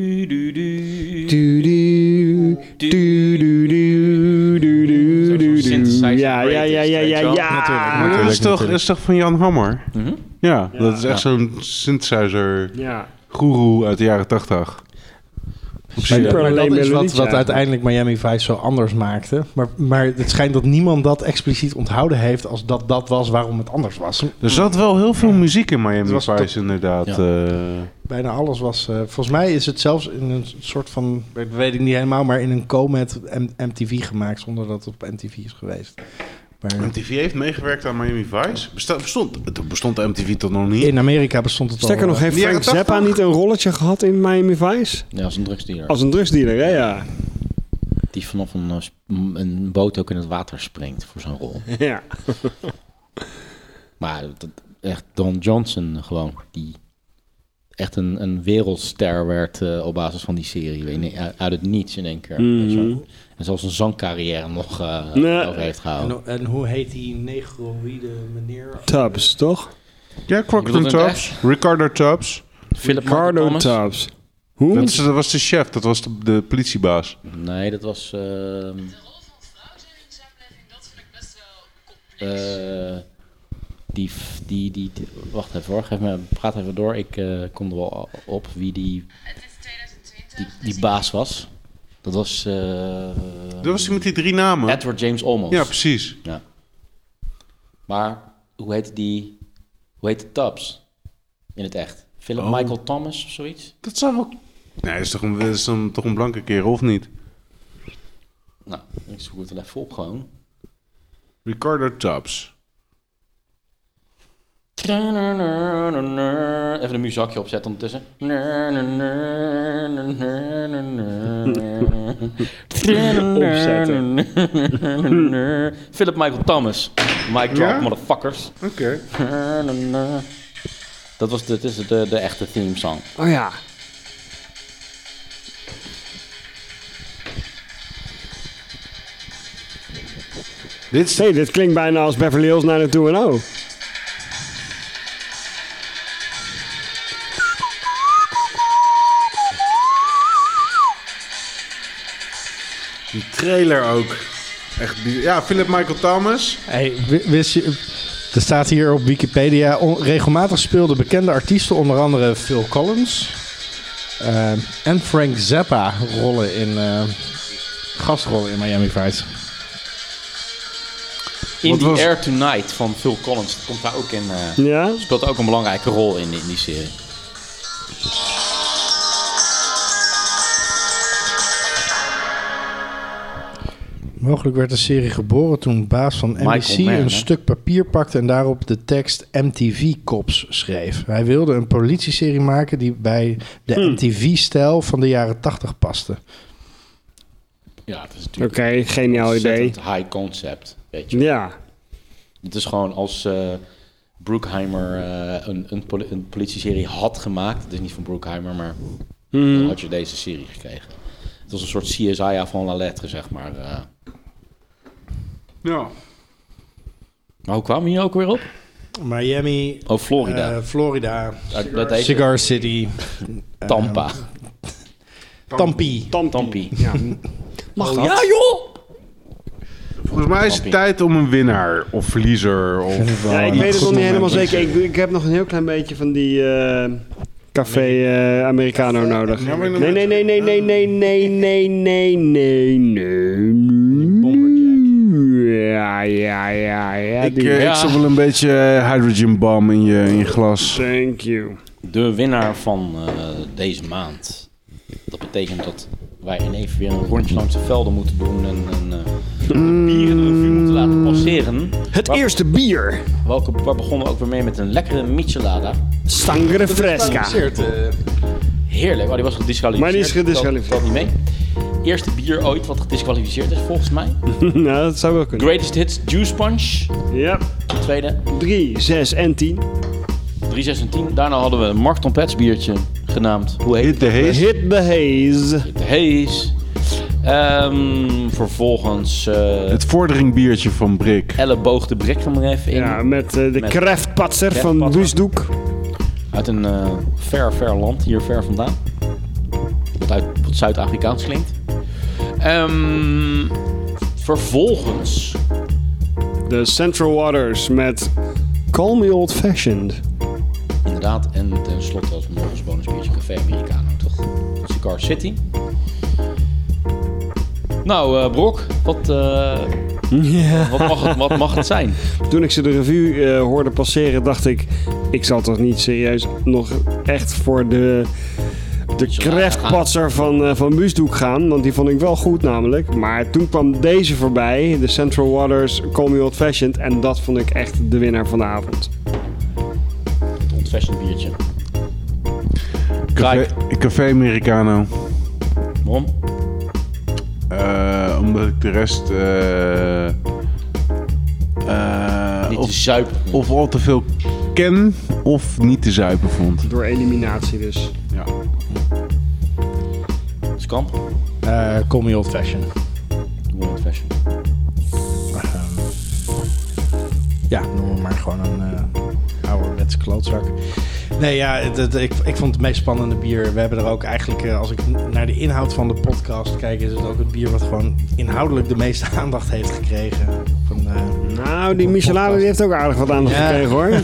Du-du-du-du-du.
Du-du, du-du, du-du, du-du,
Zo'n
du-du.
synthesizer
Ja, ja, ja, ja,
greatest,
ja,
weet je wel.
ja.
Maar dat is, toch, dat is toch van Jan Hammer?
Mhm.
Ja, dat is echt zo'n synthesizer
Ja.
goeroe uit de jaren 80.
Super
Maar dat
lame
is wat,
melodietje
wat
eigenlijk.
uiteindelijk Miami Vice zo anders maakte. Maar, maar het schijnt dat niemand dat expliciet onthouden heeft als dat dat was waarom het anders was.
Er zat wel heel veel muziek in Miami
was
Vice,
toch-
inderdaad.
Ja.
eh.
Bijna alles was... eh, volgens mij is het zelfs in een soort van... Dat weet ik niet helemaal, maar in een co-met M- MTV gemaakt zonder dat het op MTV is geweest. Maar
MTV heeft meegewerkt aan Miami Vice. Besta- bestond, het bestond de MTV toch nog niet?
in Amerika bestond het
Sterker
al...
nog,
eh,
heeft
Die jaren
Frank Zappa
80?
niet een rolletje gehad in Miami Vice?
Ja, als een drugsdealer.
Als een drugsdealer, hè, ja.
Die vanaf een, eh, sp- m- een boot ook in het water springt voor zo'n rol.
Ja.
Maar dat, echt Don Johnson gewoon, die echt een, een wereldster werd eh, op basis van die serie. In- uit- uit het niets in één keer. weet je wel. En zelfs een zangcarrière nog eh,
Nee.
over heeft
en,
gehouden.
ho- en hoe heet die negroïde meneer?
Tubbs, toch?
Ja, Crocodile
Je bedoelt in
Tubbs, Ricardo Tubbs.
Philip Martin
Ricardo
Thomas?
Tubbs. Hoe?
Dat, is- dat was de chef, dat was de, de politiebaas.
Nee, dat was... ehm,
De rol van vrouw zijn in de samenleving, dat vind ik best wel complex.
eh, die, f- die, die, die- Wacht even hoor, geef me, praat even door. Ik eh, kom er wel op wie die,
het is 2020.
die,
dus
die
ik-
baas was. Dat was... eh,
Dat was die met die drie namen.
Edward James Olmos.
Ja, precies.
Maar hoe heet die? Hoe heet het? Tubbs. In het echt. Philip
Oh.
Michael Thomas of zoiets.
Dat zou wel... Nee, dat is toch een, dat is een- toch een blanke kerel, of niet?
Nou, ik zoek het wel even op gewoon.
Ricardo Tubbs.
Even een muzakje opzetten ondertussen.
Opzetten.
Philip Michael Thomas. Mic drop,
Ja?
motherfuckers.
Oké.
Dat was de, dit is de, de echte theme song.
Oh ja.
Dit is...
Hey, dit klinkt bijna als Beverly Hills naar de oh. 2.0.
Die trailer ook. Echt, bi- ja, Philip Michael Thomas.
Hey, w- wist je, er staat hier op Wikipedia, on- regelmatig speelden bekende artiesten, onder andere Phil Collins eh, en Frank Zappa rollen in, eh, gastrollen in Miami Vice.
In
Wat
the
was-
Air Tonight van Phil Collins. Dat komt daar ook in. eh,
Ja?
speelt ook een belangrijke rol in, in die serie.
Mogelijk werd de serie geboren toen baas van NBC
Michael Mann,
een
hè?
stuk papier pakte en daarop de tekst MTV Cops schreef. Hij wilde een politieserie maken die bij de MTV-stijl van de jaren 80 paste.
Ja, het is
Oké,
natuurlijk
geniaal idee.
ontzettend high concept. Weet je.
Ja.
Het is gewoon als eh Brookheimer eh, een, een, poli- een politie-serie had gemaakt. Het is niet van Brookheimer, maar dan had je deze serie gekregen. Het was een soort CSI van la lettre, zeg maar. eh.
Ja.
Maar hoe kwamen we hier ook weer op?
Miami,
Oh, Florida.
eh, Florida,
Uit- dat heet
Cigar City,
Tampa.
Tampi.
Tampi.
Mag
Oh, ja, joh!
Volgens mij is het
Grappie.
tijd om een winnaar of verliezer of...
Ja, ik
eh,
weet het nog niet helemaal zeker. Ik, ik heb nog een heel klein beetje van die eh, café eh, Americano nodig.
Ja, maar dan-
Nee, nee, nee, nee, nee, nee, nee, nee, nee, nee, nee, nee. Ja, ja, ja, ja.
Ik,
die-
eh,
Ja.
ik zag wel een beetje eh, hydrogen bomb in je, in je glas.
Thank you.
De winnaar van eh, deze maand. Dat betekent dat wij in even weer een rondje langs de velden moeten doen en een eh, bierenrevue moeten laten passeren.
Mm. Het eerste bier.
Welke, waar begonnen we ook weer mee met een lekkere michelada.
Sangre Fresca.
Heerlijk, oh, die was gedisqualificeerd.
Ah. Maar die is gedisqualificeerd.
Dat, niet mee. Eerste bier ooit wat gedisqualificeerd is volgens mij.
Nou, dat zou wel kunnen.
Greatest Hits Juice Punch.
Ja.
Tweede,
3, 6 en 10.
3, 6 en 10. Daarna hadden we een Mark Tom Pets biertje genaamd. Hoe heet
Hit the haze.
Hit the haze.
het? De Haze. Ehm, vervolgens eh
Het vorderingbiertje van Brik.
elleboog de brik er maar even in.
Ja, met eh, de
Met-
kreftpatser van
Kreftpatser.
Woesdoek.
Uit een eh, ver, ver land, hier ver vandaan. Wat, uit, wat Zuid-Afrikaans klinkt. Ehm, vervolgens
De Central Waters met Call Me Old Fashioned.
Inderdaad, en tenslotte als morgens bonus biertje café Americano, toch? Van Cigar City. Nou, eh, Brok, wat, eh, wat, mag het, wat mag het zijn?
Toen ik ze de revue eh, hoorde passeren, dacht ik... Ik zal toch niet serieus nog echt voor de, de kreftpatser van, eh, van Buusdoek gaan. Want die vond ik wel goed namelijk. Maar toen kwam deze voorbij. De Central Waters Call Me Old Fashioned. En dat vond ik echt de winnaar van de avond.
Het ontfashioned biertje.
Café, Café Americano.
Waarom?
Eh, omdat ik de rest... eh, eh,
Niet te
of,
zuipen.
of al te veel ken of niet te zuipen vond.
Door eliminatie dus.
Ja.
Skamp?
Eh call me old fashioned.
Doe maar ontfashioned.
Ja, noem maar gewoon een eh ouderwetse klootzak. Nee, ja, het, het- ik, ik vond het meest spannende bier. We hebben er ook eigenlijk, eh, als ik n- naar de inhoud van de podcast kijk, is het ook het bier wat gewoon inhoudelijk de meeste aandacht heeft gekregen. Van, eh,
Nou, die Michelade die heeft ook aardig wat aandacht
Ja.
gekregen hoor.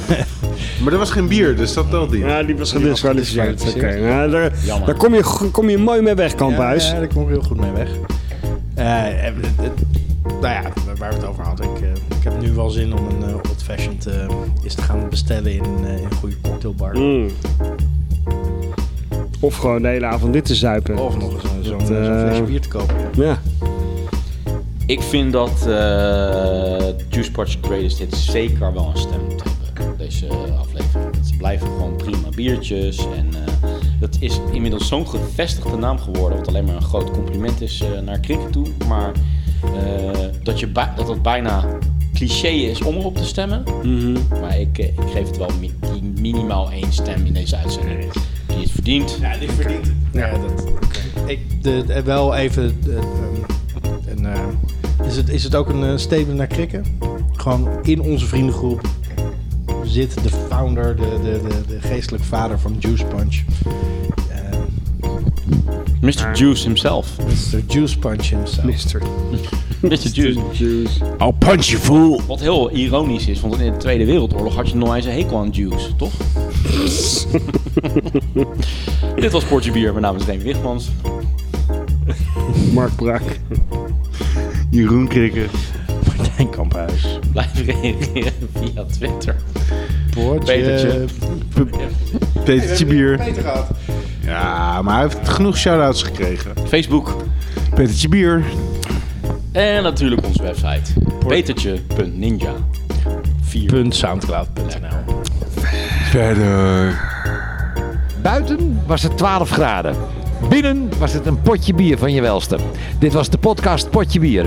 Maar dat was geen bier, dus dat telt niet.
Ja, die was gedisqualificeerd. Oké,
gedisqualificeerd.
nou, daar,
Jammer.
daar kom, je, go- kom je mooi mee weg, Kamphuis.
Ja, ja, daar kom ik heel goed mee weg. Eh, en het- het- nou ja, waar we het over hadden. Ik, eh, ik heb heeft nu wel zin om een eh old fashioned eh, eens te gaan bestellen in, een, eh, in een goede cocktailbar.
Mm. Of gewoon de hele avond dit te zuipen.
Of nog eens eh, zo'n
Dat,
zo'n flesje
eh,
bier te kopen. ja.
Ja.
Ik vind dat eh Juice Parts Greatest Hits zeker wel een stem moet hebben. Deze aflevering. Ze blijven gewoon prima biertjes. En eh, dat is inmiddels zo'n gevestigde naam geworden. Wat alleen maar een groot compliment is eh, naar cricket toe. Maar eh, dat, je bij- dat dat bijna cliché is om erop te stemmen. Maar ik, eh, ik geef het wel mi- die minimaal één stem in deze uitzending. Die het verdient.
Ja, dit verdient het. Ja, dat, ik, de, de- wel even... eh, ehm, een, eh, is, het, is het ook een eh, statement naar krikken? Gewoon in onze vriendengroep zit de founder, de, de, de, de geestelijk vader van Juice Punch. Eh,
Mr. Juice himself.
Mr. Juice Punch himself.
Mister.
Mr. Juice.
Juice.
I'll punch you fool.
Wat heel ironisch is, want in de Tweede Wereldoorlog had je nog eens een hekel aan Jews, toch? Dit was Portje Bier, mijn naam is Reen Wichmans.
Mark Brak.
Jeroen Krikker.
Martijn Kamphuis.
Blijf reageren via Twitter. Petertje.
Eh,
Poortje.
Petertje Bier.
Peter gaat.
Ja, maar hij heeft genoeg shout-outs gekregen.
Facebook.
Petertje Bier.
En natuurlijk onze website. Petertje.ninja. 4.
Soundcloud.nl
Verder.
Buiten was het 12 graden. Binnen was het een potje bier van je welste. Dit was de podcast Potje Bier.